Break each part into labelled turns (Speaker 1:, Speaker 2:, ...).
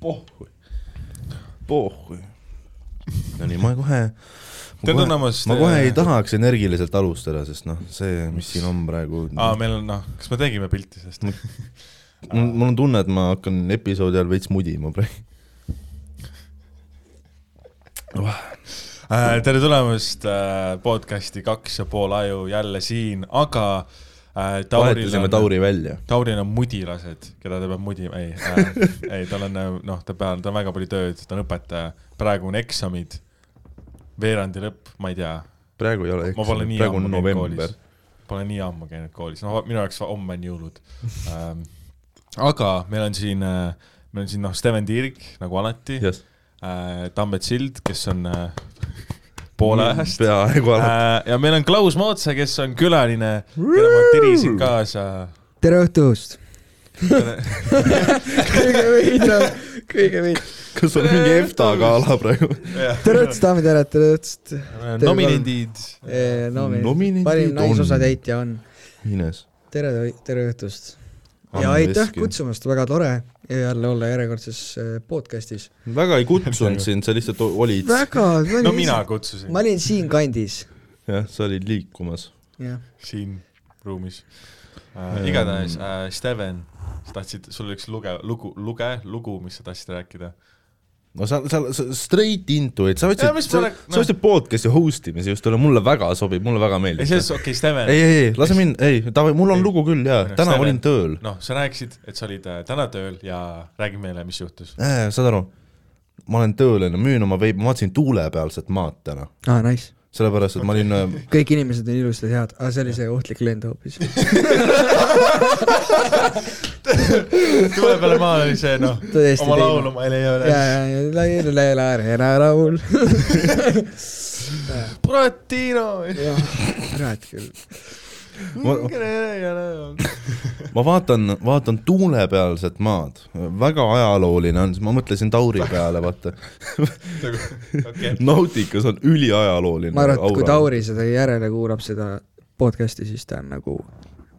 Speaker 1: pohhu .
Speaker 2: pohhu . Nonii , ma kohe ,
Speaker 1: tere
Speaker 2: kohe-
Speaker 1: tulemast .
Speaker 2: ma kohe ei . tahaks energiliselt alustada , sest noh , see , mis siin on praegu
Speaker 1: aa , meil on , noh , kas me tegime pilti sellest ?
Speaker 2: mul mul on tunne , et ma hakkan episoodi ajal veits mudima praegu .
Speaker 1: tere tulemast äh, podcasti Kaks ja pool aju jälle siin , aga äh, Tauril
Speaker 2: vahetasime
Speaker 1: on ,
Speaker 2: Tauri välja .
Speaker 1: Tauril on mudilased , keda ta peab mudima , ei äh, , ei , tal on , noh , ta peal , tal on väga palju tööd , ta on õpetaja , praegu on eksamid , veerandi lõpp , ma ei tea
Speaker 2: praegu ei ole
Speaker 1: ma pole nii
Speaker 2: praegu
Speaker 1: ammu
Speaker 2: on
Speaker 1: käinud
Speaker 2: november
Speaker 1: koolis .. Pole nii ammu käinud koolis , no minu jaoks homme on jõulud ähm, . aga meil on siin , meil on siin noh , Steven Tiirik nagu alati äh, ,
Speaker 2: jah ,
Speaker 1: Tambet Sild , kes on äh, poole
Speaker 3: Mm.
Speaker 1: ajast äh,
Speaker 2: peaaegu alati .
Speaker 1: ja meil on Klaus Mootsa , kes on külaline , keda ma tirisin kaasa .
Speaker 3: tere õhtust . kõige veidram , kõige veidram .
Speaker 2: kas on mingi EFTA gala praegu ?
Speaker 3: tere õhtust , daamid ja härrad , tere õhtust .
Speaker 1: nominendid ,
Speaker 2: Nominendid
Speaker 3: nominendid , parim
Speaker 2: on.
Speaker 3: naisosatäitja on .
Speaker 2: Ines .
Speaker 3: tere , tere õhtust .
Speaker 2: Anna
Speaker 3: ja aitäh
Speaker 2: Veski.
Speaker 3: kutsumast , väga tore jälle olla järjekordses eh, podcastis .
Speaker 2: väga ei kutsunud sind , sa lihtsalt o- olid ,
Speaker 3: väga ,
Speaker 1: no mina kutsusin
Speaker 3: ma olin siinkandis ,
Speaker 2: jah , sa olid liikumas .
Speaker 3: jah .
Speaker 1: siin ruumis
Speaker 3: Mm.
Speaker 1: äh, . igatahes äh, , Steven , sa tahtsid , sul oli üks luge- , lugu , luge , lugu , mis sa tahtsid rääkida .
Speaker 2: no sa , sa , sa straight into it , sa
Speaker 1: Ja, mis
Speaker 2: võtsid , sa
Speaker 1: pole-
Speaker 2: sa võtsid podcast'i host imise just , mulle väga sobib , mulle väga
Speaker 1: ei ,
Speaker 2: meeldib .
Speaker 1: selles , okei okay, , Steven
Speaker 2: ei ,, ei , ei , lase mind , ei , davai , mul on
Speaker 1: Ei.
Speaker 2: lugu küll jaa
Speaker 1: Minu ,
Speaker 2: täna
Speaker 1: arust
Speaker 2: olin
Speaker 1: Steven-
Speaker 2: tööl .
Speaker 1: noh , sa rääkisid , et sa olid äh, täna tööl ja räägi meile , mis juhtus .
Speaker 2: Äh, saad aru , ma olen tööl , onju , müün oma veibi , ma vaatasin tuulepealset maad täna ,
Speaker 3: aa , nice .
Speaker 2: sellepärast et ma olin äh,
Speaker 3: kõik inimesed on ilusad ja head , aga see oli see ohtlik lend hoopis .
Speaker 1: tule peale maale oli see noh ,
Speaker 3: Tõesti
Speaker 1: oma
Speaker 3: teine.
Speaker 1: laulu ma ei leia
Speaker 3: ja , ja
Speaker 1: üles .,
Speaker 3: ja laiali , laiali , ära rahul .
Speaker 1: Buratino .
Speaker 3: kurat küll .
Speaker 2: äh, ma vaatan , vaatan tuulepealset maad , väga ajalooline on , siis ma mõtlesin Tauri peale , vaata .
Speaker 1: Nagu, okei ,
Speaker 2: Nauticas on üliajalooline .
Speaker 3: ma arvan , et kui . Tauri seda järele kuulab , seda podcast'i , siis ta on nagu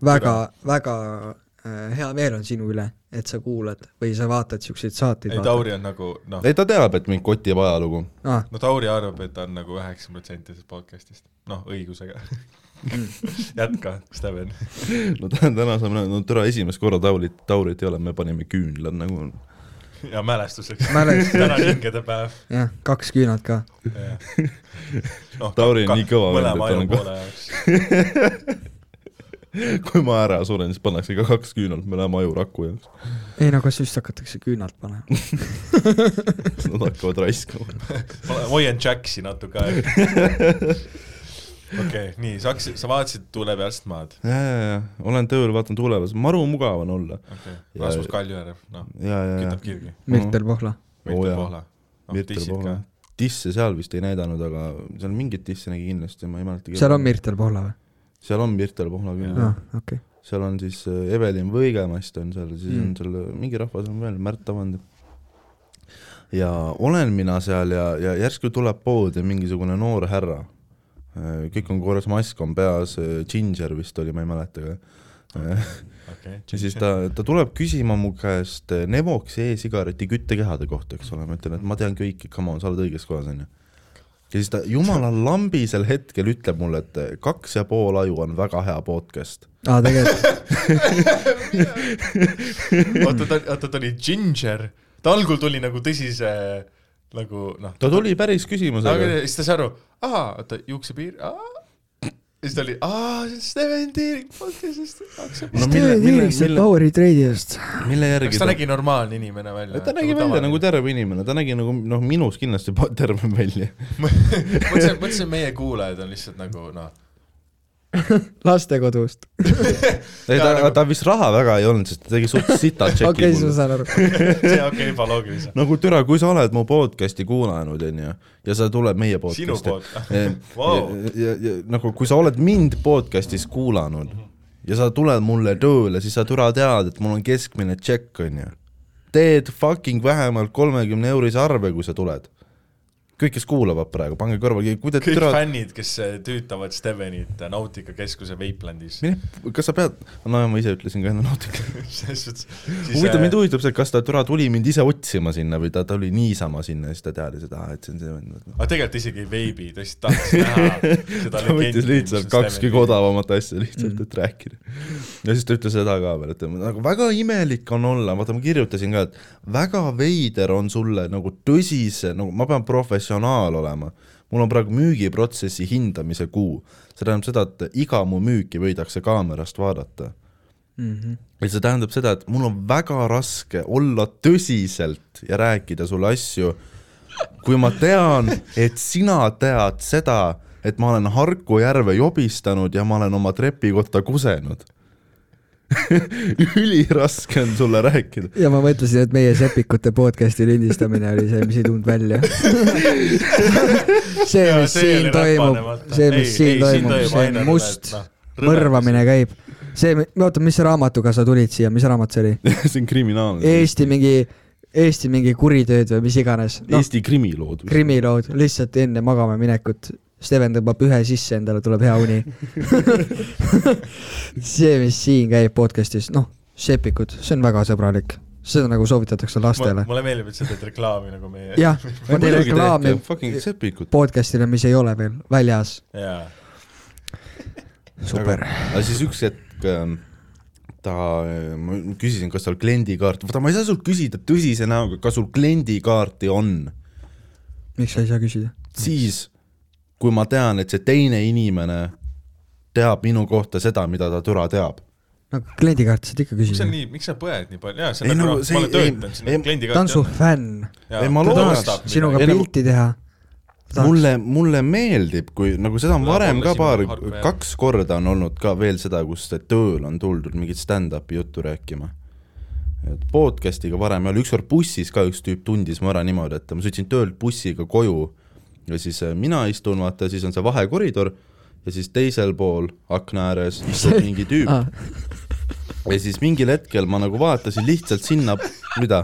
Speaker 3: väga , väga äh, hea meel on sinu üle , et sa kuulad või sa vaatad siukseid saateid .
Speaker 1: ei Tauri on nagu noh ,
Speaker 2: ei , ta teab , et mind kotib ajalugu .
Speaker 3: ah, .
Speaker 1: no Tauri arvab , et ta on nagu üheksakümmend protsenti sellest podcast'ist , noh õigusega .
Speaker 2: Mm.
Speaker 1: jätka , Steven .
Speaker 2: no tä- täna saame , no tere , esimest korda Taurit , Taurit ei ole , me panime küünlad nagu .
Speaker 1: ja mälestuseks .
Speaker 3: Mälestuseks.
Speaker 1: täna on hingede päev .
Speaker 3: jah , kaks küünalt ka .
Speaker 1: noh,
Speaker 2: Tauri on
Speaker 1: ka-
Speaker 2: nii kõva vend,
Speaker 1: mõlema
Speaker 2: et nagu- tal on
Speaker 1: ajupoole jaoks .
Speaker 2: kui ma ära suren , siis pannakse ka kaks küünalt , me läheme ajuraku jaoks .
Speaker 3: ei no kas just hakatakse küünalt panema ?
Speaker 2: Mhm. Nad hakkavad raiskama .
Speaker 1: Ma hoian Jaksi natuke aega . okei okay, , nii , sa hakkasid , sa vaatasid Tuule pealset maad ,
Speaker 2: ja , ja , ja , olen tööl , vaatan tuulepealset , maru mugav on olla .
Speaker 1: okei okay. ,
Speaker 2: Ja-
Speaker 1: Rasmus Kaljujärv , noh ,
Speaker 2: ja , ja , ja
Speaker 1: kütab kirgi ,
Speaker 3: Mirtel Pohla .
Speaker 2: Oo
Speaker 1: Mirtel
Speaker 2: jaa.
Speaker 1: Pohla , noh ,
Speaker 2: Mirtel
Speaker 1: tissid
Speaker 2: Pohla
Speaker 1: ka ..
Speaker 2: disse seal vist ei näidanud , aga seal mingit disse nägi kindlasti , ma ei mäleta .
Speaker 3: seal on . Mirtel Pohla või ?
Speaker 2: seal on Mirtel Pohla küll ,
Speaker 3: aa , okei .
Speaker 2: seal on siis äh, Evelin Võigemast on seal , siis mm.
Speaker 3: Mm.
Speaker 2: on seal mingi rahvas on veel , Märt Avand . ja olen mina seal ja , ja järsku tuleb poodi mingisugune noor härra . kõik on korras , mask on peas , Ginger vist oli , ma ei mäleta ka .
Speaker 1: okei
Speaker 2: ja siis ta , ta tuleb küsima mu käest äh, Nevox e-sigareti küttekehade kohta , eks ole , ma ütlen , et ma tean kõike , come on , sa oled õiges kohas , onju . ja siis ta jumala lambisel hetkel ütleb mulle , et äh, kaks ja pool aju on väga hea podcast .
Speaker 3: aa , Ah, tegelikult ,
Speaker 1: okay. , oota ta , oota ta oli Ginger , ta algul tuli nagu tõsise nagu noh ,
Speaker 2: ta tuli päris
Speaker 1: aga
Speaker 2: küsimusega .
Speaker 1: siis ta sai aru , ahaa , oota juuksepiir , aa , ja siis ta oli , aa , see on Steven Tiirik podcast'ist , kaks ja pool .
Speaker 2: no
Speaker 3: mis
Speaker 2: mille ,
Speaker 3: teie
Speaker 2: mille ,
Speaker 3: tiirised
Speaker 2: mille ,
Speaker 3: Power Trade'ist ?
Speaker 2: mille
Speaker 1: kas
Speaker 2: järgi
Speaker 1: ta
Speaker 2: ta ,
Speaker 1: nägi normaalne inimene välja ?
Speaker 2: ta nägi välja nagu terve inimene , ta nägi nagu noh , minus kindlasti pa- tervem välja .
Speaker 1: mõtlesin , mõtlesin , meie kuulajad on lihtsalt nagu noh ,
Speaker 3: lastekodust .
Speaker 2: ei
Speaker 1: Jaa,
Speaker 2: ta
Speaker 1: nagu- ,
Speaker 2: ta vist raha väga ei olnud , sest ta tegi suht sita tšeki
Speaker 3: okei , siis ma saan aru .
Speaker 1: see okei , ebaloogiline .
Speaker 2: nagu türa , kui sa oled mu podcast'i kuulanud , onju , ja sa tuled meie
Speaker 1: sinu
Speaker 2: podcast'i .
Speaker 1: poolt , Vau.
Speaker 2: ja, ja, ja nagu , kui sa oled mind podcast'is kuulanud ja sa tuled mulle tööle , siis sa türa tead , et mul on keskmine tšekk , onju . teed fucking vähemalt kolmekümne eurise arve , kui sa tuled . kõik , kes kuulavad praegu , pange kõrvale , kui te
Speaker 1: kõik Türa...
Speaker 2: türa ,
Speaker 1: fännid , kes eh, tüütavad Stevenit eh, Nautica keskuse Veiplandis .
Speaker 2: mine , kas sa pead , no ma ise ütlesin ka enne natuke .
Speaker 1: selles suhtes . äh, eh,
Speaker 2: huvitav , mind huvitab see , kas ta türa tuli mind ise otsima sinna või ta tuli niisama sinna ja siis ta teadis , et aa , et see on see vend .
Speaker 1: aga tegelikult isegi ei veebi , ta lihtsalt tahtis näha seda
Speaker 2: ta võttis lihtsalt kaks kõige odavamat asja lihtsalt mm. , et rääkida . ja siis ta ütles seda ka veel , et nagu väga imelik on olla , vaata ma kirjutasin ka , et väga veider on sulle nagu tõsise , nagu ma pean professionaal olema . mul on praegu müügiprotsessi hindamise kuu , see tähendab seda , et iga mu müüki võidakse kaamerast vaadata
Speaker 3: mm .
Speaker 2: ja see tähendab seda , et mul on väga raske olla tõsiselt ja rääkida sulle asju , kui ma tean , et sina tead seda , et ma olen Harku järve jobistanud ja ma olen oma trepikotta kusenud . üliraske on sulle rääkida .
Speaker 3: ja ma mõtlesin , et meie sepikute podcast'i lindistamine oli see , mis ei tulnud välja . see , mis siin toimub , see , mis siin toimub , see on must , mõrvamine . käib . see , oota , mis raamatuga sa tulid siia , mis raamat see oli ?
Speaker 2: see on kriminaalne .
Speaker 3: Eesti mingi , Eesti mingi kuritööd või mis iganes . noh ,
Speaker 2: Eesti krimilood .
Speaker 3: krimilood , lihtsalt enne magama minekut . Steven tõmbab ühe sisse endale , tuleb hea uni . see , mis siin käib podcast'is , noh , sepikud , see on väga sõbralik . seda nagu soovitatakse lastele .
Speaker 1: mulle meeldib , et sa teed reklaami nagu meie .
Speaker 3: jah , ma teen reklaami
Speaker 2: fucking sepikut .
Speaker 3: podcast'ile , mis ei ole veel väljas .
Speaker 1: jaa .
Speaker 3: super .
Speaker 2: aga siis üks hetk ähm, ta , ma küsisin , kas tal kliendikaart , vaata ma ei saa sult küsida tõsise näoga , kas sul kliendikaarti on ,
Speaker 3: miks sa ei saa küsida ?
Speaker 2: siis kui ma tean , et see teine inimene teab minu kohta seda , mida ta türa teab .
Speaker 3: no kliendikaarti saad ikka
Speaker 1: miks sa
Speaker 3: küsida .
Speaker 1: nii , miks sa põed nii palju , jaa , see
Speaker 2: Ei,
Speaker 1: on
Speaker 2: no
Speaker 1: nagu ,
Speaker 2: see
Speaker 1: ma olen
Speaker 2: ei- ei-
Speaker 1: töötanud
Speaker 2: ei-
Speaker 1: siin kliendiga .
Speaker 3: ta on su . fänn ,
Speaker 2: Ei, ma
Speaker 3: ta
Speaker 2: loodan,
Speaker 3: tahaks sinuga
Speaker 2: Ei, no-
Speaker 3: pilti teha .
Speaker 2: mulle , mulle meeldib , kui nagu seda on
Speaker 1: Tahab
Speaker 2: varem
Speaker 1: olla
Speaker 2: ka
Speaker 1: sinu
Speaker 2: paar
Speaker 1: hardcore jääb. ,
Speaker 2: kaks korda on olnud ka veel seda , kus tööl on tuldud mingit stand-up'i juttu rääkima . et podcast'iga varem ei ole , ükskord bussis ka üks tüüp tundis mu ära niimoodi , et ma sõitsin töölt bussiga koju ja siis äh, mina istun , vaata , siis on see vahekoridor ja siis teisel pool akna ääres istub mingi tüüp
Speaker 3: Ah,
Speaker 2: ja siis mingil hetkel ma nagu vaatasin lihtsalt sinna , mida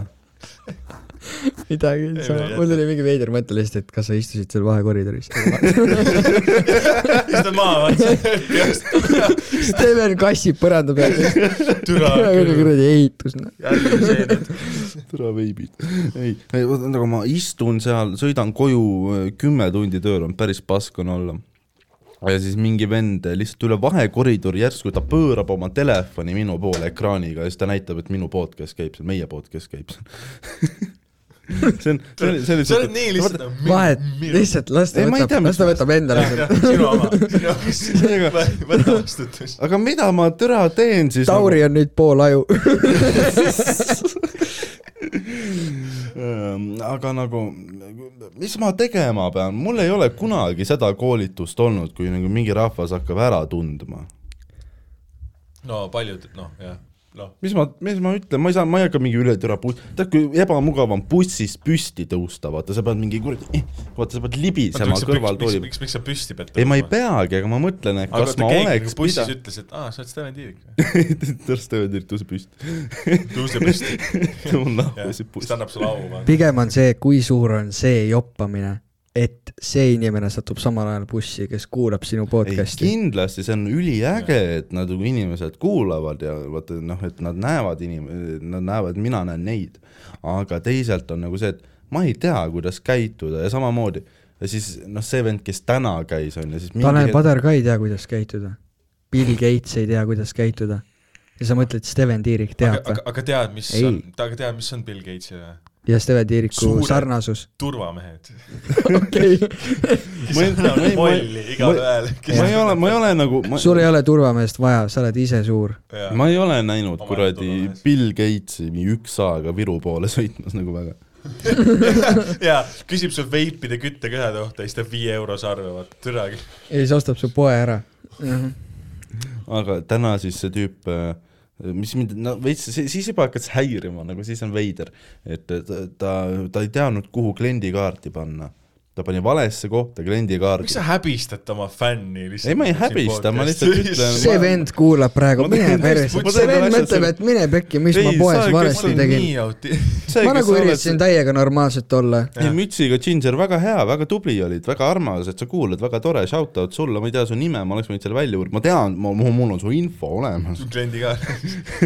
Speaker 3: midagi ,
Speaker 1: me ei
Speaker 3: mul tuli mingi veider mõte lihtsalt , et kas sa istusid seal vahekoridoris .
Speaker 1: istud maha , vaata .
Speaker 3: Steven kassib põranda peal ,
Speaker 1: türa küll .
Speaker 3: kuradi ehitus , noh .
Speaker 1: järgmine see nüüd .
Speaker 2: tere , veibid . ei , ei , vaata nagu ma istun seal , sõidan koju äh, kümme tundi tööl , on päris pask on olla . ja siis mingi vend lihtsalt üle vahekoridori järsku ta pöörab oma telefoni minu poole ekraaniga ja siis ta näitab , et minu podcast käib seal , meie podcast käib seal . see on , see on , see on
Speaker 1: sa
Speaker 2: lihtsalt
Speaker 1: oled nii lihtsalt . nagu
Speaker 3: vahet , lihtsalt las ta
Speaker 2: Ei, ma ei tea,
Speaker 3: võtab , las ta
Speaker 2: mis-
Speaker 3: võtab endale selle .
Speaker 1: sinu oma , sinu oma , võta vastutus .
Speaker 2: aga mida ma türa teen siis nagu-
Speaker 1: nagu-
Speaker 3: Tauri on nüüd pool aju .
Speaker 2: Ähm, aga nagu , mis ma tegema pean , mul ei ole kunagi seda koolitust olnud , kui nagu mingi rahvas hakkab ära tundma .
Speaker 1: no paljud , noh jah , noh .
Speaker 2: mis ma , mis ma ütlen , ma ei saa , ma ei hakka mingi ületüra bus- , tead kui ebamugav on bussis püsti tõusta , vaata sa pead mingi kuradi , vaata sa pead libisema
Speaker 1: miks ,
Speaker 2: kõrvaltooli .
Speaker 1: miks , miks sa püsti pead
Speaker 2: ei , ma ei peagi , aga ma mõtlen , et kas ma oleks
Speaker 1: nagu bussis
Speaker 2: pida-
Speaker 1: pida... ütles , et aa , sa oled Steven Tiivik .
Speaker 2: tõsta öeldi , et tõuse püsti .
Speaker 1: tõuse püsti .
Speaker 2: mul nahk
Speaker 1: siis
Speaker 2: väsib püsti
Speaker 1: ta . annab sulle au , vaata .
Speaker 3: pigem on see , kui suur on see joppamine , et see inimene satub samal ajal bussi , kes kuulab sinu
Speaker 2: ei ,
Speaker 3: podcast'i .
Speaker 2: kindlasti see on üliäge , et nad nagu inimesed kuulavad ja vaata noh , et nad näevad inim- , nad näevad , mina näen neid . aga teisalt on nagu see , et ma ei tea , kuidas käituda ja samamoodi ja siis noh , see vend , kes täna käis , on ju , siis
Speaker 3: Tanel
Speaker 2: mingi hetk-
Speaker 3: Padar ka ei tea , kuidas käituda . Bill Gates ei tea , kuidas käituda . ja sa mõtled , Steven Tiirik
Speaker 1: aga
Speaker 3: teab , või
Speaker 1: aga ,? aga tead , mis
Speaker 3: Ei.
Speaker 1: ei. on , aga tead , mis on Bill Gatesi või ?
Speaker 3: ja Steven Tiiriku
Speaker 1: Suured-
Speaker 3: sarnasus .
Speaker 1: turvamehed .
Speaker 3: okei ,
Speaker 1: kes
Speaker 2: Ma ei- ma ei-
Speaker 1: annavad
Speaker 2: ma ei-
Speaker 1: molli igaühel .
Speaker 2: ma ei ole , ma ei ole nagu ,
Speaker 3: sul ei ole turvameest vaja , sa oled ise suur .
Speaker 1: ole .
Speaker 2: ma ei ole näinud
Speaker 1: Omaette
Speaker 2: kuradi
Speaker 1: turvamees.
Speaker 2: Bill Gatesi mingi üks A-ga Viru poole sõitmas nagu väga .
Speaker 1: jaa , küsib sul veipide kütteköha kohta , siis teeb viie euro sarve , vaata , türa küll .
Speaker 3: ja siis ostab su poe ära .
Speaker 2: Mhm. aga täna siis see tüüp , mis mind no, veits , siis juba hakkas häirima , nagu siis on veider , et ta, ta , ta ei teadnud , kuhu kliendikaarti panna . ta pani valesse kohta kliendikaardi
Speaker 1: miks . sa häbistad oma fänni lihtsalt ?
Speaker 2: Ei, ma ei häbista, ma lihtsalt ütlen-
Speaker 3: see vend kuulab praegu ,
Speaker 2: Ma
Speaker 3: mine
Speaker 2: tegin
Speaker 3: päris ,
Speaker 2: täiesti- ma
Speaker 3: see
Speaker 2: tegin
Speaker 3: vend
Speaker 2: asja
Speaker 3: mõtleb ,
Speaker 2: selle-
Speaker 3: et mine pekki , mis
Speaker 2: Ei,
Speaker 3: ma
Speaker 2: sa-
Speaker 3: poes
Speaker 2: kes
Speaker 1: ma
Speaker 3: valesti
Speaker 1: olen
Speaker 3: tegin .
Speaker 1: nii auti- .
Speaker 3: ma nagu üritasin täiega normaalselt olla .
Speaker 2: ei mütsiga Ginger , väga hea , väga tubli olid , väga armas , et sa kuulad , väga tore , shout out sulle , ma ei tea su nime , ma oleks võinud selle välja uurida , ma tean , mul on su info olemas .
Speaker 1: kliendi ka .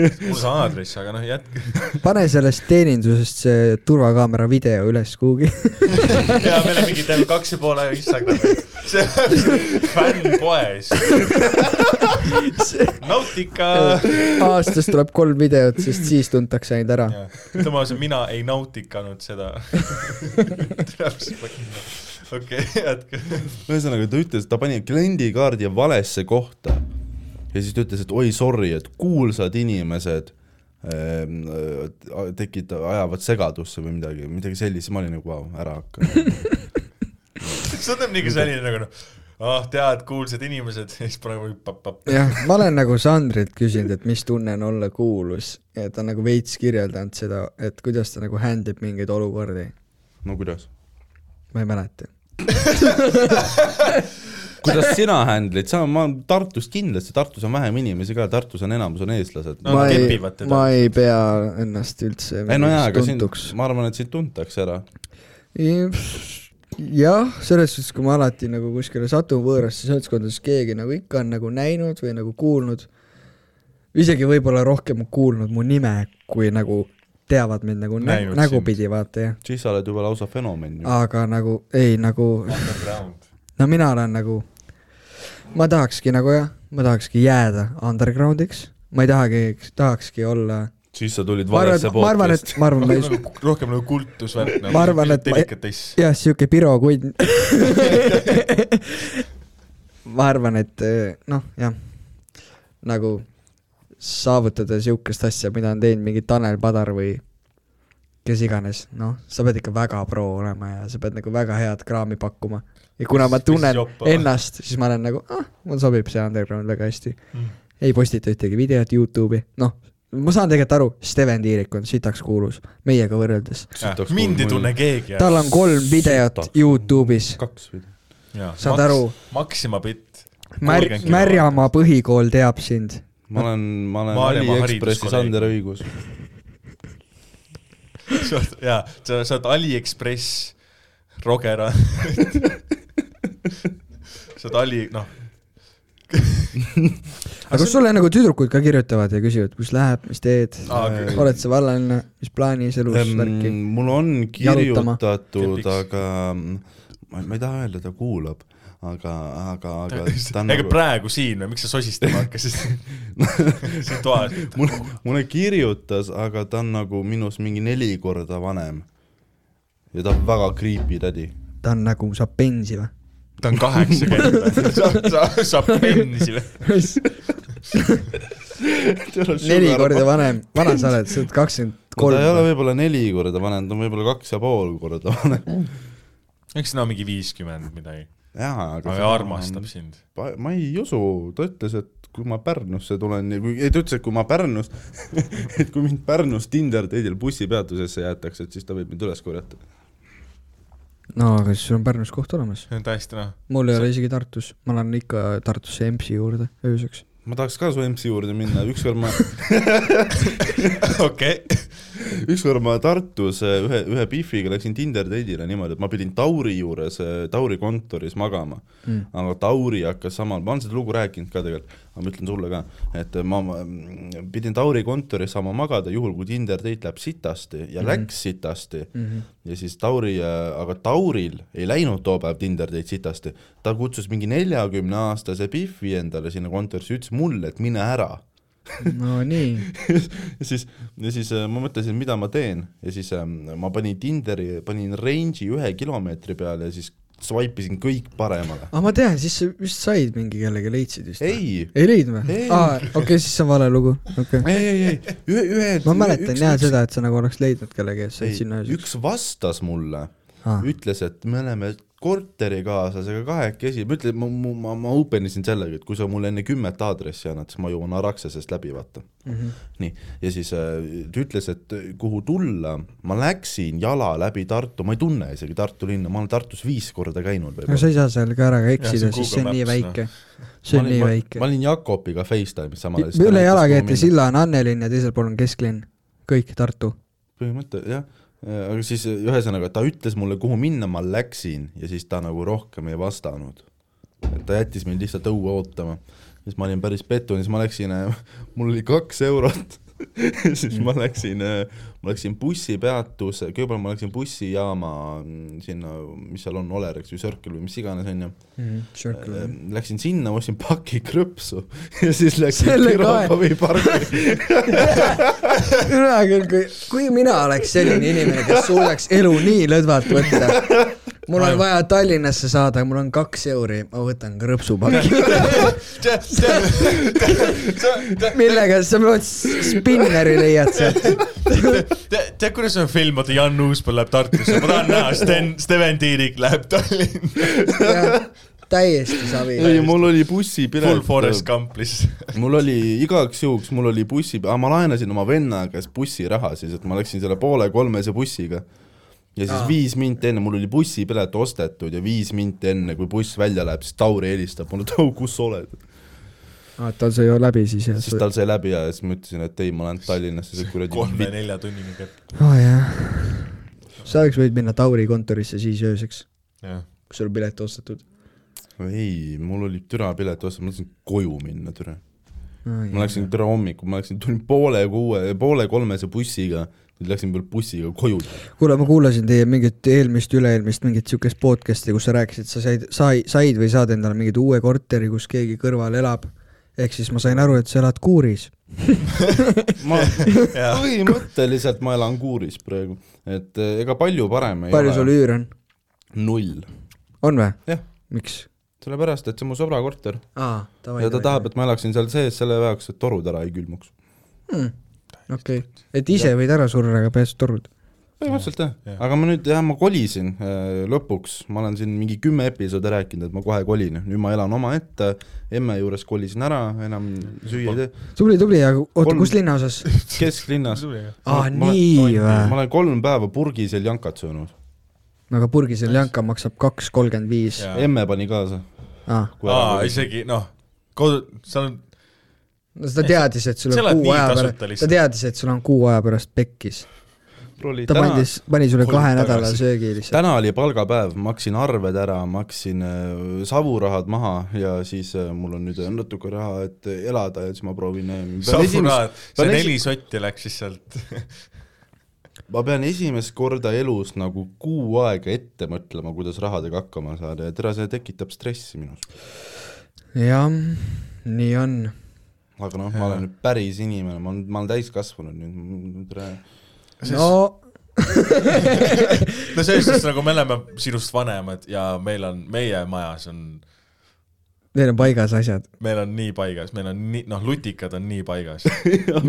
Speaker 1: mul see aadress , aga noh , jätke .
Speaker 3: pane sellest teenindusest see turvakaamera video üles kuhugi .
Speaker 1: ja meil on mingi teeme kaks ja pool aega Instagrami . see on fännpoes . Nautica .
Speaker 3: aastas tuleb kolm videot , sest siis tuntakse ainult ära .
Speaker 1: ütleme ausalt , mina ei nautikanud seda . okei , jätke .
Speaker 2: ühesõnaga ta ütles , ta pani kliendikaardi valesse kohta ja siis ta ütles , et oi sorry , et kuulsad inimesed ehm, äh, tekita- , ajavad segadusse või midagi , midagi sellist , ma olin nagu vau , ära hakka .
Speaker 1: see on mingi selline nagu noh , ah tead , kuulsad inimesed ja siis paneme mingi papp-papp .
Speaker 3: jah , ma olen nagu Sandrilt küsinud , et mis tunne on olla kuulus ja ta on nagu veits kirjeldanud seda , et kuidas ta nagu handle ib mingeid olukordi .
Speaker 2: no kuidas ?
Speaker 3: ma ei mäleta .
Speaker 2: kuidas sina handle'id , sa , ma Tartus kindlasti , Tartus on vähem inimesi ka , Tartus on enamus on eestlased
Speaker 1: No,
Speaker 2: no. .
Speaker 3: ma
Speaker 1: nad
Speaker 3: ei
Speaker 1: kepivad , teda.
Speaker 3: ma ei pea ennast üldse
Speaker 2: ei no jaa , aga sind
Speaker 3: tuntuks ,.
Speaker 2: ma arvan , et sind tuntakse ära .
Speaker 3: jah , selles suhtes , kui ma alati nagu kuskile satun võõrasse seltskonda , siis keegi nagu ikka on nagu näinud või nagu kuulnud , isegi võib-olla rohkem kuulnud mu nime , kui nagu teavad mind nagu nä
Speaker 1: Näinud
Speaker 3: nägupidi , vaata jah .
Speaker 2: siis sa oled juba lausa fenomen ju .
Speaker 3: aga nagu ei nagu ,
Speaker 1: Underground .
Speaker 3: no mina olen nagu , ma tahakski nagu jah , ma tahakski jääda underground'iks , ma ei tahagi , tahakski olla ,
Speaker 2: siis sa tulid
Speaker 3: ma
Speaker 2: valesse
Speaker 3: arvan , ma arvan ,
Speaker 2: podcast'i
Speaker 3: et . ma arvan , ma ei
Speaker 1: rohkem nagu kultusvärk nagu .
Speaker 3: Ma arvan, et ma-
Speaker 1: delikatess .
Speaker 3: jah , sihuke Piro kunn . ma arvan , et eh, noh , jah , nagu saavutada sihukest asja , mida on teinud mingi Tanel Padar või kes iganes , noh , sa pead ikka väga pro olema ja sa pead nagu väga head kraami pakkuma . ja kuna ma
Speaker 1: Siis- siis
Speaker 3: tunnen
Speaker 1: joppa.
Speaker 3: ennast , siis ma olen nagu , ah , mul sobib see underground väga hästi . ei postita ühtegi videot Youtube'i , noh , ma saan tegelikult aru , Steven Tiirik on sitaks kuulus meiega võrreldes .
Speaker 1: mind ei tunne . keegi .
Speaker 3: tal on kolm videot
Speaker 2: Sitaks.
Speaker 3: Youtube'is
Speaker 2: kaks või ?
Speaker 3: saad aru ,
Speaker 1: Maxima bitt .
Speaker 3: Mär- , Märjamaa põhikool teab sind .
Speaker 2: ma olen , ma olen
Speaker 1: Maailma
Speaker 2: Aliekspressis
Speaker 1: hariduskolleegium.
Speaker 2: Ander Õigus .
Speaker 1: sa oled , jaa , sa sa oled Aliekspress , Rogera . sa oled Ali , noh ,
Speaker 3: aga kas sulle nagu tüdrukud ka kirjutavad ja küsivad , kus läheb , mis teed
Speaker 1: Aa, okei. ?
Speaker 3: oled sa vallaline , mis plaanis elus , värki ?
Speaker 2: mul on
Speaker 3: Jalutama.
Speaker 2: kirjutatud ,
Speaker 1: Kepiks.
Speaker 2: aga ma ma ei taha öelda , ta kuulab , aga , aga , aga ta on
Speaker 1: ega
Speaker 2: nagu ,
Speaker 1: praegu siin või miks sa sosistama hakkasid ? siin toas .
Speaker 2: mulle , mulle kirjutas , aga ta on nagu minust mingi neli korda vanem . ja ta on väga creepy tädi .
Speaker 3: ta on nagu , saab pensi või ?
Speaker 1: ta on kaheksakümmend , saab , saab , saab pensi või ?
Speaker 3: neli korda vanem , vana sa oled , sa oled kakskümmend
Speaker 2: kolm . ta ei ole
Speaker 3: kolm .
Speaker 2: võib-olla neli korda vanem , ta on võib-olla kaks ja pool korda vanem .
Speaker 1: eks no mingi viiskümmend midagi ,
Speaker 2: jaa , aga
Speaker 1: aga armastab sind .
Speaker 2: ma ma ei usu , ta ütles , et kui ma Pärnusse tulen ja kui , ei ta ütles , et kui ma Pärnus , et kui mind Pärnus Tinder teedel bussipeatusesse jäetakse , et siis ta võib mind üles korjata .
Speaker 3: no aga siis sul on Pärnus koht olemas .
Speaker 1: see on täiesti noh ,
Speaker 3: mul ei ole isegi Tartus , ma lähen ikka Tartusse EMS-i juurde ööseks .
Speaker 2: ma tahaks ka su MC juurde minna , ükskord ma ,
Speaker 1: okei okay. .
Speaker 2: ükskord ma Tartus eh, ühe , ühe Biffiga läksin Tinder teedile niimoodi , et ma pidin Tauri juures , Tauri kontoris magama .
Speaker 3: Mm.
Speaker 2: aga Tauri hakkas samal , ma olen seda lugu rääkinud ka tegelikult , aga ma ütlen sulle ka , et ma ma- mm, pidin Tauri kontoris saama magada , juhul kui Tinder teid läheb sitasti ja mm -hmm. läks sitasti mm , -hmm. ja siis Tauri , aga Tauril ei läinud too päev Tinder teid sitasti , ta kutsus mingi neljakümneaastase Biffi endale sinna kontorisse , ütles mulle , et mine ära
Speaker 3: Nonii ,
Speaker 2: ja siis , ja siis äh, ma mõtlesin , mida ma teen ja siis ähm, ma panin Tinderi , panin range'i ühe kilomeetri peale ja siis swipe isin kõik paremale .
Speaker 3: aga Ah, ma tean , siis sa vist said mingi kellegi , leidsid vist ?
Speaker 2: ei ,
Speaker 3: ei leidnud või
Speaker 2: Ei. ?
Speaker 3: aa , okei okay, , siis see on vale lugu , okei okay. .
Speaker 2: ei , ei , ei , ühe , ühe .
Speaker 3: ma mäletan jah . seda , et sa nagu oleks leidnud kellegi , kes olid sinna
Speaker 2: üks vastas mulle ,
Speaker 3: ööseks .
Speaker 2: ütles , et me oleme korterikaaslasega kahekesi , ma ütlen , ma , ma , ma open isin sellega , et kui sa mulle enne kümmet aadressi annad , siis ma jõuan Araksesest läbi , vaata .
Speaker 3: Mhm.
Speaker 2: nii , ja siis äh, ta ütles , et kuhu tulla , ma läksin jala läbi Tartu , ma ei tunne isegi Tartu linna , ma olen Tartus viis korda käinud
Speaker 3: no
Speaker 2: võib-olla .
Speaker 3: sa ei saa seal ka ära ka eksida ,
Speaker 1: see on
Speaker 3: sest see on
Speaker 1: Google
Speaker 3: nii
Speaker 1: Maps,
Speaker 3: väike . see on nii
Speaker 2: noh. ma
Speaker 3: väike .
Speaker 2: olin Jakobiga Facetime'is samal ajal .
Speaker 3: üle jalakäijate . silla on Annelinn ja teisel pool on kesklinn . kõik Tartu .
Speaker 2: põhimõte , jah . aga siis äh, ühesõnaga , ta ütles mulle , kuhu minna , ma läksin ja siis ta nagu rohkem ei vastanud . et ta jättis mind lihtsalt õue ootama . siis ma olin päris pettunud , siis ma läksin , mul oli kaks eurot , siis ma läksin , ma läksin bussipeatuse , kõigepealt ma läksin bussijaama mm, sinna , mis seal on , Oleriks või Circle või mis iganes , onju . Läksin sinna , ostsin paki krõpsu ja siis läksin
Speaker 3: Selle kae-
Speaker 2: Pirogovi parki .
Speaker 3: mina küll , kui , kui mina oleks selline inimene , kes suudaks elu nii lõdvalt võtta , mul on vaja Tallinnasse saada , mul on kaks euri , ma võtan krõpsupaki , millega sa pead spinneri leiad sealt .
Speaker 1: tead , kuidas on film , vaata Jan Uuspõll läheb Tartusse , ma tahan näha , Sten , Steven Tiirik läheb Tallinna ,
Speaker 3: täiesti savi .
Speaker 2: ei , mul oli
Speaker 1: full
Speaker 2: bussipilet .
Speaker 1: Forest Gump lihtsalt .
Speaker 2: mul oli igaks juhuks , mul oli bussi , ma laenasin oma venna käest bussiraha siis , et ma läksin selle poole kolmese bussiga . ja siis
Speaker 3: Aa.
Speaker 2: Aa. viis minti enne , mul oli bussipilet ostetud ja viis minti enne , kui buss välja läheb , siis Tauri helistab mulle , et au , kus sa oled .
Speaker 3: aa , tal sai ju läbi siis jah
Speaker 2: siis tal sai läbi ja siis ma ütlesin , et ei , ma lähen Tallinnasse , see kuradi
Speaker 1: kolme-nelja tunnini kätte .
Speaker 3: oh, . sa oleks võinud minna Tauri kontorisse siis ööseks ,
Speaker 1: jah ,
Speaker 3: kui sul pilet ostetud .
Speaker 2: ei , mul oli türa pilet ostetud , ma tahtsin koju minna , türa .
Speaker 3: Oh, Mm.
Speaker 2: ma läksin türa hommikul , ma läksin , tulin poole kuue , poole kolmese bussiga , läksin veel bussiga koju
Speaker 3: kuule , ma kuulasin teie mingit eelmist , üle-eelmist mingit siukest podcast'i , kus sa rääkisid , sa said , sai , said või saad endale mingi uue korteri , kus keegi kõrval elab . ehk siis ma sain aru , et sa elad kuuris .
Speaker 2: ma põhimõtteliselt ma elan kuuris praegu , et eh, ega palju parem ei
Speaker 3: palju sul
Speaker 2: ole .
Speaker 3: üür on ?
Speaker 2: null .
Speaker 3: on või ?
Speaker 2: jah ,
Speaker 3: miks ?
Speaker 2: sellepärast , et see on mu sõbra korter
Speaker 3: aa , davai .
Speaker 2: ja ta tahab , et ma elaksin seal sees selle jaoks , et torud ära ei külmuks .
Speaker 3: okei , et ise võid ära surra , aga peaasi et torud .
Speaker 2: põhimõtteliselt jah
Speaker 1: jah. ,
Speaker 2: aga ma nüüd jah , ma kolisin eh, lõpuks , ma olen siin mingi kümme episoodi rääkinud , et ma kohe kolin , nüüd ma elan omaette , emme juures kolisin ära , enam süüa ei tee ,
Speaker 3: tubli , tubli , aga oota ,
Speaker 2: Kolm-
Speaker 3: kus linnaosas ?
Speaker 2: kesklinnas .
Speaker 3: aa ,
Speaker 2: Ma- ma-
Speaker 3: Ah, nii
Speaker 2: ma
Speaker 3: või ?
Speaker 2: olen kolm päeva purgis ja jankat söönud ,
Speaker 3: aga purgisel janka maksab kaks kolmkümmend viis .
Speaker 1: jah .
Speaker 2: emme pani kaasa .
Speaker 3: aa ,
Speaker 1: aa , isegi noh , kodu , seal on ,
Speaker 3: no ta teadis , et sul
Speaker 1: Sa
Speaker 3: on
Speaker 1: elad
Speaker 3: kuu
Speaker 1: nii
Speaker 3: aja
Speaker 1: tasuta
Speaker 3: pärast , ta
Speaker 1: lihtsalt.
Speaker 3: teadis , et sul on kuu aja pärast pekkis . ta pandis , pani sulle
Speaker 1: kolm
Speaker 3: kahe
Speaker 1: tagasi.
Speaker 3: nädala söögi lihtsalt .
Speaker 2: täna oli palgapäev , maksin arved ära , maksin äh, savurahad maha ja siis äh, mul on nüüd natuke raha , et elada ja siis ma proovin äh, pean esimest-
Speaker 1: savuraad , see
Speaker 2: pean esi-
Speaker 1: neli sotti läks siis sealt .
Speaker 2: ma pean esimest korda elus nagu kuu aega ette mõtlema , kuidas rahadega hakkama saada ja tere , see tekitab stressi minus .
Speaker 3: jah , nii on .
Speaker 2: aga noh , ma olen nüüd päris inimene , ma olen , ma olen täiskasvanud nüüd , tere .
Speaker 3: no
Speaker 1: no selles suhtes nagu me oleme sinust vanemad ja meil on , meie majas on ,
Speaker 3: teil on paigas asjad ,
Speaker 1: meil on nii paigas , meil on nii , noh , lutikad on nii paigas .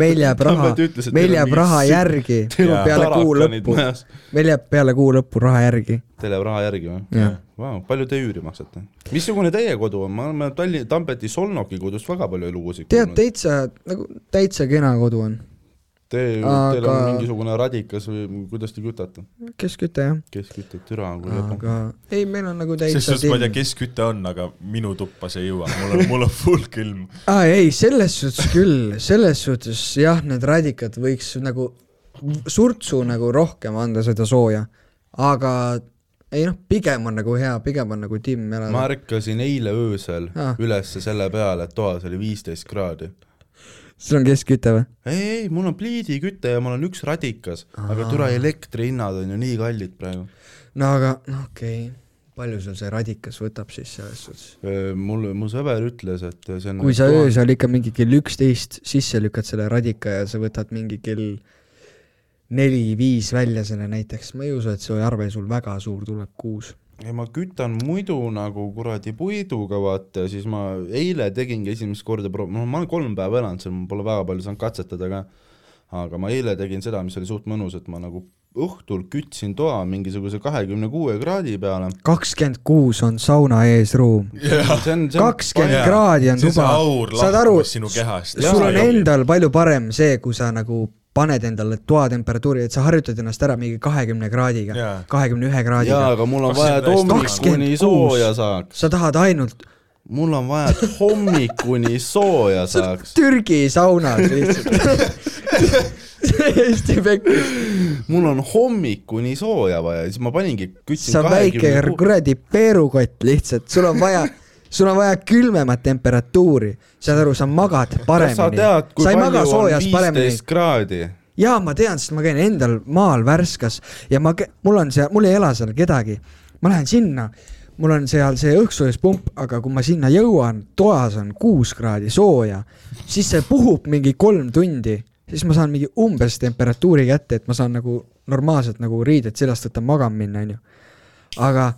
Speaker 3: meil jääb raha
Speaker 2: Tambet ütles, , et
Speaker 3: meil
Speaker 2: teil on
Speaker 3: jääb
Speaker 2: mingi
Speaker 3: raha
Speaker 2: sü-
Speaker 3: järgi
Speaker 2: teil on
Speaker 3: peale kuu
Speaker 2: tarakanid
Speaker 3: lõppu ,
Speaker 2: majas.
Speaker 3: meil jääb peale kuu lõppu raha järgi .
Speaker 2: Teil jääb raha järgi või ?
Speaker 3: jah ,
Speaker 2: Vau , palju te üüri maksate ? missugune teie kodu on , me oleme Tallinna , Tampeti Solnoki kodust väga palju lugusid
Speaker 3: tead , täitsa nagu täitsa kena kodu on ,
Speaker 2: Te
Speaker 3: Aga-
Speaker 2: aga... , teil on mingisugune radikas või kuidas te kütate ?
Speaker 3: keskküte jah ,
Speaker 2: kes kütab türa , kui lõpeb .
Speaker 3: aga ei , meil on nagu
Speaker 1: selles
Speaker 3: täitsa
Speaker 1: suhtes ma ei tea , kes küte on , aga minu tuppa see ei jõua , mul on , mul on full külm .
Speaker 3: aa ei , selles suhtes küll , selles suhtes jah , need radikad võiks nagu surtsu nagu rohkem anda seda sooja , aga ei noh , pigem on nagu hea , pigem on nagu timm
Speaker 2: ma
Speaker 3: elada .
Speaker 2: ärkasin eile öösel
Speaker 3: Aa.
Speaker 2: ah. ülesse selle peale , et toas oli viisteist kraadi .
Speaker 3: sul on keskküte või ?
Speaker 2: ei , ei , mul on pliidiküte ja mul on üks radikas , aga türa elektrihinnad on ju nii kallid praegu .
Speaker 3: no aga , no okei okay. , palju sul see radikas võtab siis selles suhtes ?
Speaker 2: mul , mu sõber ütles , et see on
Speaker 3: kui sa öösel ikka mingi kell üksteist sisse lükkad selle radika ja sa võtad mingi kell neli-viis välja selle näiteks , ma ei usu , et see arve sul väga suur tuleb kuus .
Speaker 2: ei , ma kütan muidu nagu kuradi puiduga , vaata , siis ma eile tegingi esimest korda pro- , no ma olen kolm päeva elanud seal , ma pole väga palju saanud katsetada ka , aga ma eile tegin seda , mis oli suht mõnus , et ma nagu õhtul kütsin toa mingisuguse kahekümne kuue kraadi peale .
Speaker 3: kakskümmend kuus on sauna ees ruum . kakskümmend
Speaker 1: Jaa.
Speaker 3: kraadi on
Speaker 1: See on see
Speaker 3: tuba
Speaker 1: aur ,
Speaker 3: saad aru ,
Speaker 1: lahkumas sinu kehast.
Speaker 3: sul
Speaker 1: Jaa,
Speaker 3: on
Speaker 1: jaa.
Speaker 3: endal palju parem see , kui sa nagu paned endale toatemperatuuri , et sa harjutad ennast ära mingi kahekümne kraadiga
Speaker 1: Jaa. ,
Speaker 3: kahekümne ühe
Speaker 2: jaa ,
Speaker 3: kraadiga .
Speaker 2: aga mul on vaja
Speaker 1: Kakskümmend
Speaker 2: et hommik
Speaker 3: kakskümmend
Speaker 2: kuni
Speaker 3: kuus.
Speaker 2: sooja saaks .
Speaker 3: sa tahad ainult
Speaker 2: mul on vaja , et hommik kuni sooja saaks .
Speaker 3: Türgi saunas lihtsalt . täiesti pekkis .
Speaker 2: mul on hommik kuni sooja vaja , siis ma paningi ,
Speaker 3: sa
Speaker 2: kütsin
Speaker 3: väike
Speaker 2: kahekümne kuue .
Speaker 3: kuradi peerukott lihtsalt , sul on vaja , sul on vaja külmemat temperatuuri , saad aru , sa magad
Speaker 2: kas sa
Speaker 3: paremini .
Speaker 2: tead , kui
Speaker 3: sa ei maga
Speaker 2: palju on
Speaker 3: soojas paremini
Speaker 2: viisteist . kraadi ?
Speaker 3: jaa , ma tean , sest ma käin endal maal Värskas ja ma , mul on seal , mul ei ela seal kedagi . ma lähen sinna , mul on seal see õhksoojuspump , aga kui ma sinna jõuan , toas on kuus kraadi sooja , siis see puhub mingi kolm tundi , siis ma saan mingi umbes temperatuuri kätte , et ma saan nagu normaalselt nagu riided seljast võtta , magama minna , onju . aga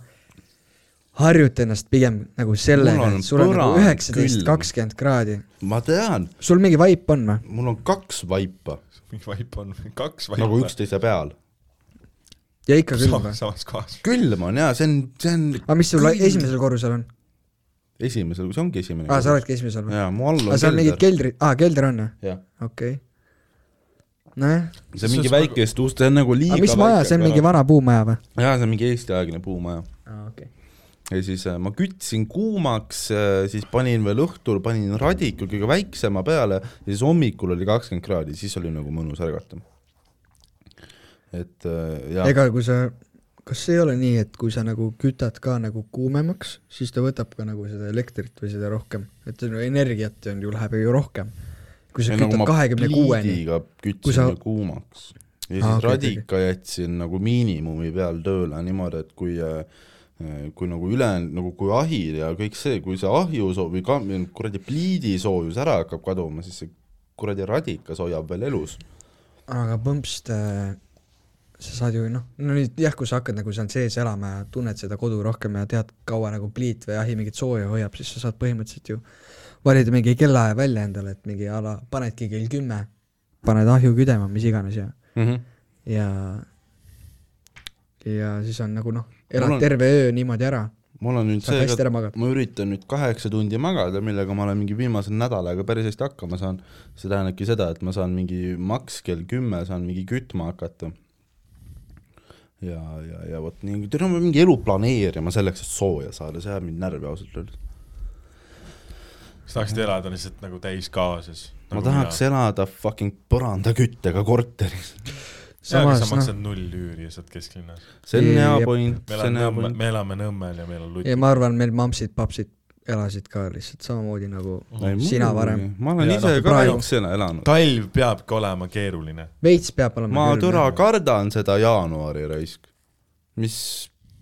Speaker 3: harjuta ennast pigem nagu sellega
Speaker 2: Mul , on
Speaker 3: et sul on nagu
Speaker 2: põrand
Speaker 3: üheksateist ,
Speaker 2: külm.
Speaker 3: kakskümmend kraadi .
Speaker 2: ma tean ,
Speaker 3: sul mingi vaip on või ?
Speaker 2: mul on kaks vaipa,
Speaker 1: mingi vaip on , kaks
Speaker 2: vaipa. , nagu
Speaker 1: vaipa .
Speaker 2: üksteise peal .
Speaker 3: ja ikka küll või
Speaker 1: samas ,? samas kohas .
Speaker 2: külm on jaa , see on , see on
Speaker 3: aga mis sul esimesel korrusel on ?
Speaker 2: esimesel , see ongi esimene .
Speaker 3: aa , sa oledki esimesel või ?
Speaker 2: jaa , mu all
Speaker 3: aga
Speaker 2: on
Speaker 3: seal mingid
Speaker 2: kelder .
Speaker 3: keldrid , aa , kelder on või ?
Speaker 2: jah ,
Speaker 3: okei okay. . nojah ,
Speaker 2: see on mingi väikest ust , see on nagu liiga
Speaker 3: aga mis maja , see on mingi vana puumaja või ?
Speaker 2: jaa , see on mingi eestiaegne puumaja .
Speaker 3: aa , okei okay. .
Speaker 2: ja siis äh, ma kütsin kuumaks , siis panin veel õhtul , panin radiku kõige väiksema peale ja siis hommikul oli kakskümmend kraadi , siis oli nagu mõnus ärgata . et äh, jaa ,
Speaker 3: ega kui sa , kas ei ole nii , et kui sa nagu kütad ka nagu kuumemaks , siis ta võtab ka nagu seda elektrit või seda rohkem , et sinu energiat on ju , läheb ju rohkem . kui sa
Speaker 2: Ei,
Speaker 3: kütad kahekümne kuueni ,
Speaker 2: pliidiga
Speaker 3: Kui
Speaker 2: kütsin
Speaker 3: sa-
Speaker 2: sa... kuumaks . ja siis
Speaker 3: Aa,
Speaker 2: ah,
Speaker 3: okei,
Speaker 2: radika okay. jätsin nagu miinimumi peal tööle niimoodi , et kui äh, kui nagu ülejäänud nagu kui ahi ja kõik see , kui see ahju soo- või ka kuradi pliidi soojus ära hakkab kaduma , siis see kuradi radikas hoiab veel elus .
Speaker 3: aga põmpsst äh, sa saad ju noh , no nüüd jah , kui sa hakkad nagu seal sees elama ja tunned seda kodu rohkem ja tead , kaua nagu pliit või ahi mingit sooja hoiab , siis sa saad põhimõtteliselt ju valida mingi kellaaja välja endale , et mingi a la panedki kell kümme , paned ahju küdema , mis iganes ja ,
Speaker 2: Mm -hmm.
Speaker 3: ja ja siis on nagu noh , elad
Speaker 2: Mul
Speaker 3: on...
Speaker 2: on-
Speaker 3: terve öö niimoodi ära ,
Speaker 2: mul on nüüd
Speaker 3: saad
Speaker 2: see
Speaker 3: hästi ära magada .
Speaker 2: ma üritan nüüd kaheksa tundi magada , millega ma olen mingi viimase nädalaga päris hästi hakkama saanud , see tähendabki seda , et ma saan mingi maks kell kümme saan mingi kütma hakata . ja , ja , ja vot nii , teil on vaja mingi elu planeerima selleks , et sooja saada , see ajab mind närvi ausalt öeldes .
Speaker 1: sa tahaksid elada lihtsalt nagu täis Nagu kaases .
Speaker 2: ma tahaks elada fucking põrandaküttega korteris .
Speaker 1: samas
Speaker 3: samas
Speaker 1: sa
Speaker 3: noh ,
Speaker 1: maksad null üüri ja sa oled kesklinnas .
Speaker 2: see on hea
Speaker 3: Jep.
Speaker 2: point ,
Speaker 1: me
Speaker 2: see on
Speaker 1: elame
Speaker 2: hea
Speaker 1: Nõmme ,
Speaker 2: point .
Speaker 1: me elame Nõmmel ja meil on
Speaker 3: ja
Speaker 1: lutt .
Speaker 3: ma arvan , meil mampsid-papsid elasid ka lihtsalt samamoodi nagu sina varem ..
Speaker 2: ma olen
Speaker 1: Ja
Speaker 2: ja, ise
Speaker 1: noh,
Speaker 2: no, ka
Speaker 3: praegu-
Speaker 2: niisugusena elanud .
Speaker 1: talv peabki olema keeruline .
Speaker 3: veits peab olema
Speaker 2: ma
Speaker 3: külm, jah.
Speaker 2: türa kardan seda jaanuari raisk , mis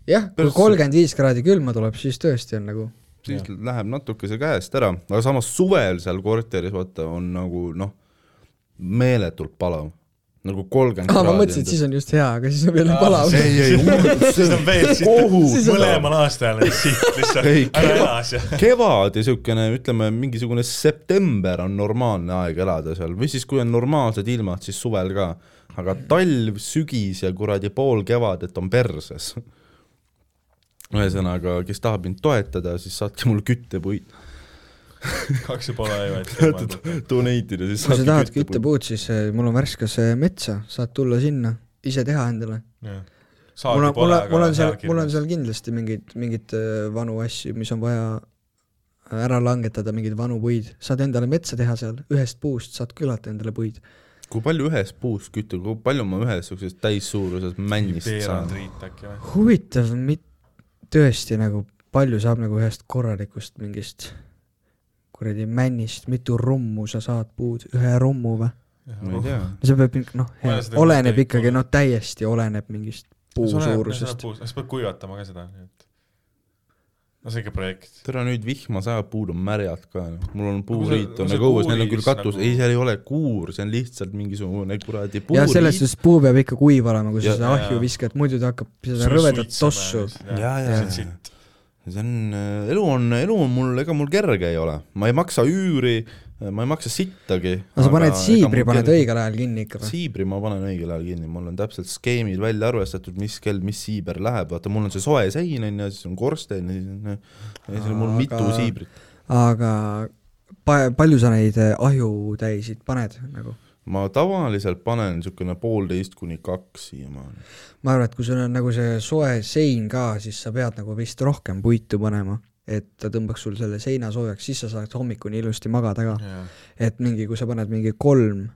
Speaker 3: jah , kui
Speaker 2: Persse.
Speaker 3: kolmkümmend viis kraadi külma tuleb , siis tõesti on nagu
Speaker 2: siis ja. läheb natuke see käest ära , aga samas suvel seal korteris vaata on nagu noh , meeletult palav , nagu kolmkümmend
Speaker 3: aa , ma mõtlesin , et siis on just hea , aga siis on veel palav .
Speaker 2: ei , ei ,
Speaker 1: siis on veel siit ,
Speaker 2: kohutav.
Speaker 1: mõlemal aastal on siit
Speaker 2: Ei,
Speaker 1: lihtsalt , ära ela asja .
Speaker 2: kevad ja niisugune , ütleme mingisugune september on normaalne aeg elada seal või siis , kui on normaalsed ilmad , siis suvel ka , aga talv , sügis ja kuradi pool kevadet on perses . ühesõnaga , kes tahab mind toetada , siis saatke mulle küttepuid ,
Speaker 1: kaks ja pool ajavõet .
Speaker 2: donate ida , siis
Speaker 3: kui sa
Speaker 2: saatke
Speaker 3: tahad
Speaker 2: küttepuid .
Speaker 3: küttepuud , siis eh, mul on värskas eh, metsa , saad tulla sinna , ise teha endale . mul on , mul on , mul on seal , mul on seal kindlasti mingeid , mingeid eh, vanu asju , mis on vaja ära langetada , mingeid vanu puid , saad endale metsa teha seal , ühest puust saad küllalt endale puid .
Speaker 2: kui palju ühes puus kütta , kui palju ma ühes niisuguses täissuuruses männist saan
Speaker 1: veerand ? riit äkki või ?
Speaker 3: huvitav , mit- , tõesti nagu palju saab nagu ühest korralikust mingist kuradi männist , mitu rummu sa saad puud , ühe rummu või ?
Speaker 2: ma ei tea .
Speaker 3: no see peab ikka noh
Speaker 1: Ma olen , seda
Speaker 3: oleneb
Speaker 1: mõtet
Speaker 3: ikkagi
Speaker 1: kuulnud.
Speaker 3: noh , täiesti oleneb mingist puu suurusest ..
Speaker 1: sa pead kuivatama ka seda , nii et . no see on ikka projekt .
Speaker 2: tere , nüüd vihma sajab , puud on märjad ka , mul on
Speaker 1: Aga
Speaker 2: puuriit
Speaker 1: see-
Speaker 2: on
Speaker 1: see
Speaker 2: nagu õues , neil on küll
Speaker 1: kuuris
Speaker 2: katus
Speaker 1: nagu-
Speaker 2: nagu... , ei , seal ei ole kuur , see on lihtsalt mingisugune kuradi
Speaker 3: ja
Speaker 2: puuriit .
Speaker 3: selles suhtes puu peab ikka kuiv olema , kui sa
Speaker 2: Ja-
Speaker 3: seda
Speaker 1: ja-
Speaker 3: ahju viskad , muidu ta hakkab seda rõvedat tossu .
Speaker 2: Jaa, jaa, jaa.
Speaker 1: sitt .
Speaker 2: äh, see on , elu on , elu on mul , ega mul kerge ei ole , ma ei maksa üüri , ma ei maksa sittagi .
Speaker 3: no sa paned siibri , paned õigel ajal kinni ikka või ?
Speaker 2: siibri ma panen õigel ajal kinni , mul on täpselt skeemid välja arvestatud , mis kell , mis siiber läheb , vaata mul on see soe sein on ju , siis on korsten ja siis on , ja siis on mul
Speaker 3: Aga-
Speaker 2: mitu siibrit .
Speaker 3: aga pa- , palju sa neid eh, ahjutäisid paned nagu ?
Speaker 2: ma tavaliselt panen niisugune poolteist kuni kaks siiamaani .
Speaker 3: ma arvan , et kui sul on nagu see soe sein ka , siis sa pead nagu vist rohkem puitu panema , et ta tõmbaks sul selle seina soojaks , siis sa saad hommikuni ilusti magada ka . et mingi , kui sa paned mingi kolm ,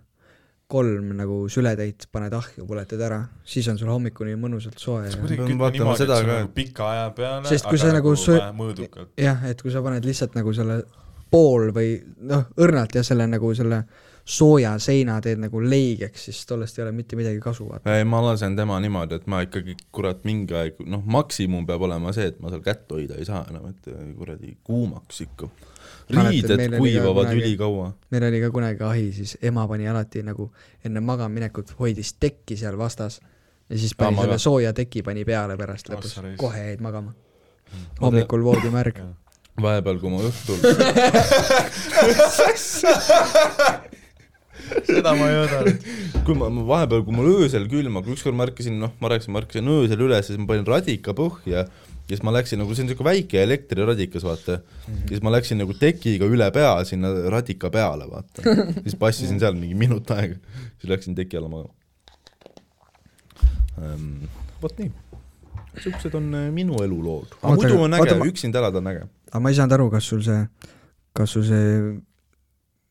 Speaker 3: kolm nagu sületäit paned ahju , põletad ära , siis on sul hommikuni mõnusalt soe ja
Speaker 1: kuidagi
Speaker 2: pean
Speaker 1: kütma
Speaker 2: vaatama
Speaker 1: niimoodi , et
Speaker 2: seda
Speaker 1: see on
Speaker 2: ka,
Speaker 1: nagu pika aja peale ,
Speaker 3: Sest kui
Speaker 1: aga
Speaker 3: sa
Speaker 1: nagu
Speaker 3: nagu söö-
Speaker 1: vähe mõõdukalt .
Speaker 3: jah , et kui sa paned lihtsalt nagu selle pool või noh , õrnalt ja selle nagu selle sooja seina teed nagu leigeks , siis tollest ei ole mitte midagi kasu , vaata .
Speaker 2: ei , ma lasen tema niimoodi , et ma ikkagi kurat mingi aeg , noh , maksimum peab olema see , et ma seal kätt hoida ei saa enam , et äh, kuradi kuumaks ikka .
Speaker 3: Mäletan,
Speaker 2: riided
Speaker 3: meil oli ka
Speaker 2: kuivavad
Speaker 3: kunagi-
Speaker 2: ülikaua .
Speaker 3: meil oli ka kunagi ahi , siis ema pani alati nagu enne magamaminekut hoidis teki seal vastas ja siis pani
Speaker 2: Aa,
Speaker 3: selle
Speaker 2: maga-
Speaker 3: sooja teki pani peale pärast
Speaker 1: Oh,
Speaker 3: lõpus
Speaker 1: sa , raisk.
Speaker 3: kohe jäid magama . hommikul voodi märg .
Speaker 2: vahepeal , kui ma õhtul
Speaker 1: seda ma ei oodanud .
Speaker 2: kui ma, ma vahepeal , kui mul öösel külm , aga ükskord ma ärkasin , noh , ma rääkisin , ma ärkasin öösel üles ja siis ma panin radika põhja ja siis ma läksin nagu , see on niisugune väike elektriradikas , vaata mm . -hmm. ja siis ma läksin nagu tekiga üle pea sinna radika peale , vaata . siis passisin seal mingi minut aega , siis läksin teki alla magama ähm, . vot nii . niisugused on äh, minu elulood . aga
Speaker 3: Oota,
Speaker 2: muidu on äge
Speaker 3: oota, , ma-
Speaker 2: üksinda elada on äge .
Speaker 3: aga ma ei saanud aru , kas sul see , kas sul see ,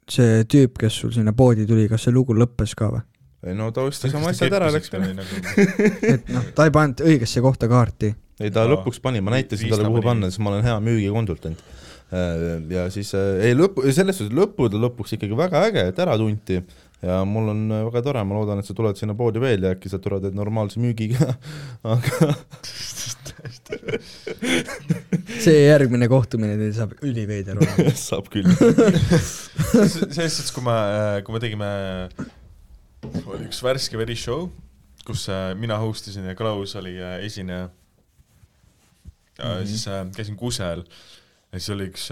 Speaker 3: see tüüp , kes sul sinna poodi tuli , kas see lugu lõppes ka või ?
Speaker 2: ei no ta ostis oma asjad ära , läks minema .
Speaker 1: minema .
Speaker 3: et noh , ta ei pannud õigesse kohta kaarti .
Speaker 2: ei ta
Speaker 1: Aa.
Speaker 2: lõpuks pani , ma näitasin talle ,
Speaker 1: Viisna
Speaker 2: kuhu
Speaker 1: pani.
Speaker 2: panna , sest ma olen hea müügikonsultant . ja siis äh, ei lõpu , selles suhtes lõppude lõpuks ikkagi väga äge , et ära tunti ja mul on äh, väga tore , ma loodan , et sa tuled sinna poodi veel ja äkki sa tuled teed normaalse müügiga . aga
Speaker 3: see järgmine kohtumine teil saab üliveider olema .
Speaker 2: saab küll .
Speaker 1: selles suhtes , kui ma , kui me tegime , oli üks värske veri show , kus äh, mina host isin ja Klaus oli äh, esineja . ja siis äh, käisin Kusel ja siis oli üks ,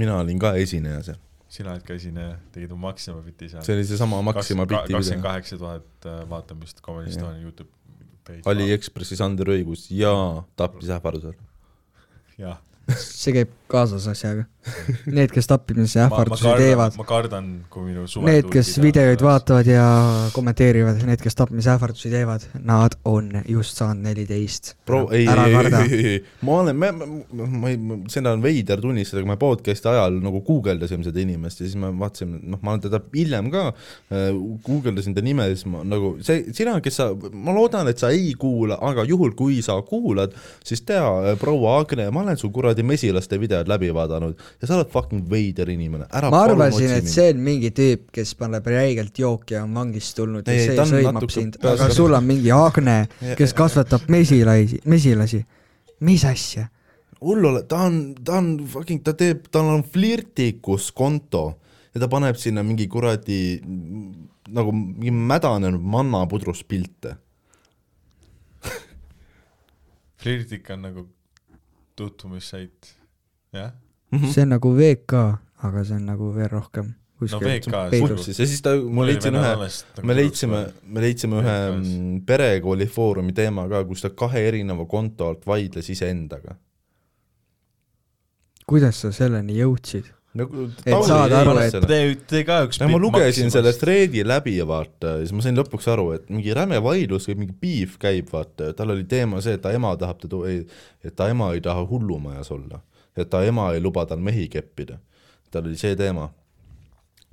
Speaker 2: mina olin ka esineja seal ,
Speaker 1: sina olid ka esineja , tegid oma Maxima biti seal .
Speaker 2: see oli seesama Maxima biti
Speaker 1: kakskümmend
Speaker 2: video .
Speaker 1: kaheksa tuhat äh, vaatamist Comedy
Speaker 2: Jah.
Speaker 1: Estonia Youtube page .
Speaker 2: Aliekspressis Ander Õigus ja tappis ähvardusel .
Speaker 1: jah ,
Speaker 3: see käib kaasas asjaga . Need , kes tappimise
Speaker 1: ma ma
Speaker 3: ähvardusi
Speaker 1: kardan ,
Speaker 3: teevad ,
Speaker 1: ma kardan , kui minu suve .
Speaker 3: need , kes videoid vaatavad ja kommenteerivad , need , kes tappimise ähvardusi teevad , nad on just saanud neliteist .
Speaker 2: proua , ei ,
Speaker 3: ära
Speaker 2: ei ,
Speaker 3: karda
Speaker 2: ei , ei , ei , ma olen , ma , ma , ma ei , seda on veider tunnistada , kui me podcast'i ajal nagu guugeldasime seda inimest ja siis me vaatasime , noh , ma olen teda hiljem ka äh, , guugeldasin ta nime ja siis ma nagu , see , sina , kes sa , ma loodan , et sa ei kuula , aga juhul , kui sa kuulad , siis tea , proua Agne , ma olen su kuradi mesilaste videod läbi vaadanud ja sa oled fucking veider inimene , ära
Speaker 3: ma arvasin , et see on mingi tüüp , kes paneb räigelt jooki ja on vangist tulnud
Speaker 2: Ei,
Speaker 3: ja
Speaker 2: ta
Speaker 3: see
Speaker 2: on
Speaker 3: sõimab
Speaker 2: natuke
Speaker 3: sind ,
Speaker 2: peas-
Speaker 3: aga sul on mingi Agne , kes kasvatab mesilasi , mesilasi . mis asja ?
Speaker 2: hull ole , ta on , ta on fucking , ta teeb , tal on flirtikus konto ja ta paneb sinna mingi kuradi mm, nagu mingi mädanenud mannapudrus pilte .
Speaker 1: flirtik on nagu tutvumissait , jah .
Speaker 2: Mhm.
Speaker 3: see on nagu VK , aga see on nagu veel rohkem .
Speaker 1: no VK ,
Speaker 2: ja siis ta , ma leidsin ühe , me leidsime , me leidsime ühe mm, perekooli foorumi teema ka , kus ta kahe erineva konto alt vaidles iseendaga .
Speaker 3: kuidas sa selleni jõudsid ?
Speaker 2: nagu
Speaker 3: Et saad aru, et-
Speaker 1: Te , te ka üks
Speaker 2: ja ma lugesin selle . thread'i läbi ja vaata , siis ma sain lõpuks aru , et mingi räme vaidlus või mingi piif käib , vaata , tal oli teema see , et ta ema tahab teda , et ta ema ei taha hullumajas olla . et ta ema ei luba tal mehi keppida . tal oli see teema .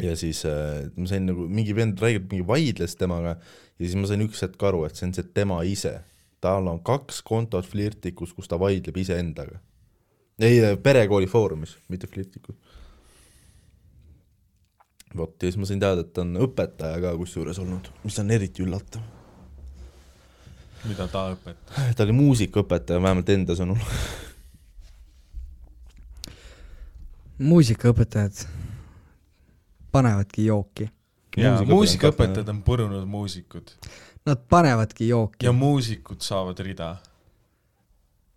Speaker 2: ja siis äh, ma sain nagu , mingi vend räägib , mingi vaidles temaga ja siis ma sain üks hetk aru , et see on see tema ise . tal on kaks kontot flirtikus , kus ta vaidleb iseendaga . ei , perekooli foorumis , mitte flirtikus . vot ja siis ma sain teada , et ta on õpetaja ka kusjuures olnud , mis on eriti üllatav .
Speaker 1: mida ta õpetab ?
Speaker 2: ta oli muusikaõpetaja , vähemalt enda sõnul .
Speaker 3: muusikaõpetajad panevadki jooki .
Speaker 1: jaa ,
Speaker 2: Muusikaõpetaja-
Speaker 1: muusikaõpetajad on purunud muusikud
Speaker 3: Nad panevadki jooki
Speaker 1: ja . muusikud saavad rida .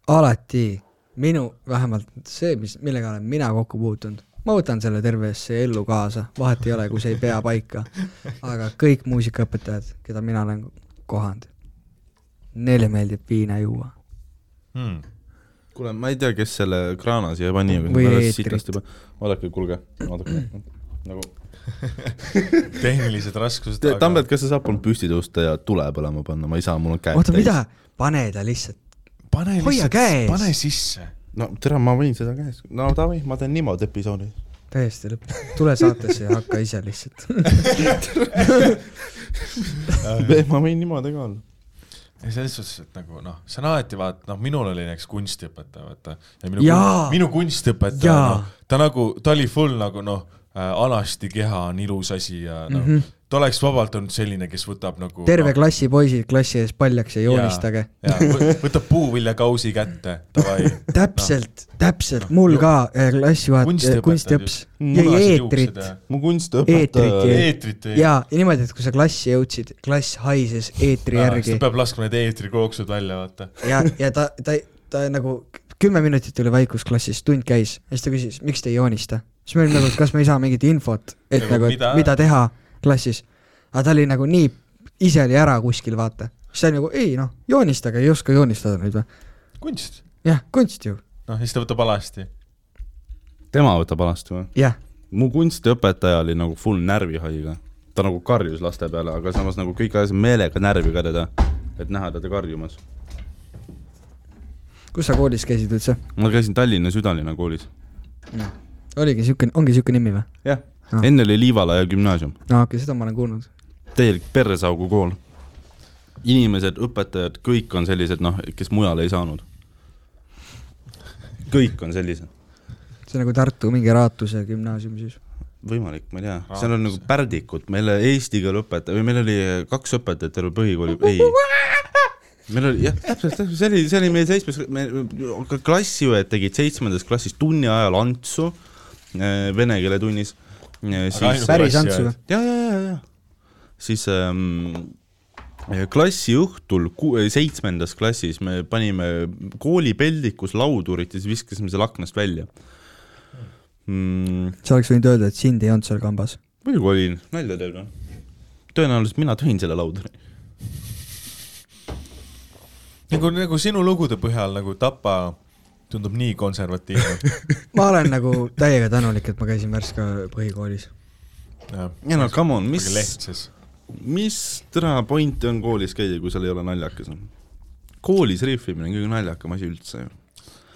Speaker 3: alati minu , vähemalt see , mis , millega olen mina kokku puutunud , ma võtan selle tervesse ellu kaasa , vahet ei ole , kui see ei pea paika . aga kõik muusikaõpetajad , keda mina olen kohanud , neile meeldib viina juua .
Speaker 1: hmm. .
Speaker 2: kuule , ma ei tea , kes selle kraana siia pani , aga
Speaker 3: Või
Speaker 2: see pärast
Speaker 3: eetrit.
Speaker 2: sitast juba . vaadake , kuulge , vaadake nagu .
Speaker 1: tehnilised raskused .
Speaker 2: Tambet , kas sa saad palun püsti tõusta ja tule põlema panna , ma ei saa , mul on käed
Speaker 3: oota , mida ? pane ta lihtsalt ,
Speaker 1: pane
Speaker 3: Hoia
Speaker 1: lihtsalt
Speaker 3: käe , ees.
Speaker 1: pane sisse .
Speaker 2: no tere , ma võin seda käes , no davai , ma teen niimoodi episoodi .
Speaker 3: täiesti lõpp . tule saatesse ja hakka ise lihtsalt .
Speaker 2: ma võin niimoodi ka olla .
Speaker 1: ja selles suhtes , et nagu noh , see on alati vaata , noh , minul oli näiteks kunstiõpetaja , vaata .
Speaker 3: Jaa.
Speaker 1: minu kunstiõpetaja ,
Speaker 3: Jaa.
Speaker 1: noh , ta nagu , ta oli full nagu noh äh, , alasti keha on ilus asi ja noh mm -hmm. , ta oleks vabalt olnud selline , kes võtab nagu .
Speaker 3: Mhm. terve klassi poisid klassi ees paljaks ja joonistage .
Speaker 1: võtab puuviljakausi kätte , davai .
Speaker 3: täpselt , täpselt ,
Speaker 1: Noh,
Speaker 3: mul
Speaker 1: ju-
Speaker 3: ka eh, klassijuhataja ,
Speaker 1: Kunstiõpetajad
Speaker 3: kunstiõps
Speaker 1: just.
Speaker 3: jäi eetrit
Speaker 2: mu
Speaker 3: Eetrit jäi.
Speaker 2: kunstiõpetaja ,
Speaker 1: eetrit ei .
Speaker 3: ja , ja niimoodi , et kui sa klassi jõudsid , klass haises eetri järgi
Speaker 1: ta peab laskma need eetrikooksud välja , vaata .
Speaker 3: ja , ja ta , ta , ta nagu kümme minutit oli vaikus klassis , tund käis ja siis ta küsis , miks te ei joonista . siis me olime nagu , et kas me ei saa mingit infot , et
Speaker 1: Nagu
Speaker 3: nagu , et
Speaker 1: mida-
Speaker 3: mida teha klassis . aga ta oli nagu nii , ise oli ära kuskil , vaata . siis ta oli nagu , ei noh , joonistage , ei oska joonistada nüüd või ?
Speaker 1: kunst .
Speaker 3: jah , kunst ju ,
Speaker 1: noh , ja siis ta võtab alasti .
Speaker 2: tema võtab alasti või ?
Speaker 3: jah .
Speaker 2: mu kunstiõpetaja oli nagu full närvihaiga , ta nagu karjus laste peale , aga samas nagu kõik ajasid meelega närvi ka teda , et näha teda karjumas .
Speaker 3: kus sa koolis käisid üldse ?
Speaker 2: ma käisin Tallinna Südalinna koolis ,
Speaker 3: oligi siuke , ongi siuke nimi või ?
Speaker 2: jah
Speaker 3: Ah.
Speaker 2: ah. , enne oli Liivalaia gümnaasium ,
Speaker 3: aa , okei , seda ma olen kuulnud .
Speaker 2: täielik persaugu kool . inimesed , õpetajad , kõik on sellised , noh , kes mujale ei saanud . kõik on sellised ,
Speaker 3: see on nagu Tartu mingi Raatuse gümnaasium siis .
Speaker 2: võimalik , ma ei tea , seal on nagu pärdikud , meil eesti keele õpetaja või meil oli äh, kaks õpetajat terve põhikooli , ei meil oli jah , täpselt , täpselt , see oli , see oli meie seitsmes , me ka klassiõed tegid seitsmendas klassis tunni ajal Antsu eh, vene keele tunnis . siis
Speaker 1: Aga ainult-
Speaker 2: ja ,
Speaker 3: päris Antsu või ?
Speaker 2: ja , ja , ja , siis ähm, klassi õhtul ku- eh, seitsmendas klassis me panime kooli peldikus laudurit ja siis viskasime selle aknast välja mm, .
Speaker 3: sa oleks võinud öelda , et sind ei olnud seal kambas .
Speaker 2: muidugi olin , nalja teeb noh . tõenäoliselt mina tõin selle lauduri .
Speaker 1: nagu , nagu sinu lugude põhjal nagu Tapa tundub nii konservatiivne .
Speaker 3: ma olen nagu täiega tänulik , et ma käisin Värska põhikoolis .
Speaker 2: ei no come on , mis
Speaker 1: aga , lehtses .
Speaker 2: mis täna pointi on koolis käia , kui seal ei ole naljakas ? koolis rihvimine on kõige naljakam asi üldse ju .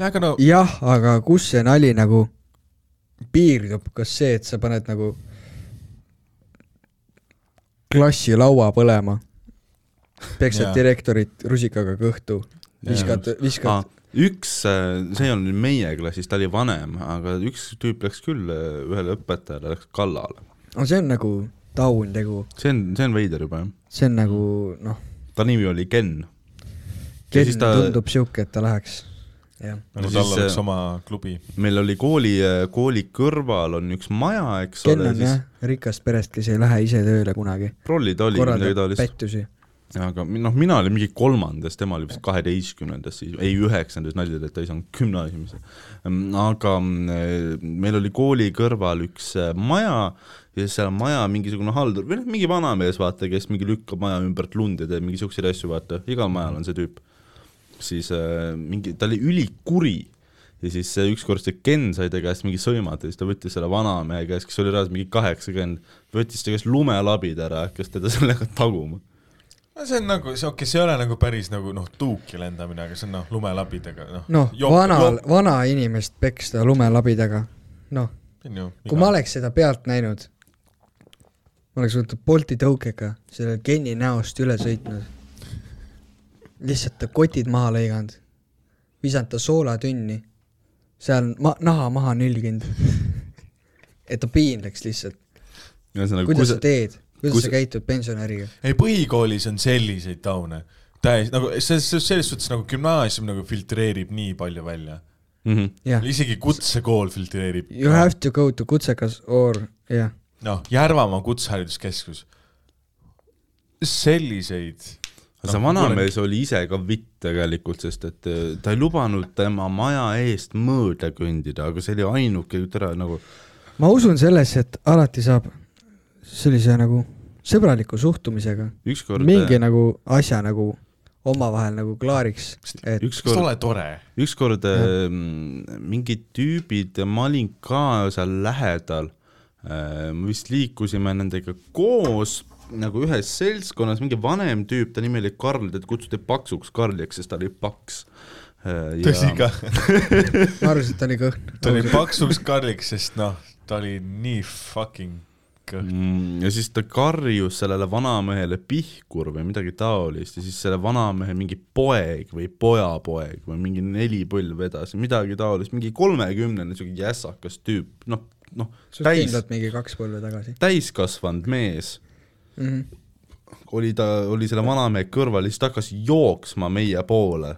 Speaker 1: aga no
Speaker 3: jah , aga kus see nali nagu piirdub , kas see , et sa paned nagu klassi laua põlema , peksad
Speaker 1: Jaa.
Speaker 3: direktorit rusikaga kõhtu ,
Speaker 2: Jaa.
Speaker 3: viskad , viskad ,
Speaker 2: Ah, üks , see ei olnud nüüd meie klassis , ta oli vanem , aga üks tüüp läks küll äh, ühele õpetajale , läks kallale .
Speaker 3: no see on nagu taun tegu ,
Speaker 2: see on , see on veider juba jah .
Speaker 3: see on nagu noh ,
Speaker 2: ta nimi oli Ken . ja
Speaker 3: kell
Speaker 2: siis ta ,
Speaker 3: tundub sihuke , et ta läheks , jah .
Speaker 1: no
Speaker 2: Siis,
Speaker 1: Nagu tal oleks
Speaker 2: äh,
Speaker 1: oma klubi .
Speaker 2: meil oli kooli , kooli kõrval on üks maja , eks
Speaker 3: Ken
Speaker 2: ole ,
Speaker 3: on
Speaker 2: siis
Speaker 3: jah rikast perest , kes ei lähe ise tööle kunagi ,
Speaker 2: prolli ta oli , midagi
Speaker 3: korraldab
Speaker 2: taolist .
Speaker 3: pättusi .
Speaker 2: aga mi- noh , mina olin mingi kolmandas , tema oli vist kaheteistkümnendas siis , ei üheksandas , nalja teed , ta ei saanud gümnaasiumisse . aga mm, meil oli kooli kõrval üks äh, maja ja seal maja mingisugune haldur või noh , mingi vanamees , vaata , kes mingi lükkab maja ümbert lund ja teeb mingi siukseid asju , vaata , igal majal on see tüüp . siis äh, mingi , ta oli ülikuri ja siis äh, ükskord see Ken sai ta käest mingi sõimata , siis ta võttis selle vanamehe käest , kes oli reaalselt mingi kaheksakümmend , võttis ta käest lumelabid ära ja hakkas teda sellega taguma .
Speaker 1: no see on nagu , see okei okay, , see ei ole nagu päris nagu noh , tuuki lendamine , aga see on noh , lumelabidega noh .
Speaker 3: noh , vanal , vanainimest peksta lumelabidega , noh , kui ma . oleks seda pealt näinud , ma oleks võtnud Bolti tõukega selle Kenni näost üle sõitnud , lihtsalt ta kotid maha lõiganud , visanud ta soolatünni , seal ma- , naha maha nülginud , et ta piinleks lihtsalt .
Speaker 2: ühesõnaga , kui
Speaker 3: kuidas
Speaker 2: sa
Speaker 3: sa teed ,
Speaker 2: kui
Speaker 3: kuidas sa
Speaker 2: sa-
Speaker 3: käitud pensionäriga ?
Speaker 1: ei , põhikoolis on selliseid taune . täiesti nagu selles , selles suhtes nagu gümnaasium nagu filtreerib nii palju välja .
Speaker 2: mm .
Speaker 1: Mhm.
Speaker 2: -hmm.
Speaker 3: jah ,
Speaker 1: isegi kutsekool filtreerib .
Speaker 3: you have to go to kutsekas or jah ,
Speaker 1: noh , Järvamaa Kutsehariduskeskus . selliseid . Noh,
Speaker 2: see vanamees oli ise ka vitt tegelikult , sest et äh, ta ei lubanud tema maja eest mööda kõndida , aga see oli ainuke tore nagu
Speaker 3: ma usun sellesse , et alati saab sellise nagu sõbraliku suhtumisega
Speaker 2: ükskord ,
Speaker 3: mingi nagu asja nagu omavahel nagu klaariks , et
Speaker 1: kas ta
Speaker 2: ükskord ,
Speaker 1: ole tore ?
Speaker 2: ükskord äh, mingid tüübid , ma olin ka seal lähedal äh, , me vist liikusime nendega koos nagu ühes seltskonnas , mingi vanem tüüp , ta nimi oli Karl , teda kutsuti paksuks Karliks , sest ta oli paks äh, .
Speaker 1: tõsi ka ,
Speaker 3: ma arvasin , et ta oli kõhn .
Speaker 1: ta oli paksuks karliks , sest noh , ta oli nii fucking kõht .
Speaker 2: Mm, ja siis ta karjus sellele vanamehele pihkur või midagi taolist ja siis selle vanamehe mingi poeg või pojapoeg või mingi neli põlve edasi , midagi taolist , mingi kolmekümnene siuke jässakas tüüp , noh , noh , täis ,
Speaker 3: kindlalt mingi kaks põlve tagasi
Speaker 2: täiskasvanud mees
Speaker 3: mm . -hmm.
Speaker 2: oli ta , oli selle vanamehe kõrval ja siis ta hakkas jooksma meie poole .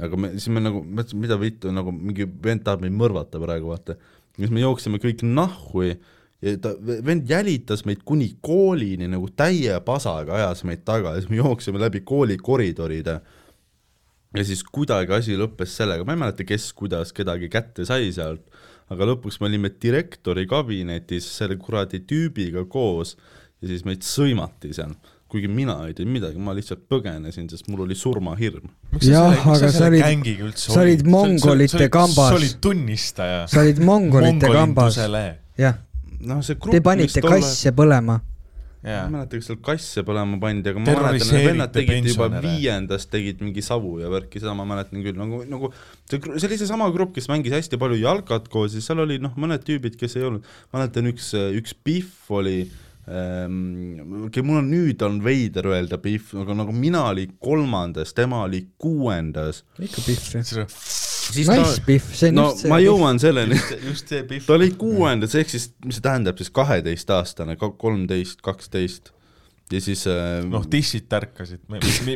Speaker 2: aga me , siis me nagu mõtlesime , mida vittu , nagu mingi vend tahab meid mõrvata praegu , vaata . ja siis me jooksime kõik nahhu ja ja ta , vend jälitas meid kuni koolini nagu täie pasaga ajas meid taga ja siis me jooksime läbi kooli koridoride . ja siis kuidagi asi lõppes sellega , ma ei mäleta , kes kuidas kedagi kätte sai sealt , aga lõpuks me olime direktori kabinetis selle kuradi tüübiga koos ja siis meid sõimati seal , kuigi mina ei teinud midagi , ma lihtsalt põgenesin , sest mul oli surmahirm .
Speaker 3: Jah, aga sa olid- sa olid mongolite kambas.
Speaker 1: sa olid tunnistaja .
Speaker 3: sa olid mongolite kambas , jah ,
Speaker 2: noh , see grupp ,
Speaker 3: te panite kasse põlema .
Speaker 2: ma ei
Speaker 1: jaa ,
Speaker 2: mäleta , kas seal kasse põlema pandi , aga ma mäletan , et
Speaker 1: Terroriseerite
Speaker 2: vennad tegid juba
Speaker 1: pensionäre.
Speaker 2: viiendas tegid mingi savu ja värki , seda ma mäletan küll , nagu , nagu see , see oli seesama grupp , kes mängis hästi palju jalkat koos ja seal oli noh , mõned tüübid , kes ei olnud , mäletan üks , üks Pihv oli ähm, okei , mul on nüüd on veider öelda Pihv , aga nagu mina olin kolmandas , tema oli kuuendas .
Speaker 3: ikka pihv ju .
Speaker 2: siis
Speaker 3: Nice
Speaker 2: ta ,
Speaker 3: pihv , see on
Speaker 2: no
Speaker 3: just see .
Speaker 2: ma . jõuan selleni
Speaker 1: just see pihv .
Speaker 2: ta oli kuuendas , ehk siis , mis see tähendab siis kaheteistaastane , kolmteist , kaksteist ja siis äh,
Speaker 1: noh , tissid tärkasid ,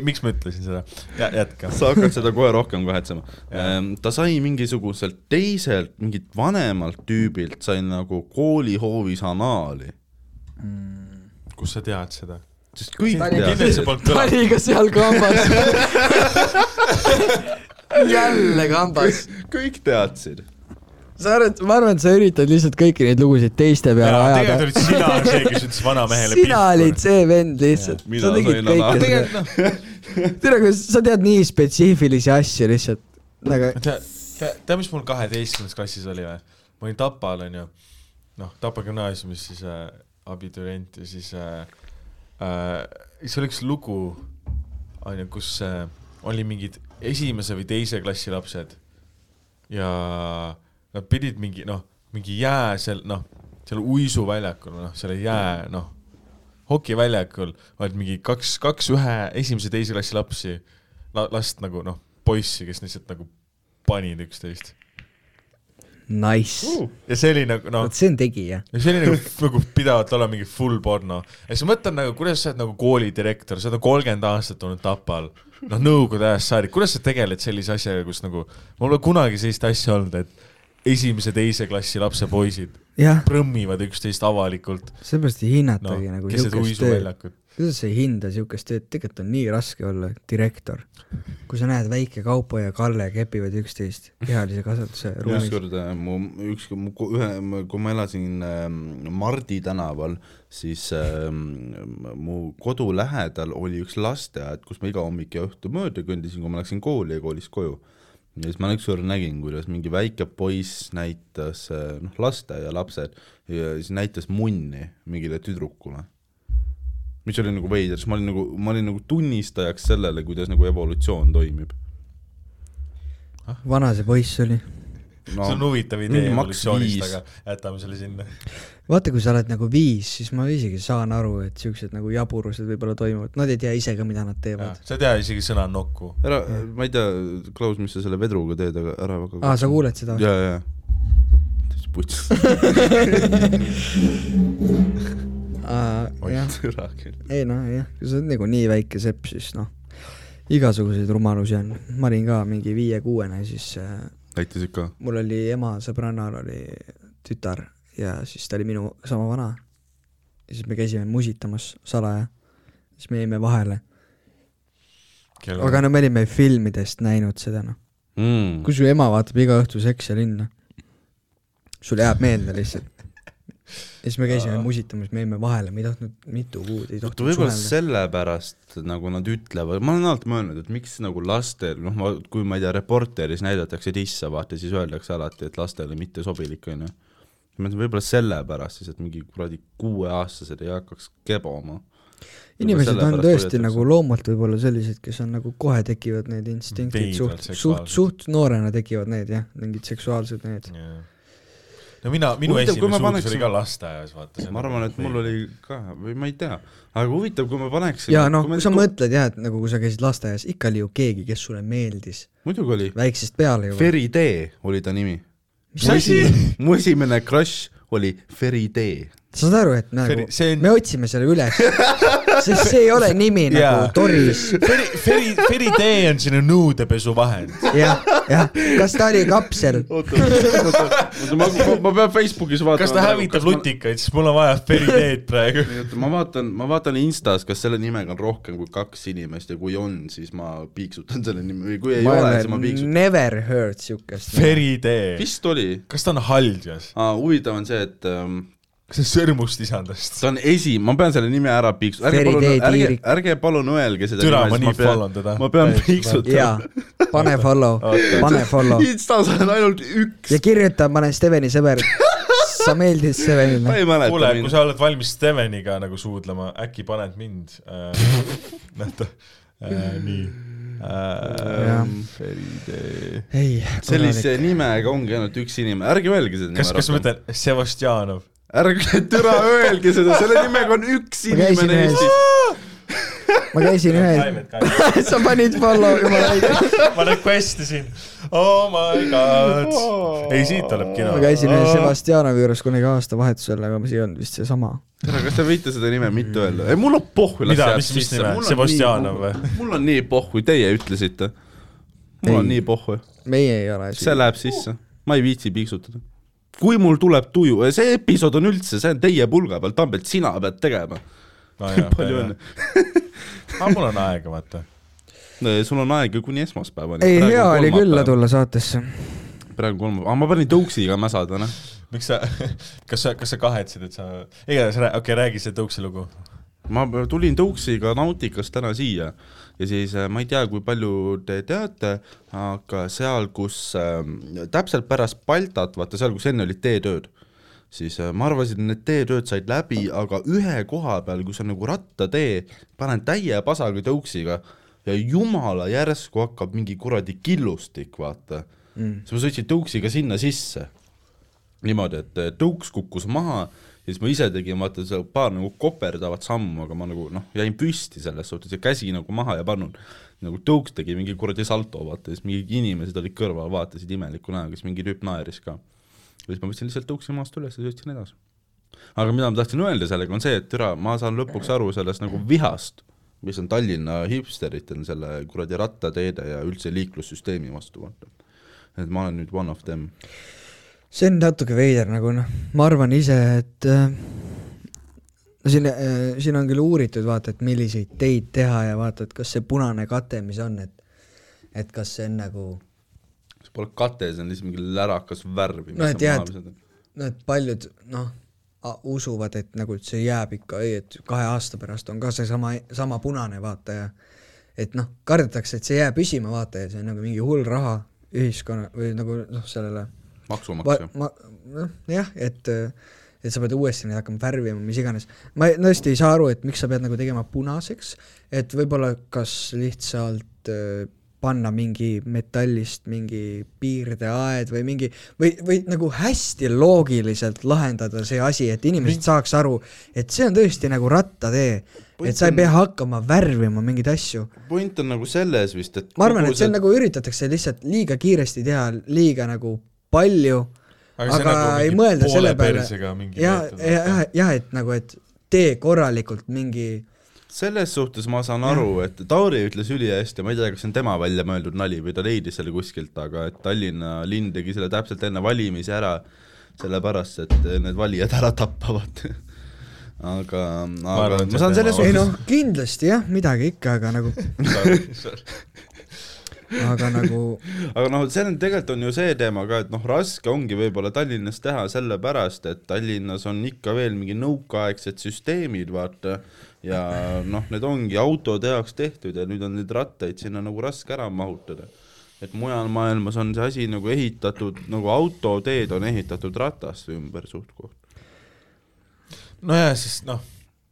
Speaker 1: miks ma ütlesin seda ? jätka .
Speaker 2: sa hakkad seda kohe rohkem kahetsema . ta sai mingisuguselt teiselt , mingilt vanemalt tüübilt sai nagu koolihoovis anaali ,
Speaker 1: kust sa tead seda ?
Speaker 2: sest kõik
Speaker 3: Ta oli
Speaker 2: teavad
Speaker 1: kindlasti
Speaker 2: seda .
Speaker 1: polnud kõlanud .
Speaker 3: oli ka seal kambas . jälle kambas .
Speaker 2: kõik teadsid .
Speaker 3: sa arvad , ma arvan , et sa üritad lihtsalt kõiki neid lugusid teiste peale ajada
Speaker 1: tegelikult . olid sina see , kes ütles vanamehele
Speaker 3: sina olid see vend lihtsalt ,
Speaker 2: Mina
Speaker 3: sa tegid
Speaker 2: sain
Speaker 3: kõike
Speaker 2: anaali.
Speaker 3: seda . tere , kuidas sa tead nii spetsiifilisi asju lihtsalt , nagu aga
Speaker 1: tea , tea , tea , mis mul kaheteistkümnes klassis oli või ? ma olin Tapal , onju . noh , Tapa gümnaasiumis siis äh, abitürient ja siis äh, , äh, siis oli üks lugu , onju , kus äh, oli mingid esimese või teise klassi lapsed ja nad pidid mingi , noh , mingi jää seal , noh , seal uisuväljakul , noh , selle jää , noh , hokiväljakul olid mingi kaks , kaks ühe esimese-teise klassi lapsi la, , last nagu noh , poissi , kes lihtsalt nagu panid üksteist .
Speaker 3: nice .
Speaker 1: ja see oli nagu noh
Speaker 3: vot , see on tegija .
Speaker 1: see oli nagu, nagu pidavalt olla mingi full porno . ja siis mõtlen nagu , kuidas sa oled nagu koolidirektor , sa oled nagu kolmkümmend aastat olnud Tapal , noh nõukogude ajast saadik , kuidas sa tegeled sellise asjaga , kus nagu , mul pole kunagi sellist asja olnud , et esimese-teise klassi lapse poisid
Speaker 3: jah ,
Speaker 1: prõmmivad üksteist avalikult ,
Speaker 3: seepärast ei
Speaker 1: noh
Speaker 3: hinnatagi no, , nagu
Speaker 1: keset
Speaker 3: siukest tööd .
Speaker 1: uisuväljakut .
Speaker 3: kuidas sa ei hinda siukest tööd , tegelikult on nii raske olla direktor . kui sa näed , väike Kaupo ja Kalle kepivad üksteist kehalise kasvatuse ruumis .
Speaker 2: ükskord äh, mu , üks , mu ko- ühe , kui ma elasin ähm, Mardi tänaval , siis ähm, mu kodu lähedal oli üks lasteaed , kus ma iga hommik ja õhtu mööda kõndisin , kui ma läksin kooli ja koolist koju . ja siis ma ükskord nägin , kuidas mingi väike poiss näitas , noh , lasteaialapsed , ja siis näitas munni mingile tüdrukule mis oli nagu veider , siis ma olin nagu , ma olin nagu tunnistajaks sellele , kuidas nagu evolutsioon toimib
Speaker 3: vana see poiss oli .
Speaker 2: no,
Speaker 1: see on huvitav idee
Speaker 2: mingi maks
Speaker 1: evolutsioonist ,
Speaker 2: viis.
Speaker 1: aga jätame selle sinna .
Speaker 3: vaata , kui sa oled nagu viis , siis ma isegi saan aru , et siuksed nagu jaburused võib-olla toimuvad , nad ei tea ise ka , mida nad teevad .
Speaker 1: sa ei tea isegi sõna nokku .
Speaker 2: ära , ma ei tea , Klaus , mis sa selle vedruga teed , aga ära väga
Speaker 3: aa , sa kuuled seda ?
Speaker 2: ja , ja , siis puts
Speaker 3: jah ,
Speaker 2: türa küll .
Speaker 3: ei noh , jah , kui sa oled nagu nii väike sepp , siis noh , igasuguseid rumalusi on . ma olin ka mingi viie-kuuene , siis äh,
Speaker 2: näitasid ka ?
Speaker 3: mul oli ema sõbrannal oli tütar ja siis ta oli minu sama vana . ja siis me käisime musitamas salaja , siis me jäime vahele , aga no me olime filmidest näinud seda noh . kui su ema vaatab iga õhtu Seks ja linna , sul jääb meelde lihtsalt . ja siis me käisime musitamas , me jäime vahele , me ei tahtnud mitu kuud , ei
Speaker 2: vot
Speaker 3: tahtnud
Speaker 2: võib-olla
Speaker 3: suhelda .
Speaker 2: sellepärast nagu nad ütlevad , ma olen alati mõelnud , et miks nagu lastel , noh , ma , kui ma ei tea , Reporteris näidatakse tissa , vaata , siis öeldakse alati , et lastele mittesobilik , onju . ma mõtlen võib-olla sellepärast siis , et mingi kuradi kuueaastased ei hakkaks kebama .
Speaker 3: inimesed on tõesti nagu loomult võib-olla sellised , kes on nagu kohe tekivad need instinktid
Speaker 1: Veidrad
Speaker 3: suht ,
Speaker 1: seksuaalsed.
Speaker 3: suht , suht noorena tekivad need jah , mingid seksuaalsed need .
Speaker 1: no mina , minu
Speaker 2: Huvitav, kui
Speaker 1: Huvitav, esimene
Speaker 2: ma
Speaker 1: suudlus
Speaker 2: paneksin-
Speaker 1: oli ka lasteaias , vaata .
Speaker 2: ma arvan , et mul oli ka , või ma ei tea , aga huvitav , kui ma paneksin .
Speaker 3: ja noh , kui sa . mõtled jah , et nagu kui sa käisid lasteaias , ikka oli ju keegi , kes sulle meeldis
Speaker 2: muidugi oli ,
Speaker 3: väiksest peale juba .
Speaker 2: Feri Tee oli ta nimi .
Speaker 3: mis asi ?
Speaker 2: mu esimene crush oli Feri Tee .
Speaker 3: sa saad aru , et nagu
Speaker 1: Feri- see on-
Speaker 3: me otsime selle üles , sest see ei ole nimi
Speaker 1: Jaa.
Speaker 3: nagu Doris
Speaker 1: Feri , Feri , Feri tee on sinu nõudepesu vahend .
Speaker 3: jah , jah , kas ta oli kapsel ?
Speaker 2: oota , oota , ma , ma pean Facebookis vaatama .
Speaker 1: kas ta hävitab lutikaid , siis mul on vaja Feri teed praegu .
Speaker 2: oota , ma vaatan , ma vaatan Instas , kas selle nimega on rohkem kui kaks inimest ja kui on , siis ma piiksutan selle nime või kui ei
Speaker 3: ma
Speaker 2: ma ole , siis ma
Speaker 3: olen
Speaker 2: piiksutan .
Speaker 3: never heard siukest .
Speaker 1: Feri tee .
Speaker 2: vist oli .
Speaker 1: kas ta on haldjas ?
Speaker 2: aa , huvitav on see , et ähm,
Speaker 1: kas see on sõrmust isandast ?
Speaker 2: ta on esi- , ma pean selle nime ära piiksutama , ärge
Speaker 3: Feri Tee
Speaker 2: palun , ärge
Speaker 3: tiirik. ,
Speaker 2: ärge palun öelge seda
Speaker 1: türa , ma
Speaker 2: nime ,
Speaker 1: nii
Speaker 2: siis ma pean ,
Speaker 1: follow'n teda .
Speaker 2: ma pean . piiksutama .
Speaker 3: jaa , pane follow , pane follow
Speaker 2: Instas on ainult üks
Speaker 3: ja , kirjuta , ma olen Steveni sõber . sa meeldid
Speaker 2: ma
Speaker 3: Stevenile ?
Speaker 2: ei mäleta
Speaker 1: kuule , kui
Speaker 2: mind .
Speaker 1: sa oled valmis Steveniga nagu suudlema , äkki paned mind äh, . näita äh, , nii äh,
Speaker 3: Jah. .
Speaker 1: Feri tee .
Speaker 3: ei ,
Speaker 2: sellise . nimega ongi ainult üks inimene , ärge öelge seda nime
Speaker 1: kas , kas ma ütlen Sevastjanov ?
Speaker 2: ärge türa öelge seda , selle nimega on üks
Speaker 3: Ma käisin
Speaker 2: inimene
Speaker 3: ühes-
Speaker 2: Eestis .
Speaker 3: ma käisin ühel , sa panid follow , jumala õige .
Speaker 1: ma request isin . Oh my god . ei , siit tuleb kino . Oh.
Speaker 3: ma käisin ühe Sebastianovi juures kunagi aastavahetusel , aga see ei olnud vist seesama .
Speaker 2: tere , kas te võite seda nime mitte öelda ? ei , mul on pohhu , las
Speaker 1: Mm. Mida?
Speaker 2: jääb
Speaker 1: Mis- mis nime? Sebastianov või? ?
Speaker 2: mul on nii pohhu , teie ütlesite . mul on
Speaker 3: Ei.
Speaker 2: nii pohhu ,
Speaker 3: meie ei ole .
Speaker 2: see läheb sisse , ma ei viitsi piiksutada . kui mul tuleb tuju , see episood on üldse , see on teie pulga peal , Tambet , sina pead tegema . palju õnne ..
Speaker 1: aga Ah, mul on aega , vaata .
Speaker 2: sul on aega kuni esmaspäevani .
Speaker 3: ei , hea oli küll . tulla saatesse .
Speaker 2: praegu kolmapäev , aa ma panin tõuksiga mäsa täna .
Speaker 1: miks sa , kas sa , kas sa kahetsed , et sa , igatahes rää- , okei okay, , räägi see tõuksi lugu .
Speaker 2: ma tulin tõuksiga Nautikast täna siia ja siis äh, ma ei tea , kui palju te teate , aga seal , kus äh, täpselt pärast Baltat , vaata seal , kus enne olid teetööd , siis äh, ma arvasin , et need teetööd said läbi , aga ühe koha peal , kus on nagu rattatee , panen täie pasaga tõuksiga ja jumala järsku hakkab mingi kuradi killustik , vaata mm. . siis ma sõitsin tõuksiga sinna sisse niimoodi , et eh, tõuks kukkus maha ja siis ma ise tegin vaata seal paar nagu koperdavat sammu , aga ma nagu noh , jäin püsti selles suhtes ja käsi nagu maha ei pannud . nagu tõuks tegi mingi kuradi salto , vaata , siis mingid inimesed olid kõrval , vaatasid imeliku näoga , siis mingi tüüp naeris ka . ja siis ma võtsin lihtsalt tõuksi maast üles ja sõitsin edasi . aga mida ma tahtsin öelda sellega on see , et türa , ma saan lõpuks aru sellest nagu vihast , mis on Tallinna hipsteritel selle kuradi rattateede ja üldse liiklussüsteemi vastu , vaata . et ma olen nüüd one of them
Speaker 3: see on natuke veider nagu noh , ma arvan ise , et äh, no siin äh, , siin on küll uuritud vaata , et milliseid teid teha ja vaata , et kas see punane kate , mis on , et et kas see on nagu
Speaker 2: see pole kate , see on lihtsalt mingi lärakas värv .
Speaker 3: no et jah , et no et paljud noh , usuvad , et nagu et see jääb ikka , ei et kahe aasta pärast on ka seesama , sama punane vaata ja et noh , kardetakse , et see jääb püsima vaata ja see on nagu mingi hull raha ühiskonna või nagu noh , sellele
Speaker 2: maksumaksja .
Speaker 3: ma , noh jah , et , et sa pead uuesti neid hakkama värvima , mis iganes . ma ei- tõesti ei saa aru , et miks sa pead nagu tegema punaseks , et võib-olla kas lihtsalt äh, panna mingi metallist mingi piirdeaed või mingi või , või nagu hästi loogiliselt lahendada see asi , et inimesed saaks aru , et see on tõesti nagu rattatee , et sa ei pea hakkama värvima mingeid asju
Speaker 2: point on nagu selles vist , et
Speaker 3: ma arvan , et see on nagu üritatakse lihtsalt liiga kiiresti teha , liiga nagu palju ,
Speaker 1: Aga
Speaker 3: aga,
Speaker 1: see
Speaker 3: aga
Speaker 1: nagu
Speaker 3: ei
Speaker 1: mingi
Speaker 3: mõelda
Speaker 1: poole
Speaker 3: selle peale
Speaker 1: persega mingi
Speaker 3: ja ,
Speaker 1: meetod,
Speaker 3: jah , jah , et nagu , et tee korralikult mingi
Speaker 2: selles suhtes ma saan aru , et Tauri ütles ülihästi , ma ei tea , kas see on tema välja mõeldud nali või ta leidis selle kuskilt , aga et Tallinna linn tegi selle täpselt enne valimisi ära , sellepärast et need valijad ära tapavad . aga , aga
Speaker 1: arvan, et
Speaker 2: ma
Speaker 1: see
Speaker 2: saan selles
Speaker 1: tema-
Speaker 3: ei
Speaker 2: suhtes
Speaker 3: noh , kindlasti jah , midagi ikka , aga nagu
Speaker 1: Sorry, sorry.
Speaker 3: aga nagu
Speaker 2: aga noh, see on tegelikult on ju see teema ka, et noh, raske ongi võib-olla Tallinnas teha sellepärast, et Tallinnas on ikka veel mingi nõukaaegsed süsteemid, vaata. ja noh, need ongi autode jaoks tehtud ja nüüd on neid rattaid sinna nagu raske ära mahutada. et mujal maailmas on see asi nagu ehitatud nagu autoteed on ehitatud rataste ümber suht-koht.
Speaker 1: nojah, sest noh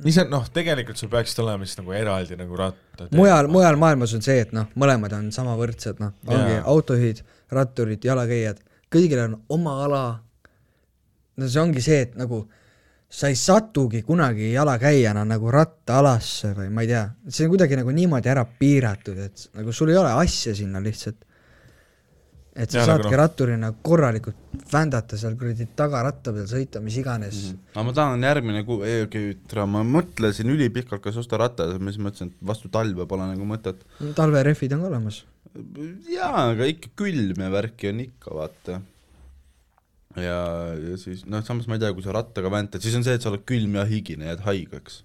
Speaker 1: ise noh, tegelikult sul peaksid olema siis nagu eraldi nagu rattad.
Speaker 3: mujal, mujal maailmas on see, et noh, mõlemad on sama võrdsed, noh, ongi yeah. autojuhid, ratturid, jalakäijad, kõigil on oma ala. no see ongi see, et nagu sa ei satugi kunagi jalakäijana nagu rattaalasse või ma ei tea, see on kuidagi nagu niimoodi ära piiratud, et nagu sul ei ole asja sinna lihtsalt. et sa ja, saadki nagu... ratturina korralikult vändata seal kuradi tagaratta peal sõita, mis iganes mm. -hmm.
Speaker 2: aga ma tahan järgmine kuu, ei okei okay,, ütra, ma mõtlesin ülipikalt, kas osta ratta, siis mõtlesin, et vastu talve pole nagu mõtet.
Speaker 3: talverehvid on ka olemas.
Speaker 2: jaa, aga ikka külm ja värki on ikka, vaata ja, ja siis noh, samas ma ei tea, kui sa rattaga väntad, siis on see, et sa oled külm ja higine, jääd haigeks.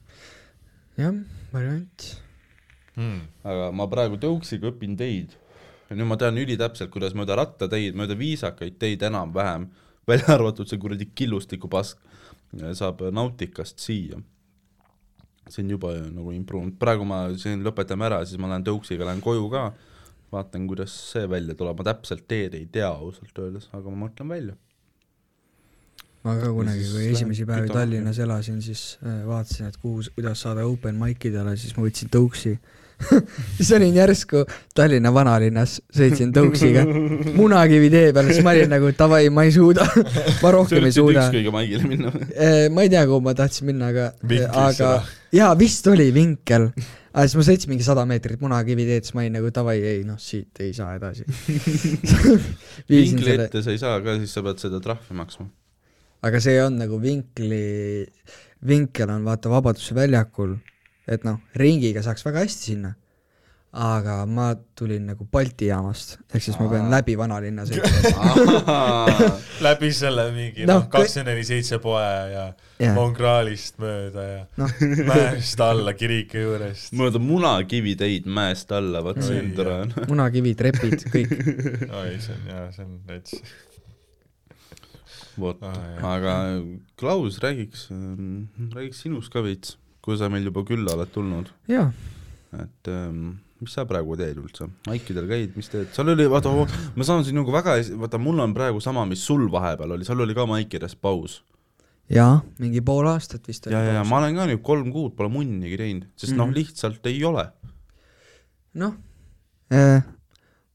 Speaker 3: jah, variant
Speaker 2: hmm.. aga ma praegu tõuksiga õpin teid. ja nüüd ma tean ülitäpselt, kuidas mööda rattateid, mööda viisakaid teid enam-vähem, välja arvatud see kuradi killustiku pask, saab Nautikast siia. see on juba nagu improvement, praegu ma siin lõpetame ära, siis ma lähen tõuksiga, lähen koju ka, vaatan, kuidas see välja tuleb, ma täpselt teed ei tea ausalt öeldes, aga ma mõtlen välja
Speaker 3: ma ka kunagi, kui esimesi päevi Tallinnas elasin, siis äh, vaatasin, et kuhu, kuidas saada open mic idele, siis ma võtsin tõuksi siis olin järsku Tallinna vanalinnas, sõitsin tõuksiga Munakivi tee peal, siis ma olin nagu davai, ma ei suuda ma rohkem ei suuda. Äh,
Speaker 2: ükskõige maigile minna või?
Speaker 3: ma ei tea, kuhu ma tahtsin minna, aga, äh, aga jaa, vist oli vinkel aga siis ma sõitsin mingi sada meetrit Munakivi teed, siis ma olin nagu davai, ei noh, siit ei saa edasi
Speaker 2: vinkli ette sa ei saa ka, siis sa pead seda trahvi maksma
Speaker 3: aga see on nagu vinkli, vinkel on vaata Vabaduse väljakul, et noh, ringiga saaks väga hästi sinna. aga ma tulin nagu Balti jaamast, ehk siis ma pean Aa. läbi vanalinna sõitma
Speaker 1: läbi selle mingi noh, kakskümmend neli seitse poe ja yeah. Mongraalist mööda ja
Speaker 3: Noh,
Speaker 1: no. mäest alla kiriku juurest.
Speaker 2: mööda munakivi teid mäest alla, vot see on tore. noh.
Speaker 3: munakivi, trepid, kõik
Speaker 1: oi, see on jaa, see on täitsa
Speaker 2: vot ah,, aga Klaus, räägiks, mm, räägiks sinust ka veits, kui sa meil juba külla oled tulnud. et ähm, mis sa praegu teed üldse, maikidel käid, mis teed, seal oli, vaata, ma saan sinuga väga, vaata, mul on praegu sama, mis sul vahepeal oli, seal oli ka maikides paus.
Speaker 3: jaa, mingi pool aastat vist
Speaker 2: oli. ja, ja, ja ma olen ka nüüd kolm kuud pole munnigi teinud, sest mm -hmm. noh, lihtsalt ei ole.
Speaker 3: noh eh,,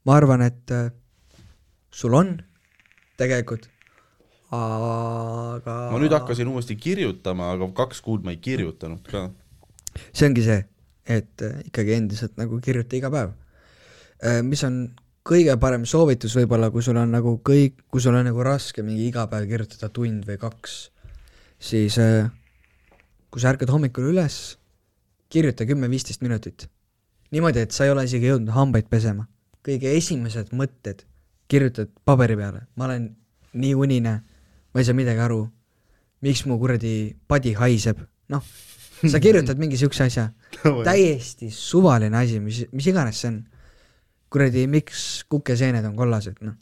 Speaker 3: ma arvan, et eh, sul on tegelikult aga
Speaker 2: ma nüüd hakkasin uuesti kirjutama, aga kaks kuud ma ei kirjutanud ka.
Speaker 3: see ongi see, et äh, ikkagi endiselt nagu kirjuta iga päev. Äh, mis on kõige parem soovitus võib-olla, kui sul on nagu kõik, kui sul on nagu raske mingi iga päev kirjutada tund või kaks, siis äh, kui sa ärkad hommikul üles, kirjuta kümme-viisteist minutit. niimoodi, et sa ei ole isegi jõudnud hambaid pesema. kõige esimesed mõtted kirjutad paberi peale, ma olen nii unine ma ei saa midagi aru, miks mu kuradi padi haiseb, noh, sa kirjutad mingi siukse asja no,, täiesti suvaline asi, mis, mis iganes see on. kuradi, miks kukeseened on kollased, noh.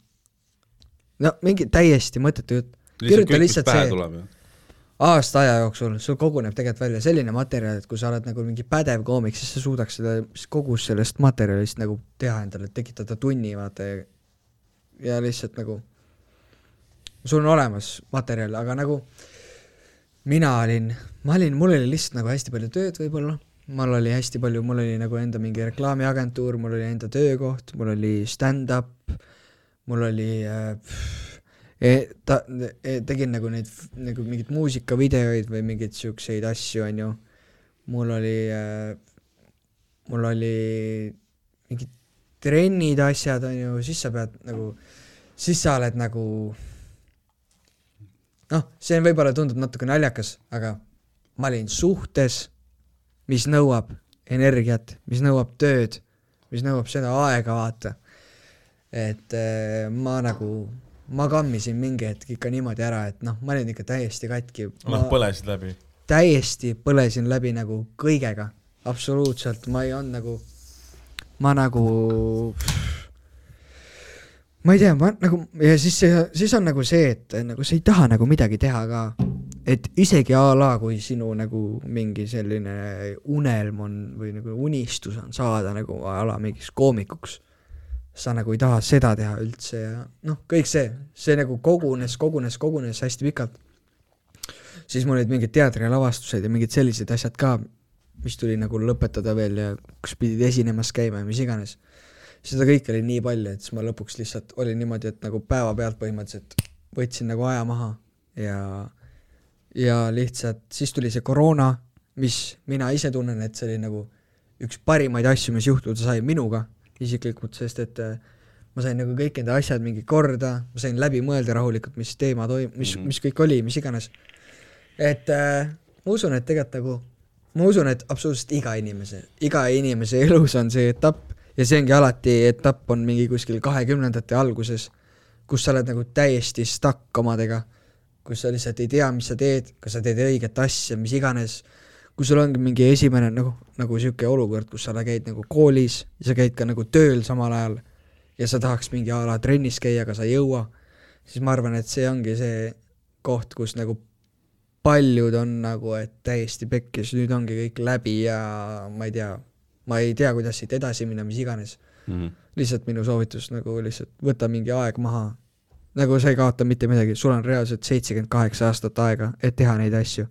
Speaker 3: no mingi täiesti mõttetu jutt. kirjuta lihtsalt see, aasta aja jooksul sul koguneb tegelikult välja selline materjal, et kui sa oled nagu mingi pädev koomik, siis sa suudaks seda, kogu sellest materjalist nagu teha endale, tekitada tunni, vaata, ja lihtsalt nagu sul on olemas materjal, aga nagu mina olin, ma olin, mul oli lihtsalt nagu hästi palju tööd võib-olla, mul oli hästi palju, mul oli nagu enda mingi reklaamiagentuur, mul oli enda töökoht, mul oli stand-up, mul oli äh, e, ta e,, tegin nagu neid nagu mingeid muusikavideoid või mingeid siukseid asju, onju. mul oli äh,, mul oli mingid trennid, asjad, onju, siis sa pead nagu, siis sa oled nagu noh, see võib-olla tundub natuke naljakas, aga ma olin suhtes, mis nõuab energiat, mis nõuab tööd, mis nõuab seda aega, vaata. et eh, ma nagu, ma kammisin mingi hetk ikka niimoodi ära, et noh, ma olin ikka täiesti katki.
Speaker 1: noh, põlesid läbi?
Speaker 3: täiesti põlesin läbi nagu kõigega, absoluutselt, ma ei olnud nagu, ma nagu, ma ei tea , ma nagu ja siis , siis on nagu see , et nagu sa ei taha nagu midagi teha ka . et isegi a la , kui sinu nagu mingi selline unelm on või nagu unistus on saada nagu a la mingiks koomikuks , sa nagu ei taha seda teha üldse ja noh , kõik see , see nagu kogunes , kogunes , kogunes hästi pikalt . siis mul olid mingid teatrilavastused ja mingid sellised asjad ka , mis tuli nagu lõpetada veel ja kus pidid esinemas käima ja mis iganes . seda kõike oli nii palju , et siis ma lõpuks lihtsalt olin niimoodi , et nagu päevapealt põhimõtteliselt võtsin nagu aja maha ja , ja lihtsalt siis tuli see koroona , mis mina ise tunnen , et see oli nagu üks parimaid asju , mis juhtuda sai minuga isiklikult , sest et äh, ma sain nagu kõik enda asjad mingi korda , ma sain läbi mõelda rahulikult , mis teema toim- , mis mm , -hmm. mis kõik oli , mis iganes . et äh, ma usun , et tegelikult nagu , ma usun , et absoluutselt iga inimese , iga inimese elus on see etapp ja see ongi alati , etapp on mingi kuskil kahekümnendate alguses , kus sa oled nagu täiesti stuck omadega , kus sa lihtsalt ei tea , mis sa teed , kas sa teed õiget asja , mis iganes , kui sul ongi mingi esimene nagu , nagu niisugune olukord , kus sa käid nagu koolis ja sa käid ka nagu tööl samal ajal ja sa tahaks mingi a la trennis käia , aga sa ei jõua , siis ma arvan , et see ongi see koht , kus nagu paljud on nagu , et täiesti pekkis , nüüd ongi kõik läbi ja ma ei tea , ma ei tea , kuidas siit edasi minna , mis iganes . lihtsalt minu soovitus nagu lihtsalt võta mingi aeg maha . nagu sa ei kaota mitte midagi , sul on reaalselt seitsekümmend kaheksa aastat aega , et teha neid asju .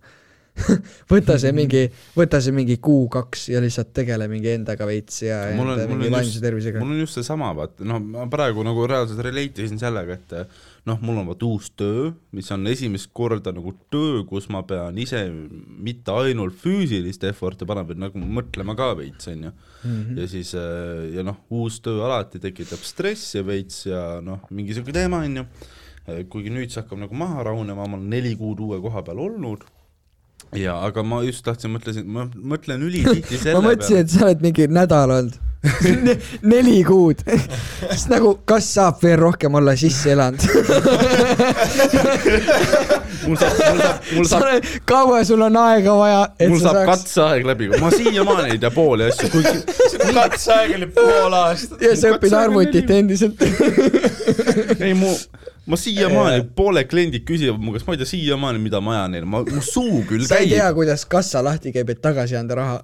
Speaker 3: võta see mingi , võta see mingi kuu-kaks ja lihtsalt tegele mingi endaga veits ja
Speaker 2: Mul on-
Speaker 3: enda
Speaker 2: mul on
Speaker 3: mingi
Speaker 2: just-
Speaker 3: vaimse tervisega .
Speaker 2: mul on just seesama , vaata , noh , ma praegu nagu reaalselt relate isin sellega , et eh, noh , mul on vaata uus töö , mis on esimest korda nagu töö , kus ma pean ise mitte ainult füüsilist effort'i panema , vaid nagu mõtlema ka veits , onju .
Speaker 3: Mhm.
Speaker 2: ja siis eh, ja noh , uus töö alati tekitab stressi veits ja noh , mingi siuke teema , onju . kuigi nüüd see hakkab nagu maha rahunema , ma olen neli kuud uue koha peal olnud ja , aga ma just tahtsin , mõtlesin , ma mõtlen ülitihti selle
Speaker 3: ma mõtlesin , et sa oled mingi nädal olnud ne, , neli kuud , siis nagu , kas saab veel rohkem olla sisse elanud ?
Speaker 2: mul saab , mul saab , mul saab
Speaker 3: kaua sul on aega vaja , et
Speaker 2: mul
Speaker 3: sa
Speaker 2: saab
Speaker 3: saaks
Speaker 2: katseaeg läbi , ma siiamaani ei tea pooli asju , kuigi
Speaker 1: katseaeg oli pool aastat .
Speaker 3: ja sa
Speaker 2: mu
Speaker 3: õpid
Speaker 2: katseaeg on
Speaker 3: arvutit
Speaker 2: neli.
Speaker 3: endiselt .
Speaker 2: ei mu , ma siiamaani , pooled kliendid küsivad mu käest , ma ei tea siiamaani , mida ma ajan neile , ma , mu suu küll
Speaker 3: sa ei tea
Speaker 2: käib ,,
Speaker 3: kuidas kassa lahti käib , et tagasi anda raha .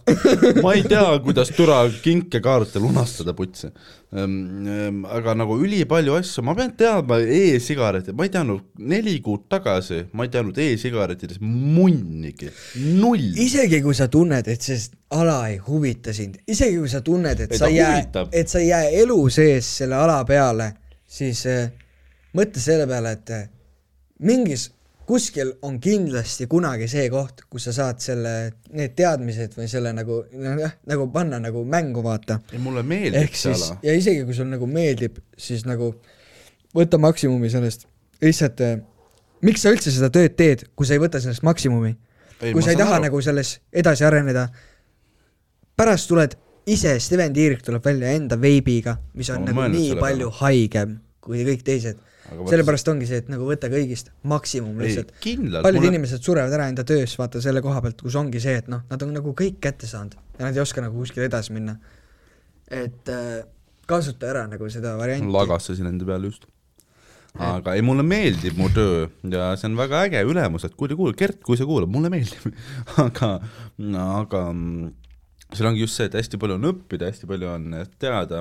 Speaker 2: ma ei tea , kuidas türa kinkekaarte lunastada putse . aga nagu ülipalju asju , ma pean teadma e-sigarette , ma ei teadnud neli kuud tagasi , ma ei teadnud e-sigarettidest munnigi , null .
Speaker 3: isegi kui sa tunned , et see ala ei huvita sind , isegi kui sa tunned , et
Speaker 2: Ei,
Speaker 3: sa
Speaker 2: ta
Speaker 3: ei jää
Speaker 2: huvitab. ,
Speaker 3: et sa ei jää elu sees selle ala peale , siis eh, mõtle selle peale , et eh, mingis , kuskil on kindlasti kunagi see koht , kus sa saad selle , need teadmised või selle nagu , nagu panna nagu mängu , vaata
Speaker 2: ei mulle meeldib
Speaker 3: ehk
Speaker 2: see
Speaker 3: siis
Speaker 2: ala ,
Speaker 3: ja isegi kui sul nagu meeldib , siis nagu võta maksimumi sellest , lihtsalt eh, miks sa üldse seda tööd teed , kui sa ei võta sellest maksimumi ?
Speaker 2: Ei,
Speaker 3: kui
Speaker 2: ma
Speaker 3: sa ei
Speaker 2: saan
Speaker 3: taha
Speaker 2: aru.
Speaker 3: aru. nagu selles edasi areneda , pärast tuled ise , Steven Tiirik tuleb välja enda veibiga , mis
Speaker 2: Ma
Speaker 3: on
Speaker 2: olen
Speaker 3: nagu
Speaker 2: mõelnud
Speaker 3: nii
Speaker 2: selle
Speaker 3: palju haigem kui kõik teised .
Speaker 2: Aga vaata-
Speaker 3: sellepärast ongi see , et nagu võta kõigist maksimum
Speaker 2: ei
Speaker 3: lihtsalt .
Speaker 2: kindlalt ,
Speaker 3: paljud mulle... inimesed surevad ära enda töös , vaata selle koha pealt , kus ongi see , et noh , nad on nagu kõik kätte saanud ja nad ei oska nagu kuskile edasi minna . et äh, kasuta ära nagu seda varianti .
Speaker 2: lagastasin enda peale just . aga ei , mulle meeldib mu töö ja see on väga äge , ülemused , kuule , kuule , Gert , kui sa kuulad , mulle meeldib , aga , aga mm, seal ongi just see , et hästi palju on õppida , hästi palju on teada ,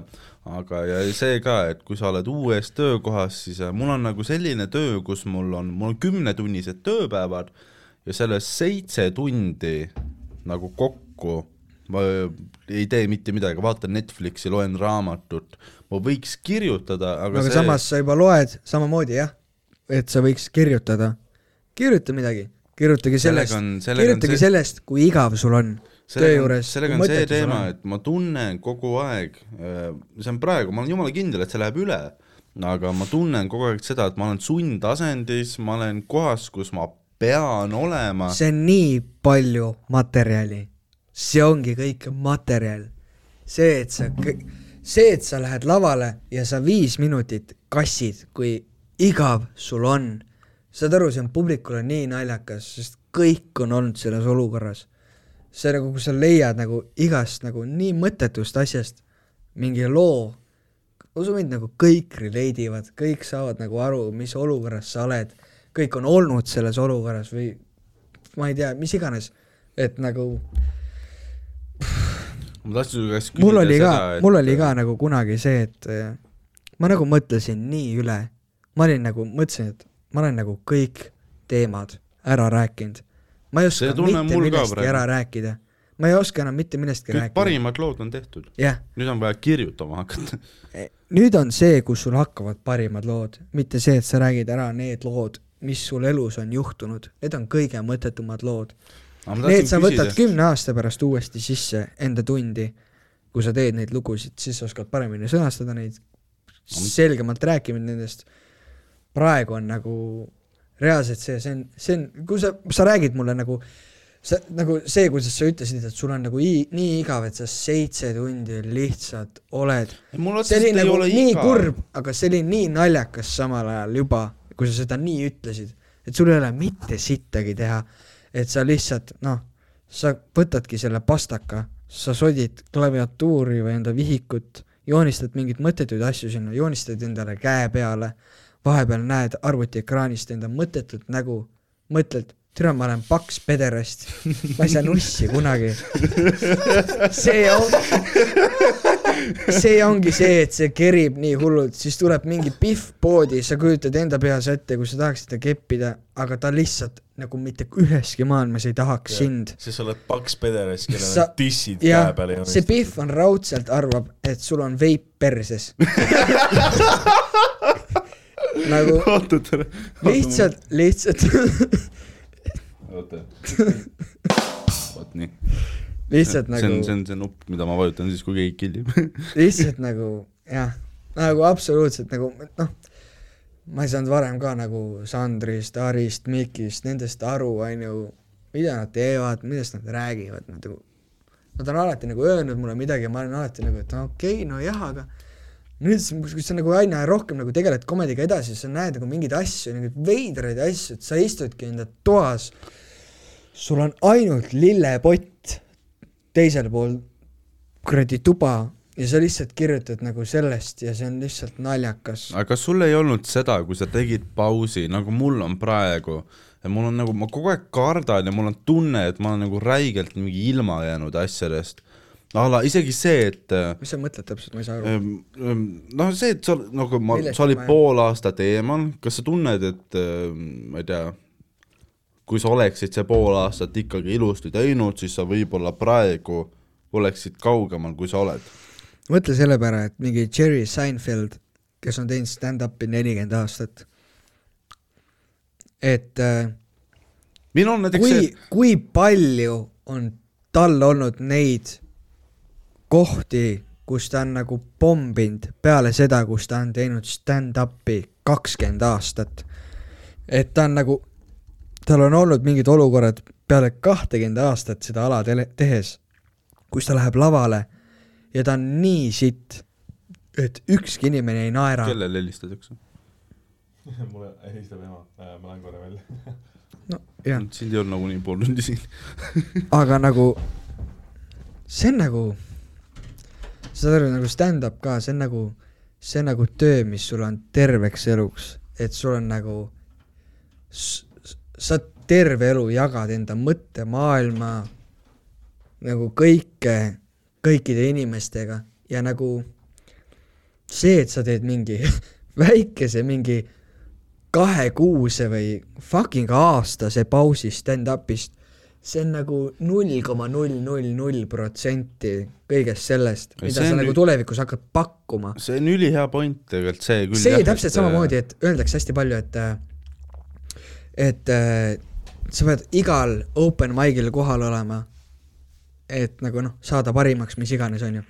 Speaker 2: aga ja see ka , et kui sa oled uues töökohas , siis äh, mul on nagu selline töö , kus mul on , mul on kümnetunnised tööpäevad ja sellest seitse tundi nagu kokku ma öö, ei tee mitte midagi , vaatan Netflixi , loen raamatut , ma võiks kirjutada , aga,
Speaker 3: aga see... samas sa juba loed samamoodi jah , et sa võiks kirjutada . kirjuta midagi , kirjutage
Speaker 2: Sellega
Speaker 3: sellest ,
Speaker 2: on- sellega on
Speaker 3: kirjutage
Speaker 2: see-
Speaker 3: see... sellest , kui igav sul on töö
Speaker 2: sellega on,
Speaker 3: juures .
Speaker 2: sellega on see teema , et ma tunnen kogu aeg , see on praegu , ma olen jumala kindel , et see läheb üle , aga ma tunnen kogu aeg seda , et ma olen sundasendis , ma olen kohas , kus ma pean olema ,
Speaker 3: see on nii palju materjali , see ongi kõik materjal . see , et sa , see , et sa lähed lavale ja sa viis minutit kassid , kui igav sul on . saad aru , see on publikule nii naljakas , sest kõik on olnud selles olukorras . see nagu , kui sa leiad nagu igast nagu nii mõttetust asjast mingi loo , usu mind , nagu kõik relate ivad , kõik saavad nagu aru , mis olukorras sa oled , kõik on olnud selles olukorras või ma ei tea , mis iganes , et nagu
Speaker 4: ma tahtsin su käest
Speaker 3: mul oli ka , mul
Speaker 4: äh,
Speaker 3: oli
Speaker 2: äh,
Speaker 3: ka nagu kunagi see , et äh, ma nagu mõtlesin nii üle , ma olin nagu , mõtlesin , et ma olen nagu kõik teemad ära rääkinud . ma ei
Speaker 4: See
Speaker 3: oska
Speaker 4: tunne on
Speaker 3: mitte
Speaker 4: mul ka
Speaker 3: millestki
Speaker 4: praegu.
Speaker 3: ära rääkida . ma ei oska enam mitte millestki
Speaker 4: kõik
Speaker 3: rääkida .
Speaker 4: parimad lood on tehtud ,
Speaker 3: jah ,
Speaker 4: nüüd on vaja kirjutama hakata .
Speaker 3: nüüd on see , kus sul hakkavad parimad lood , mitte see , et sa räägid ära need lood , mis sul elus on juhtunud , need on kõige mõttetumad lood . Need sa võtad kümne aasta pärast uuesti sisse enda tundi , kui sa teed neid lugusid , siis sa oskad paremini sõnastada neid , selgemalt rääkima nendest . praegu on nagu reaalselt see , see on , see on , kui sa , sa räägid mulle nagu , sa nagu see , kuidas sa ütlesid , et sul on nagu ii- nii igav , et sa seitse tundi lihtsalt oled
Speaker 4: mul
Speaker 3: see
Speaker 4: otseselt
Speaker 3: oli
Speaker 4: ei
Speaker 3: nagu
Speaker 4: ole
Speaker 3: nii
Speaker 4: iga .
Speaker 3: kurb , aga see oli nii naljakas samal ajal juba , kui sa seda nii ütlesid , et sul ei ole mitte sittagi teha , et sa lihtsalt noh , sa võtadki selle pastaka , sa sodid klaviatuuri või enda vihikut , joonistad mingeid mõttetuid asju sinna , joonistad endale käe peale , vahepeal näed arvutiekraanist enda mõttetut nägu , mõtled , türa , ma olen paks pederast , ma ei saa nussi kunagi . see on , see ongi see , et see kerib nii hullult , siis tuleb mingi pihv poodi , sa kujutad enda peas ette , kui sa tahaksid teda keppida , aga ta lihtsalt nagu mitte üheski maailmas ei tahaks sind .
Speaker 1: siis sa oled paks pederas , kellel
Speaker 3: Sa-
Speaker 1: on dissid
Speaker 3: jah
Speaker 1: käe peal , ja
Speaker 3: see pihv on raudselt arvab , et sul on veip perses . nagu
Speaker 4: oota , tere .
Speaker 3: lihtsalt , lihtsalt
Speaker 4: oota . vot nii .
Speaker 3: lihtsalt
Speaker 4: see on ,
Speaker 3: nagu
Speaker 4: see on see nupp , mida ma vajutan siis , kui keegi killib .
Speaker 3: lihtsalt nagu jah , nagu absoluutselt nagu noh , ma ei saanud varem ka nagu Sandrist , Arist , Mikist , nendest aru , onju , mida nad teevad , millest nad räägivad , nagu nad on alati nagu öelnud mulle midagi ja ma olen alati nagu , et no okei okay, , nojah , aga nüüd sa- kui sa nagu aina rohkem nagu tegeled komediga edasi , sa näed nagu mingeid asju , mingeid veidraid asju , et sa istudki enda toas , sul on ainult lillepott teisel pool kuradi tuba ja sa lihtsalt kirjutad nagu sellest ja see on lihtsalt naljakas .
Speaker 4: aga kas sul ei olnud seda , kui sa tegid pausi , nagu mul on praegu , ja mul on nagu , ma kogu aeg kardan ja mul on tunne , et ma olen nagu räigelt mingi ilma jäänud asjadest . a la isegi see , et äh,
Speaker 3: mis sa mõtled täpselt , ma ei saa aru .
Speaker 4: Ähm, ähm, noh , see , et sa ol- nagu ma ,
Speaker 3: Millest
Speaker 4: sa olid
Speaker 3: ma ei-
Speaker 4: pool aastat eemal , kas sa tunned , et ähm, ma ei tea , kui sa oleksid see pool aastat ikkagi ilusti teinud , siis sa võib-olla praegu oleksid kaugemal , kui sa oled .
Speaker 3: mõtle selle peale , et mingi Jerry Seinfeld , kes on teinud stand-up'i nelikümmend aastat , et äh,
Speaker 4: minul on näiteks
Speaker 3: kui
Speaker 4: see ,,
Speaker 3: kui palju on tal olnud neid kohti , kus ta on nagu pomminud peale seda , kus ta on teinud stand-up'i kakskümmend aastat . et ta on nagu , tal on olnud mingid olukorrad peale kahtekümmend aastat seda ala tele- , tehes , kus ta läheb lavale ja ta on nii sitt , et ükski inimene ei naera .
Speaker 4: kellele helistatakse ?
Speaker 1: mulle helistab ema , ma lähen korra välja .
Speaker 3: no jah ,
Speaker 4: sind ei olnud nagunii pool tundi siin .
Speaker 3: aga nagu see on nagu , saad aru , nagu stand-up ka , see on nagu , see on nagu töö , mis sul on terveks eluks , et sul on nagu , sa terve elu jagad enda mõttemaailma nagu kõike kõikide inimestega ja nagu see , et sa teed mingi väikese mingi kahekuuse või fucking aastase pausi stand-up'ist , see on nagu null koma null null null protsenti kõigest sellest ,
Speaker 4: Ei,
Speaker 3: mida
Speaker 4: see
Speaker 3: sa
Speaker 4: on
Speaker 3: nagu
Speaker 4: nüüd-
Speaker 3: tulevikus hakkad pakkuma .
Speaker 4: see on ülihea point tegelikult , see küll
Speaker 3: see
Speaker 2: äh,
Speaker 3: täpselt samamoodi ,. et öeldakse hästi palju , et äh, et äh, sa pead igal open mic'il kohal olema , et nagu noh , saada parimaks , mis iganes , on ju .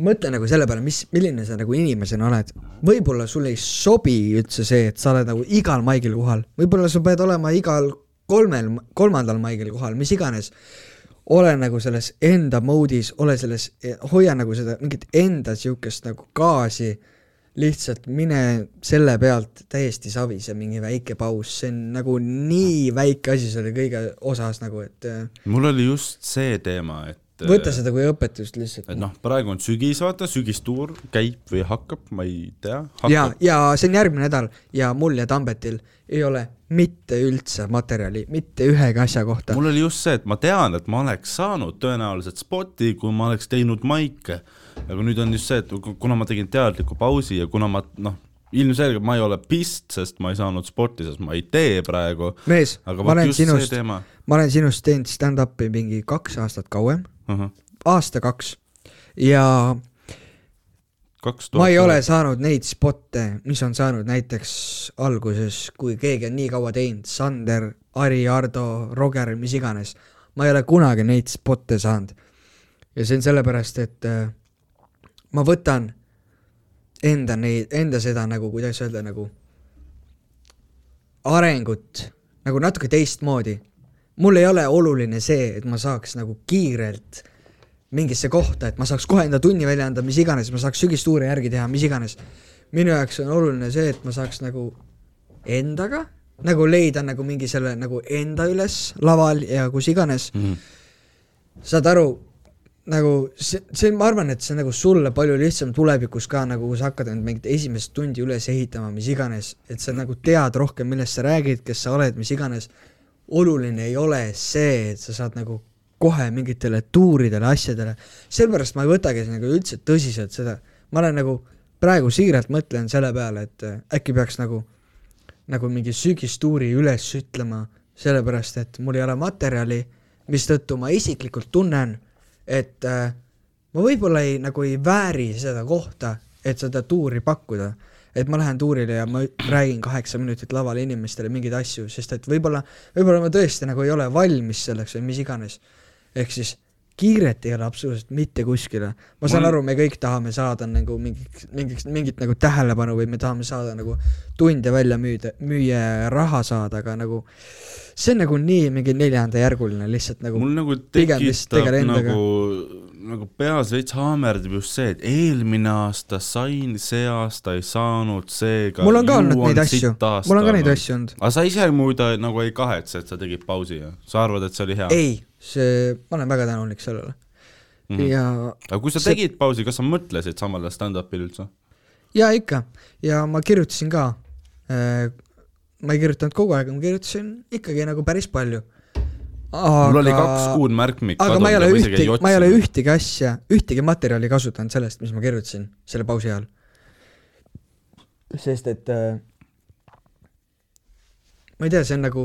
Speaker 3: mõtle nagu selle peale , mis , milline sa nagu inimesena oled . võib-olla sulle ei sobi üldse see , et sa oled nagu igal maigil kohal , võib-olla sa pead olema igal kolmel , kolmandal maigil kohal , mis iganes . ole nagu selles enda mode'is , ole selles , hoia nagu seda mingit enda sihukest nagu gaasi , lihtsalt mine selle pealt täiesti savis ja mingi väike paus , see on nagu nii väike asi selle kõige osas nagu , et äh,
Speaker 4: mul oli just see teema , et
Speaker 2: et äh,
Speaker 3: võta seda kui õpetust lihtsalt
Speaker 2: et . noh , praegu on sügis , vaata , sügistuur käib või hakkab , ma ei tea .
Speaker 3: ja , ja see on järgmine nädal ja mul ja Tambetil ei ole mitte üldse materjali mitte ühegi asja kohta .
Speaker 2: mul oli just see , et ma tean , et ma oleks saanud tõenäoliselt spoti , kui ma oleks teinud maike . aga nüüd on just see , et ku- kuna ma tegin teadliku pausi ja kuna ma noh , ilmselgelt ma ei ole pist , sest ma ei saanud sporti , sest ma ei tee praegu .
Speaker 3: mees ,
Speaker 2: aga
Speaker 3: ma
Speaker 2: vot
Speaker 3: olen
Speaker 2: just see
Speaker 3: sinust ,
Speaker 2: teema .
Speaker 3: ma olen sinust teinud stand-up'i mingi kaks aastat kauem , aasta-kaks ja
Speaker 2: kaks
Speaker 3: ma ei ole . saanud neid spotte , mis on saanud näiteks alguses , kui keegi on nii kaua teinud , Sander , Ari , Ardo , Roger , mis iganes , ma ei ole kunagi neid spotte saanud . ja see on sellepärast , et äh, ma võtan enda neid , enda seda nagu , kuidas öelda , nagu arengut nagu natuke teistmoodi . mul ei ole oluline see , et ma saaks nagu kiirelt mingisse kohta , et ma saaks kohe enda tunni välja anda , mis iganes , ma saaks sügistuure järgi teha , mis iganes . minu jaoks on oluline see , et ma saaks nagu endaga nagu leida nagu mingi selle nagu enda üles laval ja kus iganes mm . -hmm. saad aru , nagu see , see , ma arvan , et see nagu sulle palju lihtsam tulevikus ka nagu , kui sa hakkad end mingit esimest tundi üles ehitama , mis iganes , et sa nagu tead rohkem , millest sa räägid , kes sa oled , mis iganes . oluline ei ole see , et sa saad nagu kohe mingitele tuuridele , asjadele , sellepärast ma ei võtagi nagu üldse tõsiselt seda , ma olen nagu praegu siiralt mõtlen selle peale , et äh, äkki peaks nagu , nagu mingi sügistuuri üles ütlema , sellepärast et mul ei ole materjali , mistõttu ma isiklikult tunnen , et äh, ma võib-olla ei , nagu ei vääri seda kohta , et seda tuuri pakkuda . et ma lähen tuurile ja ma räägin kaheksa minutit laval inimestele mingeid asju , sest et võib-olla , võib-olla ma tõesti nagu ei ole valmis selleks või mis iganes . ehk siis kiiret ei ole absoluutselt mitte kuskile . ma saan
Speaker 2: Mul-
Speaker 3: aru , me kõik tahame saada nagu mingiks , mingiks , mingit nagu tähelepanu või me tahame saada nagu tunde välja müüda , müüa ja raha saada , aga nagu see on nagu nii mingi neljandajärguline lihtsalt nagu
Speaker 2: mul nagu
Speaker 3: pigem vist
Speaker 2: tekitab
Speaker 3: tegele endaga.
Speaker 2: nagu , nagu peas veits haamerdab just see , et eelmine aasta sain , see aasta ei saanud , seega
Speaker 3: mul on ka olnud neid asju , mul on ka neid . asju olnud .
Speaker 2: nagu. aga sa ise muide nagu ei kahetse , et sa tegid pausi ja sa arvad , et see oli hea ?
Speaker 3: ei , see , ma olen väga tänulik sellele mm .
Speaker 2: Mhm.
Speaker 3: -hmm. ja ,
Speaker 2: aga kui sa
Speaker 3: see-
Speaker 2: tegid pausi , kas sa mõtlesid samal ajal stand-up'il üldse ?
Speaker 3: ja ikka , ja ma kirjutasin ka . ma ei kirjutanud kogu aeg , ma kirjutasin ikkagi nagu päris palju .
Speaker 2: mul oli kaks kuud märkmik
Speaker 3: aga ma ei ole ühtegi , ma ei ole ühtegi asja , ühtegi materjali kasutanud sellest , mis ma kirjutasin selle pausi ajal . sest et äh, ma ei tea , see on nagu ,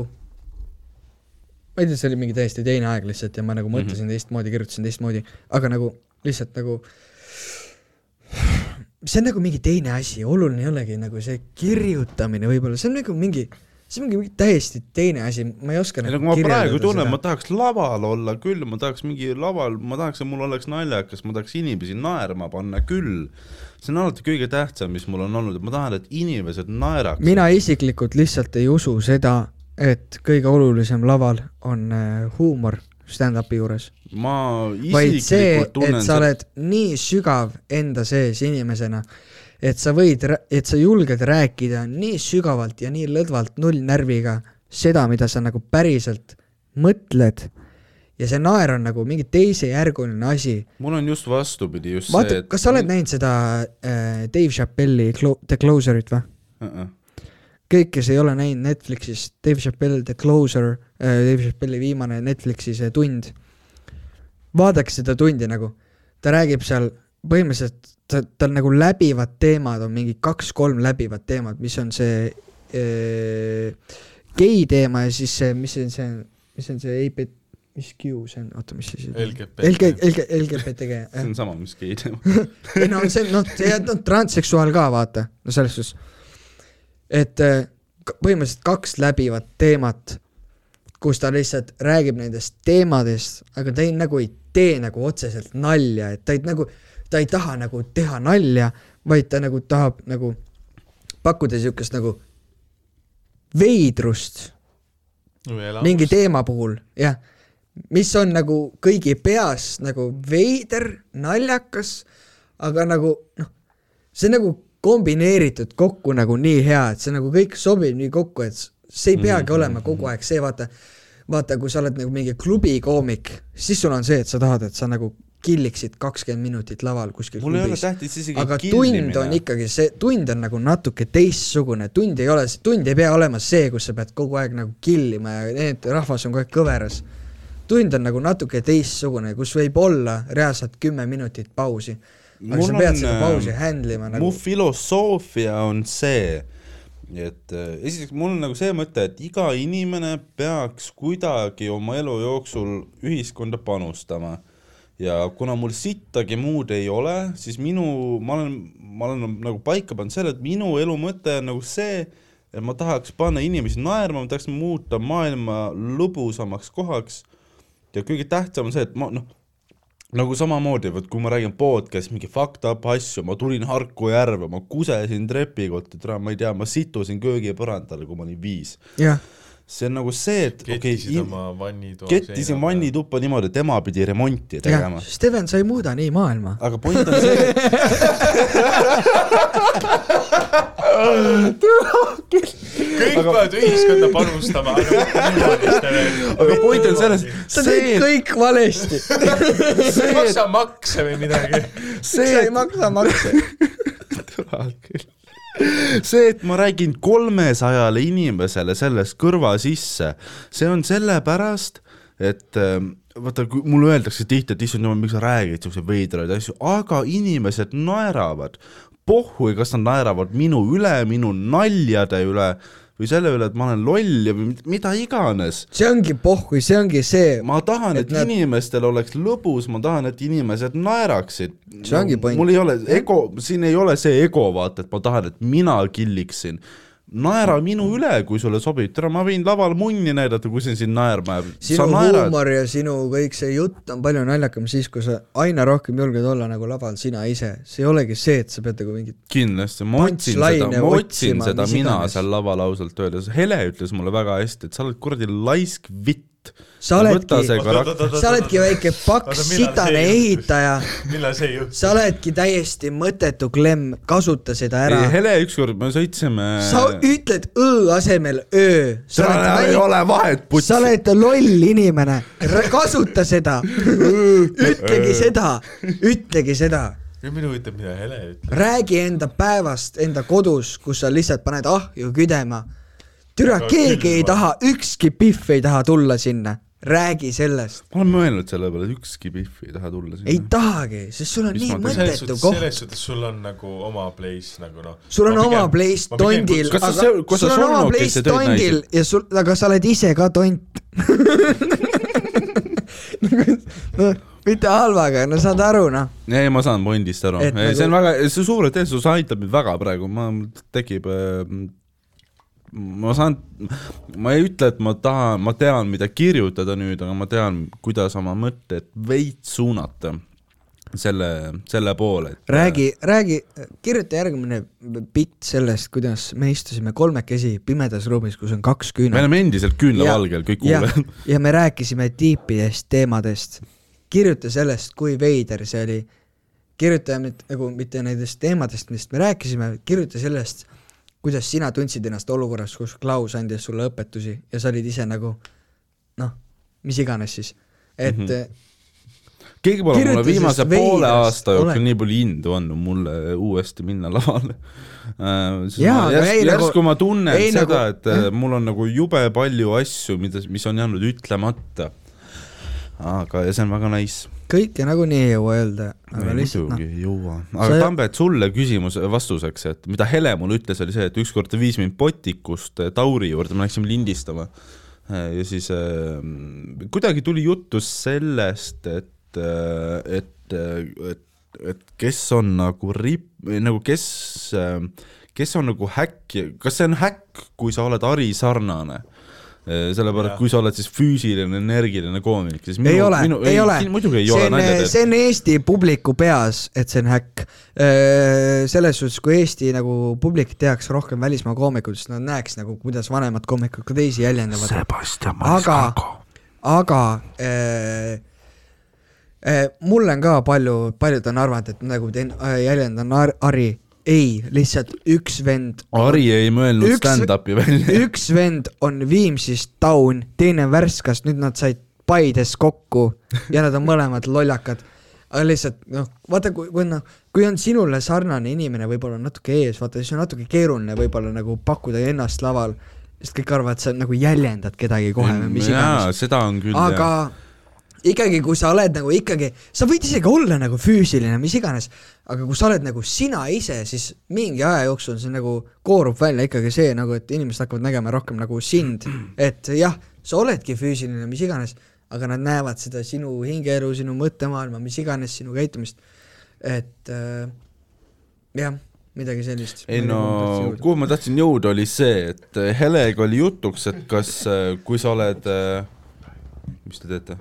Speaker 3: ma ei tea , see oli mingi täiesti teine aeg lihtsalt ja ma nagu
Speaker 2: Mhm.
Speaker 3: mõtlesin mm -hmm. teistmoodi , kirjutasin teistmoodi , aga nagu lihtsalt nagu see on nagu mingi teine asi , oluline ei olegi nagu see kirjutamine võib-olla , see on nagu mingi , see on mingi täiesti teine asi , ma ei oska nagu
Speaker 2: ei no kui ma
Speaker 3: kirjeldada
Speaker 2: praegu tunnen ,
Speaker 3: seda.
Speaker 2: ma tahaks laval olla küll , ma tahaks mingi laval , ma tahaks , et mul oleks naljakas , ma tahaks inimesi naerma panna küll . see on alati kõige tähtsam , mis mul on olnud , et ma tahan , et inimesed naeraks .
Speaker 3: mina isiklikult lihtsalt ei usu seda , et kõige olulisem laval on äh, huumor stand-up'i juures ,
Speaker 2: ma
Speaker 3: vaid see ,
Speaker 2: isiklikult
Speaker 3: et
Speaker 2: tunnen seda ,
Speaker 3: sa oled nii sügav enda sees inimesena , et sa võid , et sa julged rääkida nii sügavalt ja nii lõdvalt nullnärviga seda , mida sa nagu päriselt mõtled ja see naer on nagu mingi teisejärguline asi
Speaker 2: mul on just vastupidi , just
Speaker 3: vaata
Speaker 2: see ,, et
Speaker 3: kas sa oled näinud seda äh, Dave Chappelli Clo- The Closerit või ?
Speaker 2: näinud ?
Speaker 3: kõik , kes ei ole näinud Netflixis Dave Chappelle The Closer äh, , Dave Chappelli viimane Netflixi see tund , vaadake seda tundi nagu , ta räägib seal põhimõtteliselt , ta , tal nagu läbivad teemad on mingi kaks-kolm läbivat teemat , mis on see äh, gei teema ja siis see , mis see on see , mis on see , mis Q see on , oota , mis see siis
Speaker 1: LGBT .
Speaker 3: LG , LG , LGBTG ,
Speaker 2: see
Speaker 3: jah
Speaker 2: on . sama , mis gei teema .
Speaker 3: ei no see , noh , noh , transseksuaal ka vaata , no selles suhtes , et eh, k- põhimõtteliselt kaks läbivat teemat , kus ta lihtsalt räägib nendest teemadest , aga ta ei nagu ei tee nagu otseselt nalja , et ta ei nagu , ta ei taha nagu teha nalja , vaid ta nagu tahab nagu pakkuda niisugust nagu veidrust mingi teema puhul , jah . mis on nagu kõigi peas nagu veider , naljakas , aga nagu noh , see on nagu kombineeritud kokku
Speaker 2: Mhm.
Speaker 3: nagu nii hea , et see nagu kõik sobib nii kokku , et s- see ei peagi olema kogu aeg see , vaata , vaata , kui sa oled nagu mingi klubikoomik , siis sul on see , et sa tahad , et sa nagu killiksid kakskümmend minutit laval kuskil
Speaker 2: mul ei ole
Speaker 3: klubis .
Speaker 2: tähtis isegi
Speaker 3: aga tund on . ikkagi see , tund on nagu natuke teistsugune , tund ei ole , tund ei pea olema see , kus sa pead kogu aeg nagu killima ja need rahvas on kogu aeg kõveras . tund on nagu natuke teistsugune , kus võib olla reaalselt kümme minutit pausi . aga
Speaker 2: Mul
Speaker 3: sa pead
Speaker 2: on,
Speaker 3: seda
Speaker 2: äh,
Speaker 3: pausi handle ima
Speaker 2: mu
Speaker 3: nagu .
Speaker 2: filosoofia on see , et äh, esiteks mul on nagu see mõte , et iga inimene peaks kuidagi oma elu jooksul ühiskonda panustama . ja kuna mul sittagi muud ei ole , siis minu , ma olen , ma olen nagu paika pannud selle , et minu elu mõte on nagu see , et ma tahaks panna inimesi naerma , ma tahaks muuta maailma lõbusamaks kohaks ja kõige tähtsam on see , et ma noh , nagu samamoodi , vot kui ma räägin podcast'i mingi fucked up asju , ma tulin Harku järve , ma kusesin trepi kohta , täna ma ei tea , ma situsin köögipõrandale , kui ma olin viis .
Speaker 3: jah ,
Speaker 2: see on nagu see , et okei
Speaker 1: kettisid , oma vannitoa .
Speaker 2: kettisin . vannituppa niimoodi , et ema pidi remonti
Speaker 3: jah
Speaker 2: tegema ,.
Speaker 3: Steven , sa ei muuda nii maailma .
Speaker 2: aga point on see ,
Speaker 1: kõik peavad ühiskonda panustama , aga niimoodi veel .
Speaker 2: aga point on selles ,
Speaker 3: sa teed
Speaker 2: see ,
Speaker 3: kõik valesti .
Speaker 1: sa ei maksa makse või midagi .
Speaker 3: sa ei maksa makse .
Speaker 2: see , et ma räägin kolmesajale inimesele sellest kõrva sisse , see on sellepärast , et ähm, vaata , kui mulle öeldakse tihti , et issand jumal , miks sa räägid siukseid veidraid asju , aga inimesed naeravad . pohhui , kas nad naeravad minu üle , minu naljade üle või selle üle , et ma olen loll ja või mid- mida iganes .
Speaker 3: see ongi pohhui , see ongi see ,
Speaker 2: ma tahan ,
Speaker 3: Et
Speaker 2: et, et
Speaker 3: nad-
Speaker 2: nad... inimestel oleks lõbus , ma tahan , et inimesed naeraksid .
Speaker 3: See ongi point.
Speaker 2: mul ei ole ego , siin ei ole see ego , vaata , et ma tahan , et mina killiksin . naera minu üle , kui sulle sobib , tere , ma võin laval munni näidata , kui see sind naerma jääb .
Speaker 3: sinu huumor ja sinu kõik see jutt on palju naljakam siis , kui sa aina rohkem julged olla nagu laval sina ise . see ei olegi see , et sa pead nagu mingit ,
Speaker 2: kindlasti , ma otsin seda ,
Speaker 3: Punchline'e
Speaker 2: ma otsin
Speaker 3: otsima,
Speaker 2: seda
Speaker 3: mis
Speaker 2: mina
Speaker 3: iganes.
Speaker 2: seal laval ausalt öeldes , Hele ütles mulle väga hästi , et sa oled kuradi laisk vitt .
Speaker 3: Sa oledki-
Speaker 2: võta see karakter ,
Speaker 3: sa oledki väike paks
Speaker 1: Oota, millal
Speaker 3: sitane
Speaker 1: see juhtus?
Speaker 3: ehitaja ,
Speaker 1: millal see juhtus ?
Speaker 3: sa oledki täiesti mõttetu klemm , kasuta seda ära .
Speaker 2: Hele ükskord me sõitsime .
Speaker 3: sa ütled õ asemel öö . sa oled
Speaker 2: ei
Speaker 3: väike
Speaker 2: ole vahet , putsi
Speaker 3: sa . oled loll inimene , kasuta seda , ütlegi seda , ütlegi seda
Speaker 1: mind huvitab , mida Hele ütleb .
Speaker 3: räägi enda päevast , enda kodus , kus sa lihtsalt paned ahju küdema . türa ,
Speaker 1: Aga
Speaker 3: keegi ei
Speaker 1: külma.
Speaker 3: taha , ükski pihv ei taha tulla sinna , räägi sellest .
Speaker 2: ma olen mõelnud selle peale , et ükski Pihv ei taha tulla
Speaker 3: ei
Speaker 2: sinna .
Speaker 3: tahagi , sest sul on
Speaker 2: Mis
Speaker 3: Mis nii
Speaker 2: ma-
Speaker 1: selles
Speaker 3: mõttetu
Speaker 1: suhtes ,
Speaker 3: koht ,
Speaker 1: selles suhtes sul on nagu oma place nagu noh .
Speaker 3: sul on oma place tondil ,
Speaker 2: Kas
Speaker 3: aga
Speaker 2: sa seal- kas sa
Speaker 3: sul on oma
Speaker 2: surnukaid
Speaker 3: place
Speaker 2: sa tööd
Speaker 3: tondil
Speaker 2: näisid?
Speaker 3: ja sul , aga sa oled ise ka tont . noh , mitte halvaga , no saad aru , noh .
Speaker 2: ei , ma saan pointist aru ,
Speaker 3: Et
Speaker 2: see on
Speaker 3: nagu-
Speaker 2: väga , see suure tõenäosus aitab mind väga praegu , ma , tekib äh, ma saan , ma ei ütle , et ma tahan , ma tean , mida kirjutada nüüd , aga ma tean , kuidas oma mõtted veits suunata selle , selle poole .
Speaker 3: räägi , räägi , kirjuta järgmine bitt sellest , kuidas me istusime kolmekesi pimedas ruumis , kus on kaks
Speaker 2: me
Speaker 3: küünalt .
Speaker 2: oleme endiselt küünlavalgel , kõik kuulajad .
Speaker 3: ja me rääkisime tiipidest teemadest . kirjuta sellest , kui veider see oli . kirjuta mit- nagu mitte nendest teemadest , millest me rääkisime , kirjuta sellest , kuidas sina tundsid ennast olukorras , kus Klaus andis sulle õpetusi ja sa olid ise nagu noh , mis iganes siis , et mm
Speaker 2: Mhm.
Speaker 3: -hmm.
Speaker 2: keegi pole mulle
Speaker 3: Kirjuta
Speaker 2: viimase
Speaker 3: sellest
Speaker 2: poole
Speaker 3: veidrast
Speaker 2: aasta jooksul
Speaker 3: olekut.
Speaker 2: nii palju indu andnud mulle uuesti minna lavale . Äh,
Speaker 3: Jaa, aga ei
Speaker 2: järsku
Speaker 3: nagu-
Speaker 2: järsku ma tunnen
Speaker 3: ei
Speaker 2: seda ,
Speaker 3: nagu-
Speaker 2: et äh, mul on nagu jube palju asju , mida , mis on jäänud ütlemata . aga , ja see on väga nice .
Speaker 3: kõike nagunii ei jõua öelda , aga
Speaker 2: ei
Speaker 3: lihtsalt noh
Speaker 2: muidugi , ei jõua .
Speaker 3: Sa-
Speaker 2: aga Tambet , sulle küsimus äh, vastuseks , et mida Hele mulle ütles , oli see , et ükskord ta viis mind Botikust äh, Tauri juurde , me läksime lindistama . ja siis äh, kuidagi tuli juttu sellest , et , et , et , et kes on nagu rip- , nagu kes , kes on nagu häkk , kas see on häkk , kui sa oled Ari sarnane ? sellepärast ,
Speaker 1: Jah.
Speaker 2: kui sa oled siis füüsiline , energiline koomik , siis
Speaker 3: ei ole , ei ole
Speaker 2: siin muidugi ei ole
Speaker 3: see on ,
Speaker 2: nalja
Speaker 3: see on Eesti publiku peas , et see on häkk . selles suhtes , kui Eesti nagu publik teaks rohkem välismaa koomikuid , siis nad näeks nagu , kuidas vanemad koomikud ka teisi jäljendavad .
Speaker 2: Sebastian
Speaker 3: aga , aga öö, öö, mul on ka palju , paljud on arvanud , et nagu teen , jäljendan Ar- Ari , ei , lihtsalt üks vend ,
Speaker 2: Ari ei mõelnud
Speaker 3: Üks-
Speaker 2: stand-up'i välja .
Speaker 3: üks vend on Viimsist Taun , teine Värskast , nüüd nad said Paides kokku ja nad on mõlemad lollakad . aga lihtsalt noh , vaata , kui , kui noh , kui on sinule sarnane inimene võib-olla natuke ees , vaata siis on natuke keeruline võib-olla nagu pakkuda ennast laval , sest kõik arvavad , sa nagu jäljendad kedagi kohe või mis iganes
Speaker 2: jaa ,. seda on küll
Speaker 3: aga
Speaker 2: jah .
Speaker 3: ikkagi , kui sa oled nagu ikkagi , sa võid isegi olla nagu füüsiline , mis iganes , aga kui sa oled nagu sina ise , siis mingi aja jooksul see nagu koorub välja ikkagi see nagu , et inimesed hakkavad nägema rohkem nagu sind , et jah , sa oledki füüsiline , mis iganes , aga nad näevad seda sinu hingeelu , sinu mõttemaailma , mis iganes , sinu käitumist , et äh, jah , midagi sellist .
Speaker 2: ei no , kuhu ma tahtsin jõuda , oli see , et äh, Helega oli jutuks , et kas , kui sa oled , mis te teete ?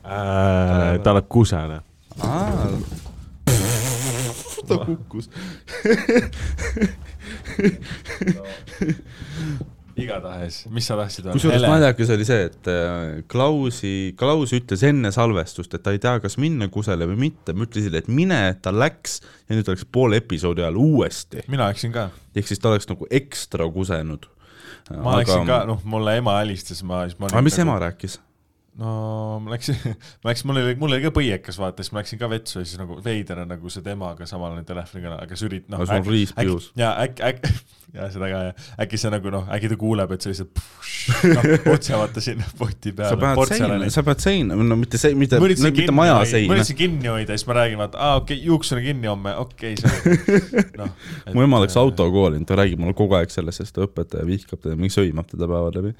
Speaker 2: Äh,
Speaker 5: ta läheb kusele .
Speaker 2: Aa. ta kukkus .
Speaker 1: igatahes , mis sa tahtsid
Speaker 2: kusjuures naljakas oli see , et äh, Klausi , Klaus ütles enne salvestust , et ta ei tea , kas minna kusele või mitte , ma ütlesin , et mine , ta läks ja nüüd oleks poole episoodi ajal uuesti .
Speaker 1: mina läksin ka ,
Speaker 2: ehk siis ta oleks nagu ekstra kusenud .
Speaker 1: ma aga... läksin ka , noh , mulle ema helistas , ma siis ma
Speaker 2: aga mis ema rääkis ?
Speaker 1: no ma läksin , ma läksin , mul oli , mul oli ka põiekas vaata , siis ma läksin ka vetsu ja siis nagu veider on nagu see temaga samal telefonikõne , aga see ürit- , noh
Speaker 2: Aga sul on riis pihus. .
Speaker 1: ja äkki , äkki , ja seda ka jah , äkki see nagu noh , äkki ta kuuleb , et sa lihtsalt pšš, noh, otse vaata sinna
Speaker 2: sa
Speaker 1: poti peale ,
Speaker 2: pead seina ,
Speaker 1: portselani .
Speaker 2: sa pead seina , no mitte see , mitte ,
Speaker 1: ma üritasin
Speaker 2: mitte
Speaker 1: kinni
Speaker 2: maja
Speaker 1: hoida , ma
Speaker 2: seina .
Speaker 1: üritasin kinni hoida ja siis ma räägin , vaata , aa okei okay, , juuksur on kinni homme , okei okay, , see noh .
Speaker 2: mu ema läks . autokooli , ta räägib mulle kogu aeg sellest , sest ta õpetaja vihkab teda , mingi sõimab teda päeva läbi .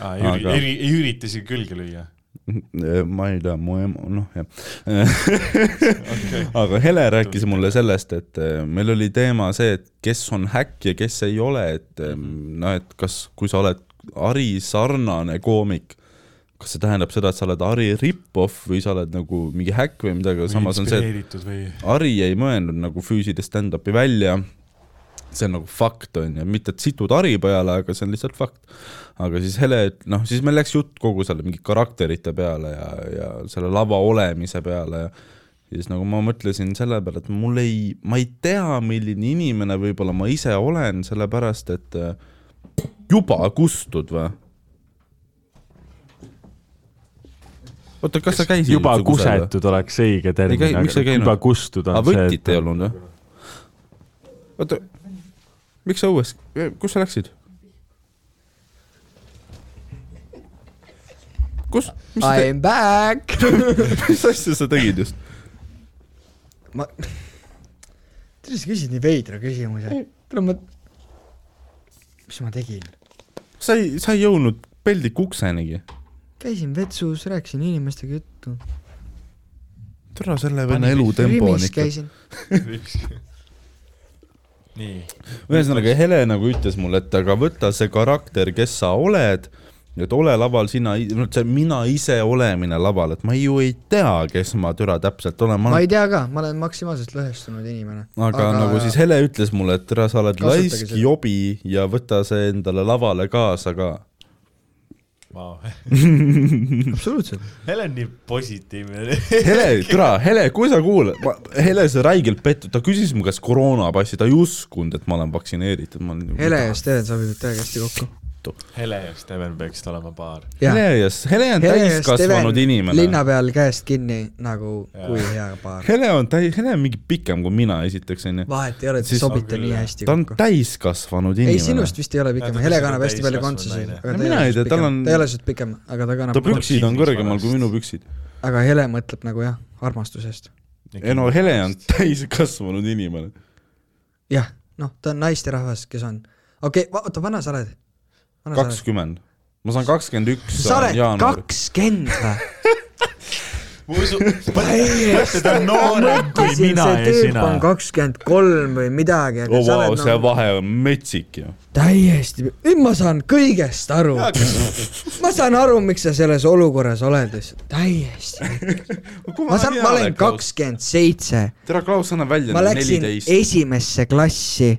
Speaker 1: aa , ei üri-
Speaker 2: Aga- ,
Speaker 1: ei, ei ürita isegi külge lüüa .
Speaker 2: Eh, ma ei tea , mu ema , noh jah okay. . aga Hele rääkis mulle sellest , et eh, meil oli teema see , et kes on häkk ja kes ei ole , et eh, noh , et kas , kui sa oled Ari sarnane koomik , kas see tähendab seda , et sa oled Ari rip-off või sa oled nagu mingi häkk või midagi , aga samas on see , et
Speaker 1: inspireeritud või ?
Speaker 2: Ari ei mõelnud nagu füüsilist stand-up'i välja , see on nagu fakt , on ju , mitte et situd Ari peale , aga see on lihtsalt fakt . aga siis Hele , noh , siis meil läks jutt kogu selle mingi karakterite peale ja , ja selle lava olemise peale ja ja siis nagu ma mõtlesin selle peale , et mul ei , ma ei tea , milline inimene võib-olla ma ise olen , sellepärast et äh, juba kustud või ? oota , kas sa käisid
Speaker 5: juba
Speaker 2: üldse kusagil või?
Speaker 5: kusetud oleks õige
Speaker 2: Ei käi-
Speaker 5: termin ,
Speaker 2: miks sa ei
Speaker 5: aga
Speaker 2: käinud?
Speaker 5: juba kustud
Speaker 2: aga
Speaker 5: on see ,
Speaker 2: võtit ei
Speaker 5: et
Speaker 2: olnud või ? oota , miks sa õues , kus sa läksid ? kus , mis sa
Speaker 3: I
Speaker 2: tegid ,
Speaker 3: m back .
Speaker 2: mis asja sa tegid just ?
Speaker 3: ma , tead , sa küsid nii veidra küsimuse . kuule , ma , mis ma tegin ?
Speaker 2: sa ei , sa ei jõudnud peldiku uksenigi .
Speaker 3: käisin vetsus , rääkisin inimestega juttu .
Speaker 2: türa selle venna elutempo on ikka .
Speaker 3: käisin .
Speaker 1: nii ,
Speaker 2: ühesõnaga , Hele nagu ütles mulle , et aga võta see karakter , kes sa oled , et ole laval sina , see mina ise olemine laval , et ma ju ei tea , kes ma türa täpselt olen , ma
Speaker 3: ma
Speaker 2: olen
Speaker 3: ei tea ka , ma olen maksimaalselt lõhestunud inimene .
Speaker 2: aga, aga nagu siis Hele ütles mulle , et tere , sa oled
Speaker 3: Kasutage
Speaker 2: laisk
Speaker 3: seda.
Speaker 2: jobi ja võta see endale lavale kaasa ka .
Speaker 1: ma ,
Speaker 3: absoluutselt .
Speaker 1: Helen nii positiivne .
Speaker 2: Hele , tere , Hele , kui sa kuulad , Hele , sa räigelt pettud , ta küsis mu käest koroonapassi , ta ei uskunud , et ma olen vaktsineeritud , ma olin . nagu,
Speaker 3: Hele ja . Steven sobivad täiega hästi kokku .
Speaker 1: Hele ja Steven peaksid olema paar .
Speaker 2: Hele ja , Hele on täiskasvanud inimene .
Speaker 3: linna peal käest kinni nagu
Speaker 1: Jaa.
Speaker 3: kui hea paar .
Speaker 2: Hele on täi- , Hele on mingi pikem kui mina , esiteks onju .
Speaker 3: vahet ei ole , te
Speaker 2: Siis-
Speaker 1: on
Speaker 3: sobite
Speaker 1: küll,
Speaker 3: nii
Speaker 1: jah.
Speaker 3: hästi
Speaker 2: ta on
Speaker 3: kokku .
Speaker 2: täiskasvanud
Speaker 3: ei ,
Speaker 2: inimene .
Speaker 3: sinust vist ei ole pikem ,
Speaker 1: ta
Speaker 3: Hele
Speaker 1: vist
Speaker 3: kannab
Speaker 1: on
Speaker 3: hästi palju
Speaker 1: täiskasvanud
Speaker 3: kontsusid
Speaker 1: naine. ,
Speaker 2: No
Speaker 3: aga ta ei
Speaker 2: mina
Speaker 3: ole
Speaker 2: ei tea,
Speaker 3: just
Speaker 2: tal
Speaker 3: pikem
Speaker 2: on- ,
Speaker 3: ta ei ole lihtsalt pikem , aga ta
Speaker 2: ta
Speaker 3: kannab
Speaker 2: prüksid on kõrgemal kui minu püksid .
Speaker 3: aga Hele mõtleb nagu jah , armastusest .
Speaker 2: ei no Hele on täiskasvanud inimene .
Speaker 3: jah , noh , ta on naisterahvas , kes on , okei okay, , oota , vana sa oled ?
Speaker 2: kakskümmend . ma saan kakskümmend üks .
Speaker 3: sa oled kakskümmend või ?
Speaker 1: ma usun , mõtle , ta on noorem kui mina ja
Speaker 3: see tüüp
Speaker 1: sina .
Speaker 3: on kakskümmend kolm või midagi , aga
Speaker 2: oh,
Speaker 3: oh, sa
Speaker 2: vau wow, ,
Speaker 3: oled
Speaker 2: see
Speaker 3: nagu
Speaker 2: vahe on metsik ju .
Speaker 3: täiesti , nüüd ma saan kõigest aru . ma saan aru , miks sa selles olukorras oled , täiesti . ma saan , ma olen . kakskümmend seitse
Speaker 2: tere , Klaus , anna välja
Speaker 3: ma läksin
Speaker 2: neliteist .
Speaker 3: esimesse klassi ,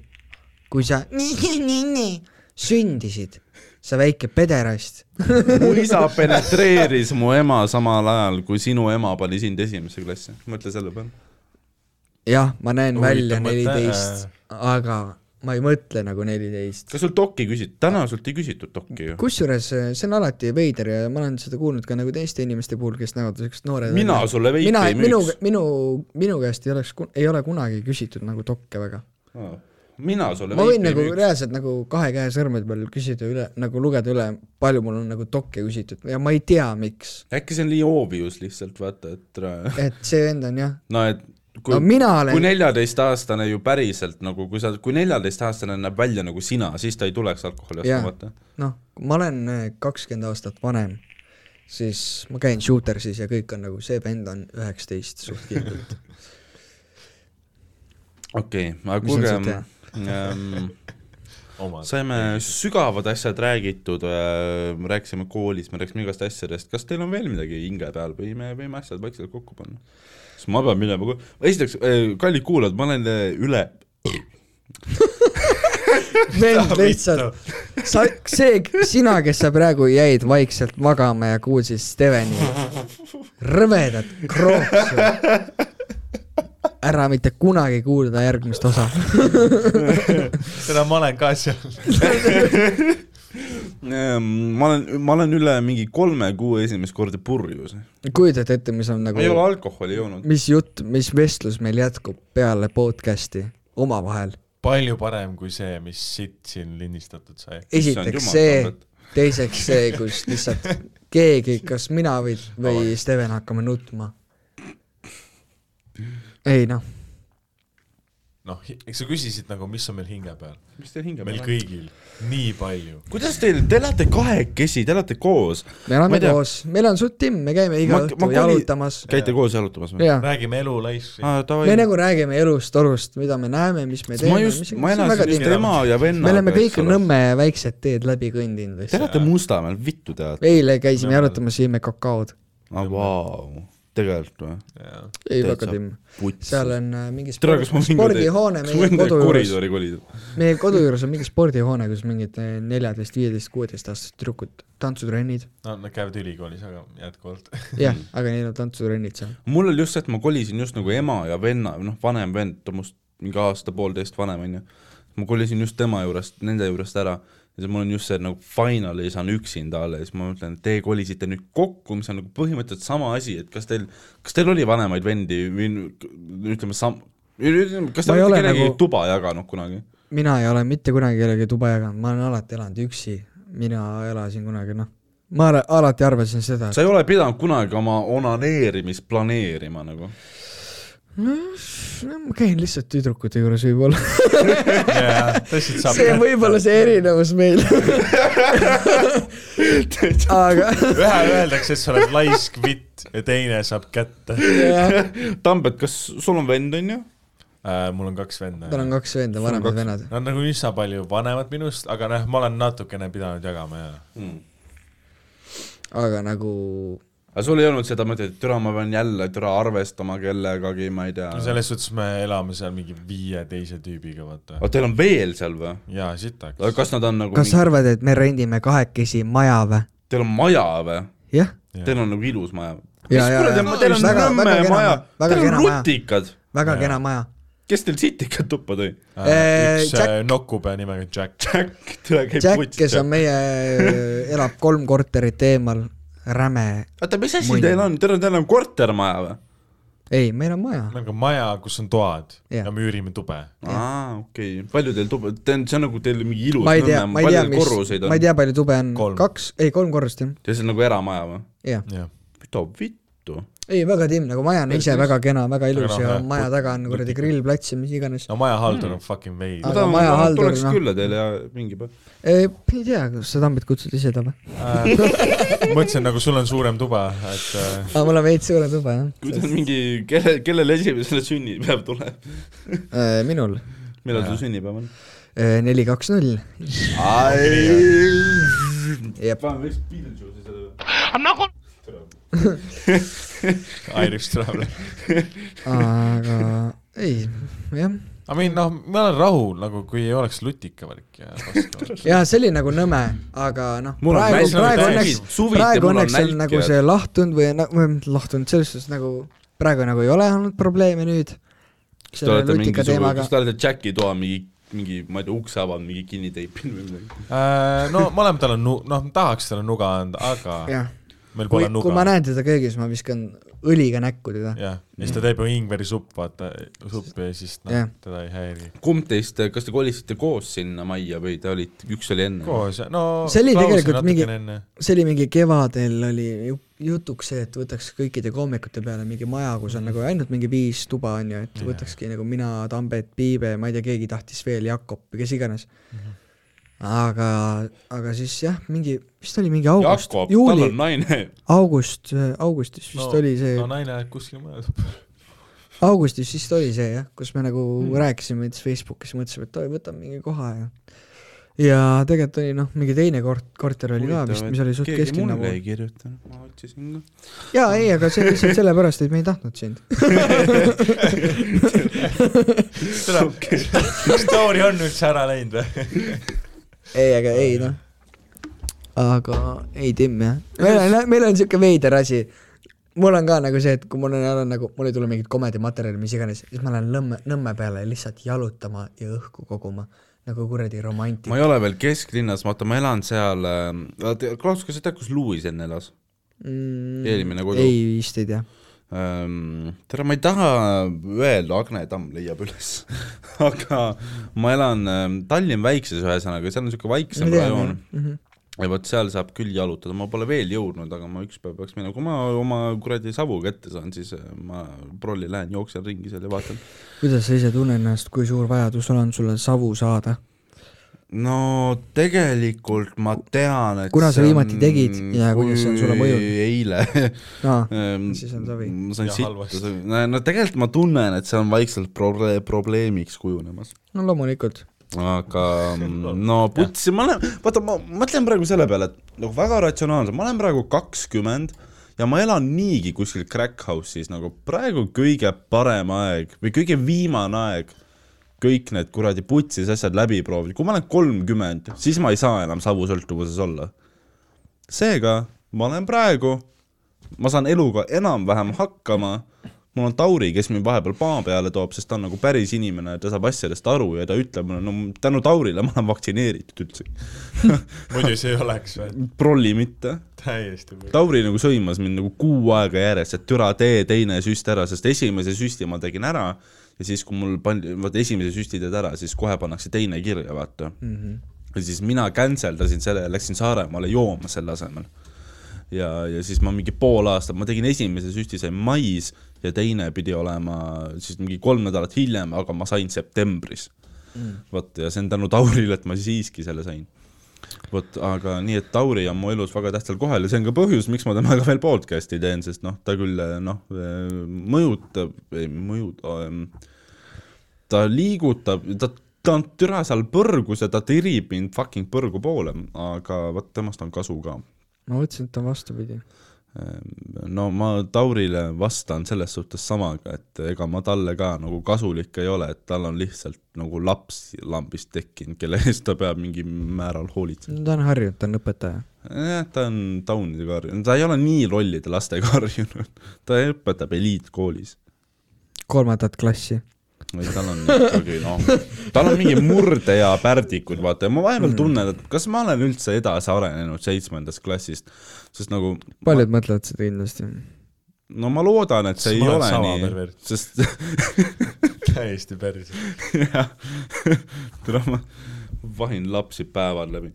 Speaker 3: kui sa nii-nii-nii sündisid , sa väike pederast .
Speaker 2: mu isa penetreeris mu ema samal ajal , kui sinu ema pani sind esimesse klassi . mõtle selle peale .
Speaker 3: jah , ma näen
Speaker 1: Huvitav
Speaker 3: välja
Speaker 1: mõte.
Speaker 3: neliteist , aga ma ei mõtle nagu neliteist .
Speaker 2: kas sul dokki küsiti , täna sult ei küsitud dokki ju .
Speaker 3: kusjuures eh, see on alati veider ja ma olen seda kuulnud ka nagu teiste inimeste puhul , kes näevad siuksed noored
Speaker 2: mina
Speaker 3: välja.
Speaker 2: sulle veiki
Speaker 3: mina ,
Speaker 2: ei
Speaker 3: minu
Speaker 2: müüks .,
Speaker 3: minu , minu käest ei oleks , ei ole kunagi küsitud nagu dokke väga .
Speaker 2: mina sulle
Speaker 3: ma võin
Speaker 2: veiki ei
Speaker 3: nagu
Speaker 2: müüks .
Speaker 3: reaalselt nagu kahe käe sõrmede peal küsida üle , nagu lugeda üle , palju mul on nagu dokke küsitud ja ma ei tea , miks .
Speaker 2: äkki see on nii obvious lihtsalt , vaata , et ra-
Speaker 3: et see vend on jah ,
Speaker 2: no et kui
Speaker 3: no mina
Speaker 2: kui
Speaker 3: olen ,
Speaker 2: neljateistaastane ju päriselt nagu , kui sa , kui neljateistaastane näeb välja nagu sina , siis ta ei tuleks alkoholi
Speaker 3: Jaa.
Speaker 2: ostma , vaata .
Speaker 3: noh , ma olen kakskümmend aastat vanem , siis ma käin shootersis ja kõik on nagu , see vend on üheksateist suht kindlalt .
Speaker 2: okei okay, , aga
Speaker 3: Mis on
Speaker 2: kuulge
Speaker 3: siit hea?
Speaker 2: ähm, ,
Speaker 1: omad .
Speaker 2: saime sügavad asjad räägitud äh, , rääkisime koolist , me rääkisime igast asjadest , kas teil on veel midagi hinge peal või me võime asjad vaikselt kokku panna ? sest ma pean minema , esiteks , kallid kuulajad , ma olen äh, üle ,
Speaker 3: vend lihtsalt , sa , see , sina , kes sa praegu jäid vaikselt magama ja kuulsid Steveni rõvedat krooksu . ära mitte kunagi kuulda järgmist osa .
Speaker 1: seda ma olen ka seal .
Speaker 2: ähm, ma olen , ma olen üle mingi kolme kuu esimest korda purjus .
Speaker 3: kujutad ette , mis on
Speaker 2: ma ei ole
Speaker 3: nagu ,
Speaker 2: alkoholi joonud .
Speaker 3: mis jutt , mis vestlus meil jätkub peale podcast'i omavahel ?
Speaker 1: palju parem kui see , mis siit siin lindistatud sai .
Speaker 3: esiteks see , teiseks see , kus lihtsalt keegi , kas mina või , või Steven hakkame nutma . ei noh ,
Speaker 1: noh , eks sa küsisid nagu , mis on meil hinge peal .
Speaker 2: mis teil hinge
Speaker 1: meil
Speaker 2: peal on ?
Speaker 1: kõigil nii palju .
Speaker 2: kuidas teil , te elate kahekesi , te elate koos ,
Speaker 3: me
Speaker 2: Ma
Speaker 3: oleme
Speaker 2: ei tea.
Speaker 3: koos , meil on suht timm , me käime iga
Speaker 2: Ma- ma
Speaker 3: õhtu ma
Speaker 2: koli-
Speaker 3: jalutamas
Speaker 2: käite koos jalutamas või ?
Speaker 3: ja
Speaker 1: räägime elu laisk- .
Speaker 2: aa , davai
Speaker 3: me . nagu räägime elust , orust , mida me näeme , mis me
Speaker 2: ma
Speaker 3: teeme ,
Speaker 2: just
Speaker 3: mis ,
Speaker 2: ma
Speaker 3: see on väga
Speaker 2: elasin just
Speaker 1: tihe.
Speaker 3: tihe .
Speaker 2: ema ja vennaga .
Speaker 3: me oleme kõik Nõmme väiksed teed läbi kõndinud
Speaker 2: Te
Speaker 3: lihtsalt .
Speaker 2: elate Mustamäel , vittu teate .
Speaker 3: eile käisime jalutamas , jõime kakaod .
Speaker 2: aa , vau , tegelikult või ?
Speaker 3: ei ,
Speaker 2: Täitsa
Speaker 3: väga timm .
Speaker 2: putsi .
Speaker 3: seal on äh, mingi
Speaker 2: tere , kas ma
Speaker 3: spordi-
Speaker 2: võin ka teid ,
Speaker 3: spordihoone
Speaker 2: kas ma
Speaker 3: meie
Speaker 2: võin teid
Speaker 3: kodu juures ,
Speaker 2: koridori kolida ?
Speaker 3: meie kodu juures on mingi spordihoone , kus mingid eh, neljateist , viieteist , kuueteist aastased tüdrukud , tantsutrennid ,
Speaker 1: no nad käivad ülikoolis , aga jätkuvalt .
Speaker 3: jah , aga neil on tantsutrennid seal .
Speaker 2: mul oli just see , et ma kolisin just nagu ema ja venna , noh , vanem vend , ta on must mingi aasta-poolteist vanem , onju . ma kolisin just tema juurest , nende juurest ära ja siis mul on just see nagu finally saan üksinda alla ja siis ma mõtlen , et te kolisite nüüd kokku , mis on nagu põhimõtteliselt sama asi , et kas teil , kas teil oli vanemaid vendi või n- ütleme sam- , ütleme , kas te
Speaker 3: Ma ei
Speaker 2: olete
Speaker 3: ole
Speaker 2: kellegi
Speaker 3: nagu-
Speaker 2: nagu... tuba jaganud kunagi ?
Speaker 3: mina ei ole mitte kunagi kellegi tuba jaganud , ma olen alati elanud üksi , mina elasin kunagi noh , ma ala- alati arvasin seda ,
Speaker 2: sa ei ole pidanud kunagi oma onaneerimist planeerima nagu ?
Speaker 3: no "Noh, ma käin lihtsalt tüdrukute juures võib-olla ,
Speaker 1: tõstsid saab
Speaker 3: see on võib-olla see erinevus meil . aga
Speaker 1: ühe öeldakse , et sa oled laisk vitt ja teine saab kätte
Speaker 3: jah ,
Speaker 2: Tambet , kas sul on vend , on ju ?
Speaker 1: äh, . mul on kaks venda .
Speaker 3: tal on kaks venda ,
Speaker 2: Sul on
Speaker 3: vanemad
Speaker 2: kaks-
Speaker 3: vennad .
Speaker 1: Nad on nagu üsna palju vanemad minust , aga noh , ma olen natukene pidanud jagama ja
Speaker 3: aga nagu
Speaker 2: aga sul ei olnud seda mõtet , et türa , ma pean jälle türa arvestama kellegagi , ma ei tea .
Speaker 1: no selles suhtes me elame seal mingi viie teise tüübiga , vaata .
Speaker 2: aga teil on veel seal või ?
Speaker 1: jaa , sitaks .
Speaker 2: kas nad on nagu
Speaker 3: kas sa , arvad , et me rendime kahekesi maja või ?
Speaker 2: teil on maja või ?
Speaker 3: jah ,
Speaker 2: Teil on nagu ilus maja .
Speaker 3: Jaa,
Speaker 2: mis
Speaker 3: jaa,
Speaker 2: kuradi
Speaker 3: jaa. ,
Speaker 2: teil on
Speaker 3: Väga-
Speaker 2: Nõmme
Speaker 3: väga
Speaker 2: maja
Speaker 3: kena maja, , väga
Speaker 2: teil on
Speaker 3: kena maja.
Speaker 2: rutikad .
Speaker 3: väga
Speaker 1: Jaa.
Speaker 3: kena maja .
Speaker 2: kes teil sitikad tuppa tõi ?
Speaker 3: Äh,
Speaker 1: üks
Speaker 3: Jack-
Speaker 1: äh, nokupea nimega Jack .
Speaker 2: Jack , türa käib
Speaker 3: Jack , kes on . meie , elab kolm korterit eemal , räme ,
Speaker 2: oota , mis asi
Speaker 3: Mõni.
Speaker 2: teil on , teil on , teil on kortermaja või ?
Speaker 3: ei , meil on maja
Speaker 1: meil on ka maja , kus on toad
Speaker 3: Jah.
Speaker 1: ja me üürime tube .
Speaker 2: aa , okei okay. , palju teil tuba , see on , see on nagu teil mingi ilus
Speaker 3: ma ei tea , ma ei tea , mis
Speaker 2: korruseid , on
Speaker 3: ma ei ? tea , palju tube on
Speaker 1: Kolm. ,
Speaker 3: kaks , ei kolm korrust jah ,
Speaker 2: ja see on nagu eramaja või ?
Speaker 3: jah .
Speaker 1: jah ,
Speaker 2: mida vittu ?
Speaker 3: ei , väga timm , nagu maja on ise väga kena , väga ilus
Speaker 1: Väga
Speaker 3: ja
Speaker 1: lahe.
Speaker 3: maja taga on kuradi grillplats ja mis iganes .
Speaker 1: no majahaldur on fucking veid
Speaker 3: Aga Ah. majahaldur,
Speaker 2: tuleks
Speaker 3: noh.
Speaker 2: külla teile ja mingi päev .
Speaker 3: ei tea , kas sa Tambit kutsud ise talle ?
Speaker 1: äh, . mõtlesin nagu sul on suurem tuba , et äh,
Speaker 3: aa , mul on veits suurem tuba
Speaker 2: kui teil mingi , kelle , kellel esimesele sünnipäev tuleb ?
Speaker 3: jah . Äh, minul Äh,
Speaker 2: millal
Speaker 1: Jaa.
Speaker 2: su sünnipäev on ?
Speaker 3: neli , kaks , null . Jep.
Speaker 2: paneme vist Beetlejuice'i selle peale .
Speaker 1: Irish Traveler .
Speaker 3: aga ei , jah .
Speaker 1: I mean , noh , ma olen rahul nagu , kui ei oleks lutikavärk ja vastu .
Speaker 3: jaa , see oli nagu nõme , aga noh ,
Speaker 2: Mul on
Speaker 3: praegu ,
Speaker 1: väsinud
Speaker 3: praegu
Speaker 1: täis.
Speaker 3: õnneks ,
Speaker 2: Suviti
Speaker 3: praegu
Speaker 2: mul on
Speaker 3: õnneks on
Speaker 2: nälg
Speaker 3: nagu
Speaker 2: ja-
Speaker 3: see lahtunud või na- või lahtunud , selles suhtes nagu praegu nagu ei ole olnud probleeme nüüd ,
Speaker 2: kas te
Speaker 3: selle
Speaker 2: olete
Speaker 3: nutika
Speaker 2: mingisugune ,
Speaker 3: teemaga
Speaker 2: kas . te olete Jacki toa mingi , mingi , ma ei tea , ukse avanud , mingi kinni teipinud või midagi ?
Speaker 1: Äh, no mõlemal tal on nu- , noh , tahaks talle nuga anda , aga
Speaker 3: jah ,
Speaker 1: meil
Speaker 3: kui
Speaker 1: pole ,
Speaker 3: kui ma
Speaker 1: nuga .
Speaker 3: näen teda köögis , ma viskan õliga näkku teda .
Speaker 1: jah , ja siis ta teeb ju ingverisuppi , vaata , suppi ja siis
Speaker 3: Mm. Jah.
Speaker 1: noh , teda ei häiri .
Speaker 2: kumb teist , kas te kolisite koos sinna majja või te olite , üks oli enne ?
Speaker 1: koos , no
Speaker 3: See oli
Speaker 1: Klaus
Speaker 3: tegelikult mingi-
Speaker 1: natukene enne.
Speaker 3: see oli mingi kevadel oli ju- jutuks see , et võtaks kõikide koomikute peale mingi maja , kus on nagu ainult mingi viis tuba on ju , et
Speaker 1: Jah.
Speaker 3: võtakski nagu mina , Tambet , Piibe , ma ei tea , keegi tahtis veel , Jakob või kes iganes .
Speaker 2: Mhm.
Speaker 3: aga , aga siis jah , mingi , vist oli mingi august ,
Speaker 2: Jakob , tal
Speaker 3: juuli
Speaker 2: on , naine .
Speaker 3: august , augustis vist
Speaker 1: No,
Speaker 3: no, oli see
Speaker 1: no
Speaker 3: no, ,
Speaker 1: naine kuskil mujal .
Speaker 3: augustis vist oli see jah , kus me nagu
Speaker 2: Mhm.
Speaker 3: mm. rääkisime näiteks Facebookis , mõtlesime , et oi , võtame mingi koha ja ja tegelikult oli noh , mingi teine kort- , korter oli ka vist , mis oli suht nagu. kesklinna pool
Speaker 2: mulle . ei kirjutanud , ma otsisin ka .
Speaker 3: jaa , ei , aga see on lihtsalt sellepärast , et me ei tahtnud sind .
Speaker 1: seda , story on üldse ära läinud või ?
Speaker 3: ei , aga ei noh . aga ei Tim jah , meil on , meil on siuke veider asi . mul on ka nagu see , et kui mul on, on nagu , mul ei tule mingit komedimaterjali , mis iganes , siis ma lähen Nõmme , Nõmme peale lihtsalt jalutama ja õhku koguma nagu kuradi romantik
Speaker 2: ma . ei ole veel kesklinnas , vaata , ma elan seal , Klaus , kas sa tead , kus Luis enne elas ?
Speaker 3: Mm,
Speaker 2: eelmine kodu.
Speaker 3: ei vist ei tea .
Speaker 2: Ähm, tere , ma ei taha öelda , Agne Tamm leiab üles , aga ma elan ähm, Tallinn väikses ühesõnaga , seal on niisugune vaiksem rajoon
Speaker 3: Mhm.
Speaker 2: ja vot seal saab küll jalutada , ma pole veel jõudnud , aga ma üks päev peaks minema , kui ma oma kuradi savu kätte saan , siis äh, ma prolli lähen , jooksen ringi seal ja vaatan .
Speaker 3: kuidas sa ise tunned ennast , kui suur vajadus on sulle savu saada ?
Speaker 2: no tegelikult ma tean , et
Speaker 3: Kuna sa
Speaker 2: see
Speaker 3: viimati
Speaker 2: on-
Speaker 3: tegid ja kuidas see on sulle
Speaker 2: kui
Speaker 3: mõjunud?
Speaker 2: eile
Speaker 3: aa ,
Speaker 2: Ehm,
Speaker 3: Siis on savi.
Speaker 2: ma sain
Speaker 1: Ja halvasti.
Speaker 2: sittu , no tegelikult ma tunnen , et see on vaikselt proble- , probleemiks kujunemas .
Speaker 3: no loomulikult .
Speaker 2: aga no putsi , ma olen , vaata , ma mõtlen praegu selle peale , et nagu väga ratsionaalselt , ma olen praegu kakskümmend ja ma elan niigi kuskil crack house'is nagu praegu kõige parem aeg või kõige viimane aeg kõik need kuradi putsis asjad läbi proovida , kui ma olen kolmkümmend , siis ma ei saa enam savusõltuvuses olla . seega ma olen praegu , ma saan eluga enam-vähem hakkama , mul on Tauri , kes mind vahepeal maa peale toob , sest ta on nagu päris inimene , ta saab asjadest aru ja ta ütleb mulle , no tänu Taurile ma olen vaktsineeritud üldse ,
Speaker 1: muidu see ei oleks või ?
Speaker 2: prolli mitte
Speaker 1: täiesti .
Speaker 2: Tauri nagu sõimas mind nagu kuu aega järjest , et türa tee teine süst ära , sest esimese süsti ma tegin ära ja siis , kui mul pandi , vaata esimese süsti teed ära , siis kohe pannakse teine kirja , vaata mm . -hmm. ja siis mina cancel dasin selle ja läksin Saaremaale jooma selle asemel . ja , ja siis ma mingi pool aastat , ma tegin esimese süsti sai mais ja teine pidi olema siis mingi kolm nädalat hiljem , aga ma sain septembris mm. . vot ja see on tänu Taurile , et ma siiski selle sain vot , aga nii , et Tauri on mu elus väga tähtsal kohal ja see on ka põhjus , miks ma temaga veel podcast'i teen , sest noh , ta küll noh , mõjutab , ei mõjuta , ta liigutab , ta , ta on türa seal põrgus ja ta tirib mind fucking põrgu poole , aga vot temast on kasu ka .
Speaker 3: ma mõtlesin , et on vastupidi .
Speaker 2: no ma Taurile vastan selles suhtes samaga , et ega ma talle ka nagu kasulik ei ole , et tal on lihtsalt nagu laps lambist tekkinud , kelle eest ta peab mingil määral hoolitsema .
Speaker 3: ta on harjunud , ta on õpetaja .
Speaker 2: jah , Eh, ta on taunide karjunud , ta ei ole nii lollide lastega harjunud , ta õpetab eliitkoolis .
Speaker 3: kolmandat klassi .
Speaker 2: või tal on ikkagi noh , tal on mingi murde ja pärdikud , vaata ja ma
Speaker 1: Mm.
Speaker 2: vahepeal tunnen , et kas ma olen üldse edasi arenenud seitsmendast klassist , sest nagu
Speaker 3: paljud ma... mõtlevad seda kindlasti .
Speaker 2: no ma loodan , et see ei
Speaker 1: Kas ma olen
Speaker 2: ole
Speaker 1: sama
Speaker 2: nii
Speaker 1: pervert? ,
Speaker 2: sest
Speaker 1: täiesti päris .
Speaker 2: jah , tule ma vahin lapsi päevad läbi .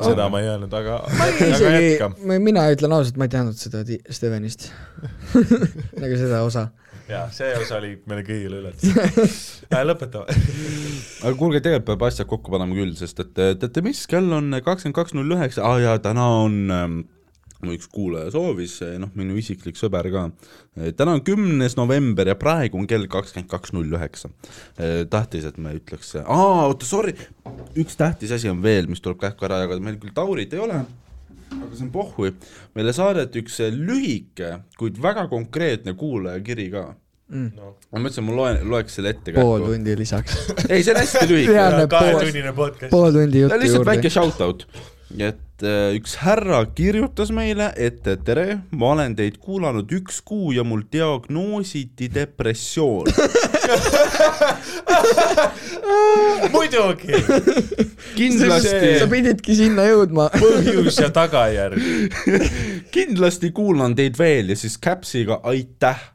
Speaker 1: seda ma ei öelnud , aga , aga jätka .
Speaker 3: isegi , mina ütlen ausalt , ma ei teadnud seda Ti- Stevenist . nagu seda osa .
Speaker 1: jaa , see osa oli meile kõigile üllatus . lõpetame .
Speaker 2: aga kuulge , tegelikult peab asjad kokku panema küll , sest et eh, teate mis , kell on kakskümmend kaks null üheksa , aa jaa , täna on ähm, mu üks kuulaja soovis , noh , minu isiklik sõber ka . täna on kümnes november ja praegu on kell kakskümmend kaks null üheksa . tähtis , et me ütleks , aa , oota , sorry , üks tähtis asi on veel , mis tuleb kähku ära jagada , meil küll Taurit ei ole , aga see on pohhui . meile saadeti üks eh, lühike , kuid väga konkreetne kuulajakiri ka . ma mõtlesin , ma loen , loeks selle ette
Speaker 3: pool . tundi lisaks .
Speaker 2: ei , see on hästi lühike
Speaker 3: Reaalne pool ,
Speaker 1: kahetunnine podcast .
Speaker 3: pool tundi
Speaker 2: no
Speaker 3: juttu
Speaker 2: lihtsalt
Speaker 3: juurde
Speaker 2: väike . shout-out , et et äh, üks härra kirjutas meile , et äh, tere , ma olen teid kuulanud üks kuu ja mul diagnoositi depressioon .
Speaker 1: muidugi ,
Speaker 3: sa
Speaker 2: kindlasti ,
Speaker 3: pididki sinna jõudma .
Speaker 1: põhjus ja tagajärg .
Speaker 2: kindlasti kuulan teid veel ja siis Capsiga aitäh .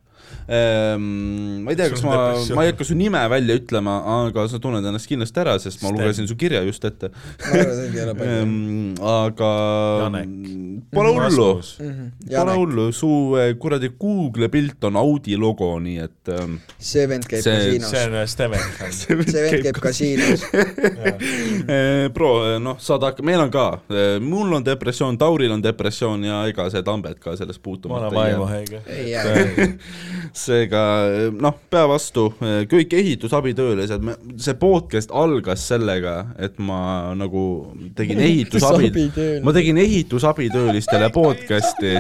Speaker 2: ma ei tea , kas
Speaker 1: Sul
Speaker 2: ma
Speaker 1: on , depressioon.
Speaker 2: ma ei hakka su nime välja ütlema , aga sa tunned ennast kindlasti ära , sest ma
Speaker 1: Sten.
Speaker 2: lugesin su kirja just ette .
Speaker 3: Pole
Speaker 2: aga
Speaker 1: Janek.
Speaker 2: pole hullu
Speaker 3: Mhm.
Speaker 2: pane
Speaker 3: hullu .
Speaker 2: hullu , su eh, kuradi Google pilt on Audi logo , nii et ähm,
Speaker 3: see vend käib
Speaker 2: See-
Speaker 3: kasiinos .
Speaker 1: see on äh, Steven .
Speaker 3: see vend käib kasiinos .
Speaker 2: Eh, pro , noh , saad hakka , meil on ka , mul on depressioon , Tauril on depressioon ja ega see Tambet ka sellest
Speaker 1: vana
Speaker 2: puutumata ei jää .
Speaker 1: vaimahaiga .
Speaker 3: ei jää .
Speaker 2: seega eh, noh , pea vastu , kõik ehitusabitöölised , see podcast algas sellega , et ma nagu tegin ehitusabi , ma tegin ehitusabitöölistele podcast'i ,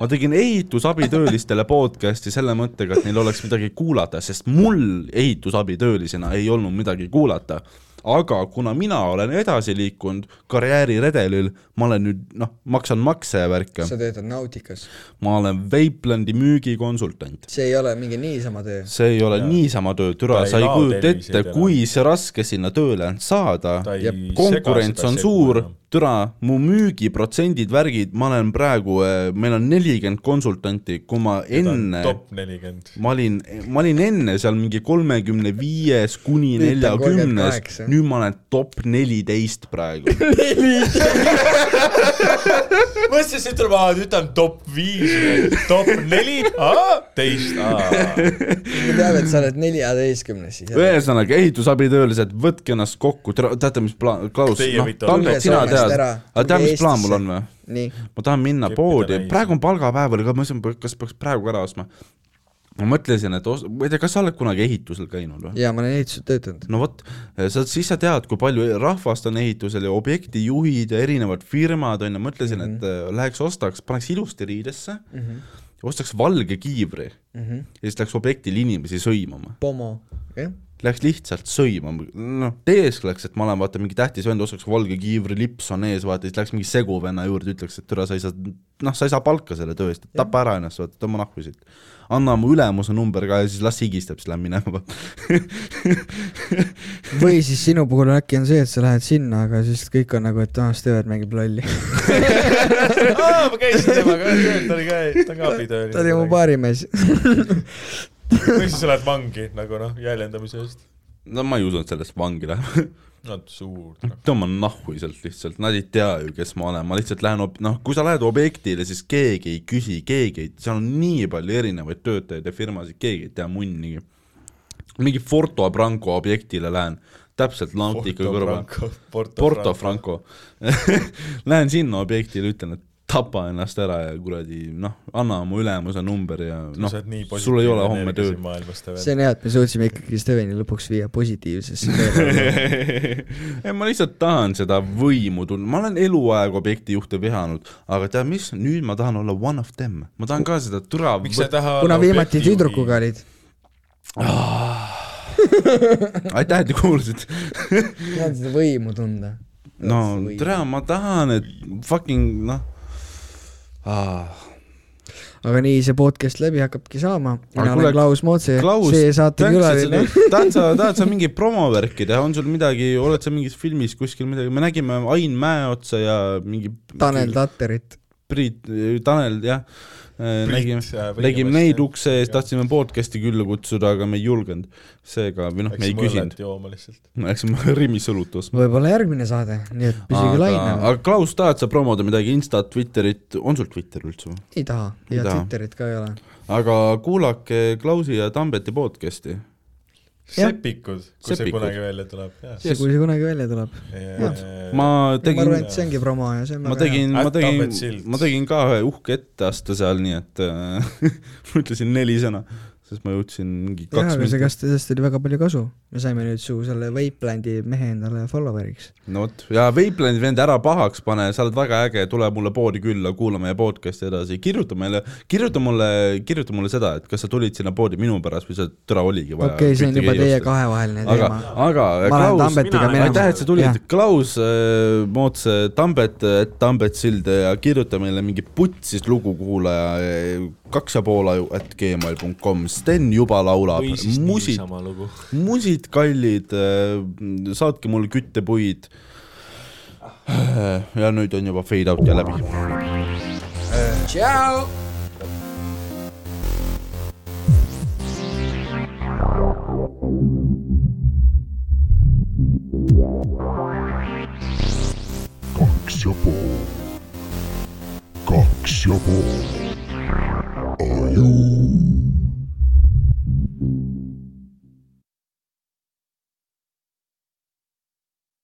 Speaker 2: ma tegin ehitusabitöölistele podcast'i selle mõttega , et neil oleks midagi kuulata , sest mul ehitusabitöölisena ei olnud midagi kuulata . aga kuna mina olen edasi liikunud karjääriredelil , ma olen nüüd noh , maksan makse ja värke ,
Speaker 3: sa töötad Nauticas .
Speaker 2: ma olen Veiplandi müügikonsultant
Speaker 3: see ei ole mingi niisama töö .
Speaker 2: see ei ole ja. niisama töö , türa ,
Speaker 1: Ta ei
Speaker 2: sa ei
Speaker 1: lao
Speaker 2: kujuta
Speaker 1: terviseid
Speaker 2: ette ,
Speaker 1: enam.
Speaker 2: kui see raske sinna tööle on saada
Speaker 1: Ta ei
Speaker 2: ja
Speaker 1: sega
Speaker 2: konkurents
Speaker 1: seda
Speaker 2: on
Speaker 1: segu
Speaker 2: suur
Speaker 1: enam. ,
Speaker 2: türa , mu müügiprotsendid , värgid , ma olen praegu , meil on nelikümmend konsultanti , kui ma enne ,
Speaker 1: top nelikümmend .
Speaker 2: ma olin , ma olin enne seal mingi kolmekümne viies kuni
Speaker 3: Nüüd ta on
Speaker 2: neljakümnes
Speaker 3: 38. ,
Speaker 2: nüüd ma olen top neliteist praegu .
Speaker 1: mõtlesin , et siit tuleb , aa nüüd ta on top viis , top neli , aa teist , aa .
Speaker 3: me teame , et sa oled neljateistkümnes siis .
Speaker 2: ühesõnaga , ehitusabitöölised , võtke ennast kokku , teate , mis plaan , Klaus ,
Speaker 1: Teie
Speaker 2: noh ,
Speaker 1: võite
Speaker 3: olla-
Speaker 2: Tanel , sina
Speaker 3: Tulge Soomest
Speaker 2: tead ,
Speaker 3: ära,
Speaker 2: aga tead ,
Speaker 3: tulge
Speaker 2: mis plaan mul on
Speaker 3: Eestisse.
Speaker 2: või ?
Speaker 3: nii ,
Speaker 2: ma tahan minna
Speaker 1: Keppida
Speaker 2: poodi
Speaker 1: täis. ,
Speaker 2: praegu on palgapäev oli ka , ma mõtlesin , kas peaks praegu ära ostma . ma mõtlesin , et os- , ma ei tea , kas sa oled kunagi ehitusel käinud või ?
Speaker 3: ja ma olen ehitusel töötanud .
Speaker 2: no vot , sa , siis sa tead , kui palju rahvast on ehitusel ja objektijuhid ja erinevad firmad on ju , mõtlesin mm , -hmm. et äh, läheks ostaks , paneks ilusti riidesse mm , -hmm. ostaks valge kiivri mm -hmm. ja siis läheks objektil inimesi sõimama .
Speaker 3: Pomo , jah .
Speaker 2: Läks lihtsalt sõimama , noh , teeskleks , et ma olen vaata mingi tähtis vend , ostaks valge kiivri , lips on ees , vaata , siis läheks mingi seguvenna juurde , ütleks , et türa , sa ei saa , noh , sa ei saa palka selle töö eest , tapa ära ennast , vaata , tõmba nahku siit . anna mu ülemuse number ka ja siis las higistab , siis lähen minema .
Speaker 3: või siis sinu puhul äkki on see , et sa lähed sinna , aga siis kõik on nagu , et aa , Stewart mängib lolli .
Speaker 1: aa , ma käisin temaga ühes tööl , ta oli ka , ta on ka abitööline .
Speaker 3: ta oli mu . baarimees .
Speaker 1: või siis sa lähed vangi nagu noh , jäljendamise eest .
Speaker 2: no ma ei usu , et sellest vangi läheb .
Speaker 1: no suur . noh,
Speaker 2: tõmba nahku sealt lihtsalt , nad ei tea ju , kes ma olen , ma lihtsalt lähen , noh , kui sa lähed objektile , siis keegi ei küsi , keegi ei , seal on nii palju erinevaid töötajaid ja firmasid , keegi ei tea munnigi . mingi Forto Branco objektile lähen , täpselt Nautica kõrval . Porto . Franco . Lähen sinna objektile , ütlen , et tapa ennast ära ja kuradi noh , anna mu ülemuse number ja noh , sul ei ole homme tööd .
Speaker 1: see
Speaker 3: see on hea , et me suutsime ikkagi Steveni lõpuks viia positiivsesse teele .
Speaker 2: ei , ma lihtsalt tahan seda võimu tunda , ma olen eluaeg objektijuhte vihanud , aga tead mis , nüüd ma tahan olla one of them , ma tahan ka seda türa
Speaker 1: miks sa ei taha
Speaker 3: kuna viimati tüdrukuga . olid .
Speaker 2: Ah. aitäh , et te kuulasite .
Speaker 3: tahad seda võimu tunda ?
Speaker 2: no türa , ma tahan , et fucking noh ah. .
Speaker 3: aga nii see podcast läbi hakkabki saama . mina
Speaker 2: kuule,
Speaker 3: olen Klaus Mootse ,
Speaker 2: Klaus,
Speaker 3: see saate külaline .
Speaker 2: tahad sa , tahad sa mingit promovärki teha , on sul midagi , oled sa mingis filmis kuskil midagi , me nägime Ain Mäeotsa ja mingi
Speaker 3: Tanel Tatterit .
Speaker 2: Priit , Tanel jah , nägime , nägime neid . ukse ees , tahtsime podcast'i külla kutsuda , aga me ei julgenud . seega , või noh , me ei küsinud ,.
Speaker 1: jooma lihtsalt .
Speaker 2: eks ma Rimis õlut ostma .
Speaker 3: võib-olla järgmine saade , nii et püsige lainel .
Speaker 2: aga Klaus , tahad sa promoda midagi , Instat , Twitterit , on sul Twitter üldse või ?
Speaker 3: ei taha
Speaker 2: Ei
Speaker 3: ja
Speaker 2: taha.
Speaker 3: Twitterit ka ei ole .
Speaker 2: aga kuulake Klausi ja Tambeti podcast'i .
Speaker 3: Jah.
Speaker 1: sepikud , kui see
Speaker 2: Sepikud.
Speaker 1: kunagi välja tuleb .
Speaker 3: see , kui see kunagi välja tuleb .
Speaker 2: ma
Speaker 3: ma arvan ,
Speaker 2: tegin
Speaker 3: et , see ongi promo ja see on
Speaker 2: ma . tegin , ma
Speaker 1: At
Speaker 2: tegin
Speaker 1: Tambet Sild. ,
Speaker 2: ma tegin ka ühe uhke etteaste seal , nii et äh, ma ütlesin neli sõna . sest ma jõudsin mingi
Speaker 3: jah ,
Speaker 2: kaks
Speaker 3: aga see , kas sellest oli väga palju kasu ? me saime nüüd su selle Vapelandi mehe endale follower'iks .
Speaker 2: no vot , ja Vapelandi vend , ära pahaks pane , sa oled väga äge , tule mulle poodi külla , kuula meie podcast'i edasi , kirjuta meile , kirjuta mulle , kirjuta mulle seda , et kas sa tulid sinna poodi minu pärast või sa türa oligi
Speaker 3: okei
Speaker 2: vaja .
Speaker 3: okay, , see on juba teie . kahevaheline
Speaker 2: aga aga
Speaker 3: teema ., ma lähen
Speaker 2: Klaus ,
Speaker 3: Tambetiga
Speaker 6: mina lähen-
Speaker 3: minema .
Speaker 2: aitäh , et sa tulid , Klaus äh, Moots , Tambet , Tambet Sild ja kirjuta meile mingi putsis lugu kuulaja äh, kaks ja pool aju at gmail punkt com , Sten juba laulab
Speaker 1: või siis ,
Speaker 2: musid ,
Speaker 1: niisama lugu .
Speaker 2: musid kallid , saatke mulle küttepuid . ja nüüd on juba fade out ja läbi .
Speaker 3: tšau .
Speaker 7: kaks ja pool , kaks ja pool , aju .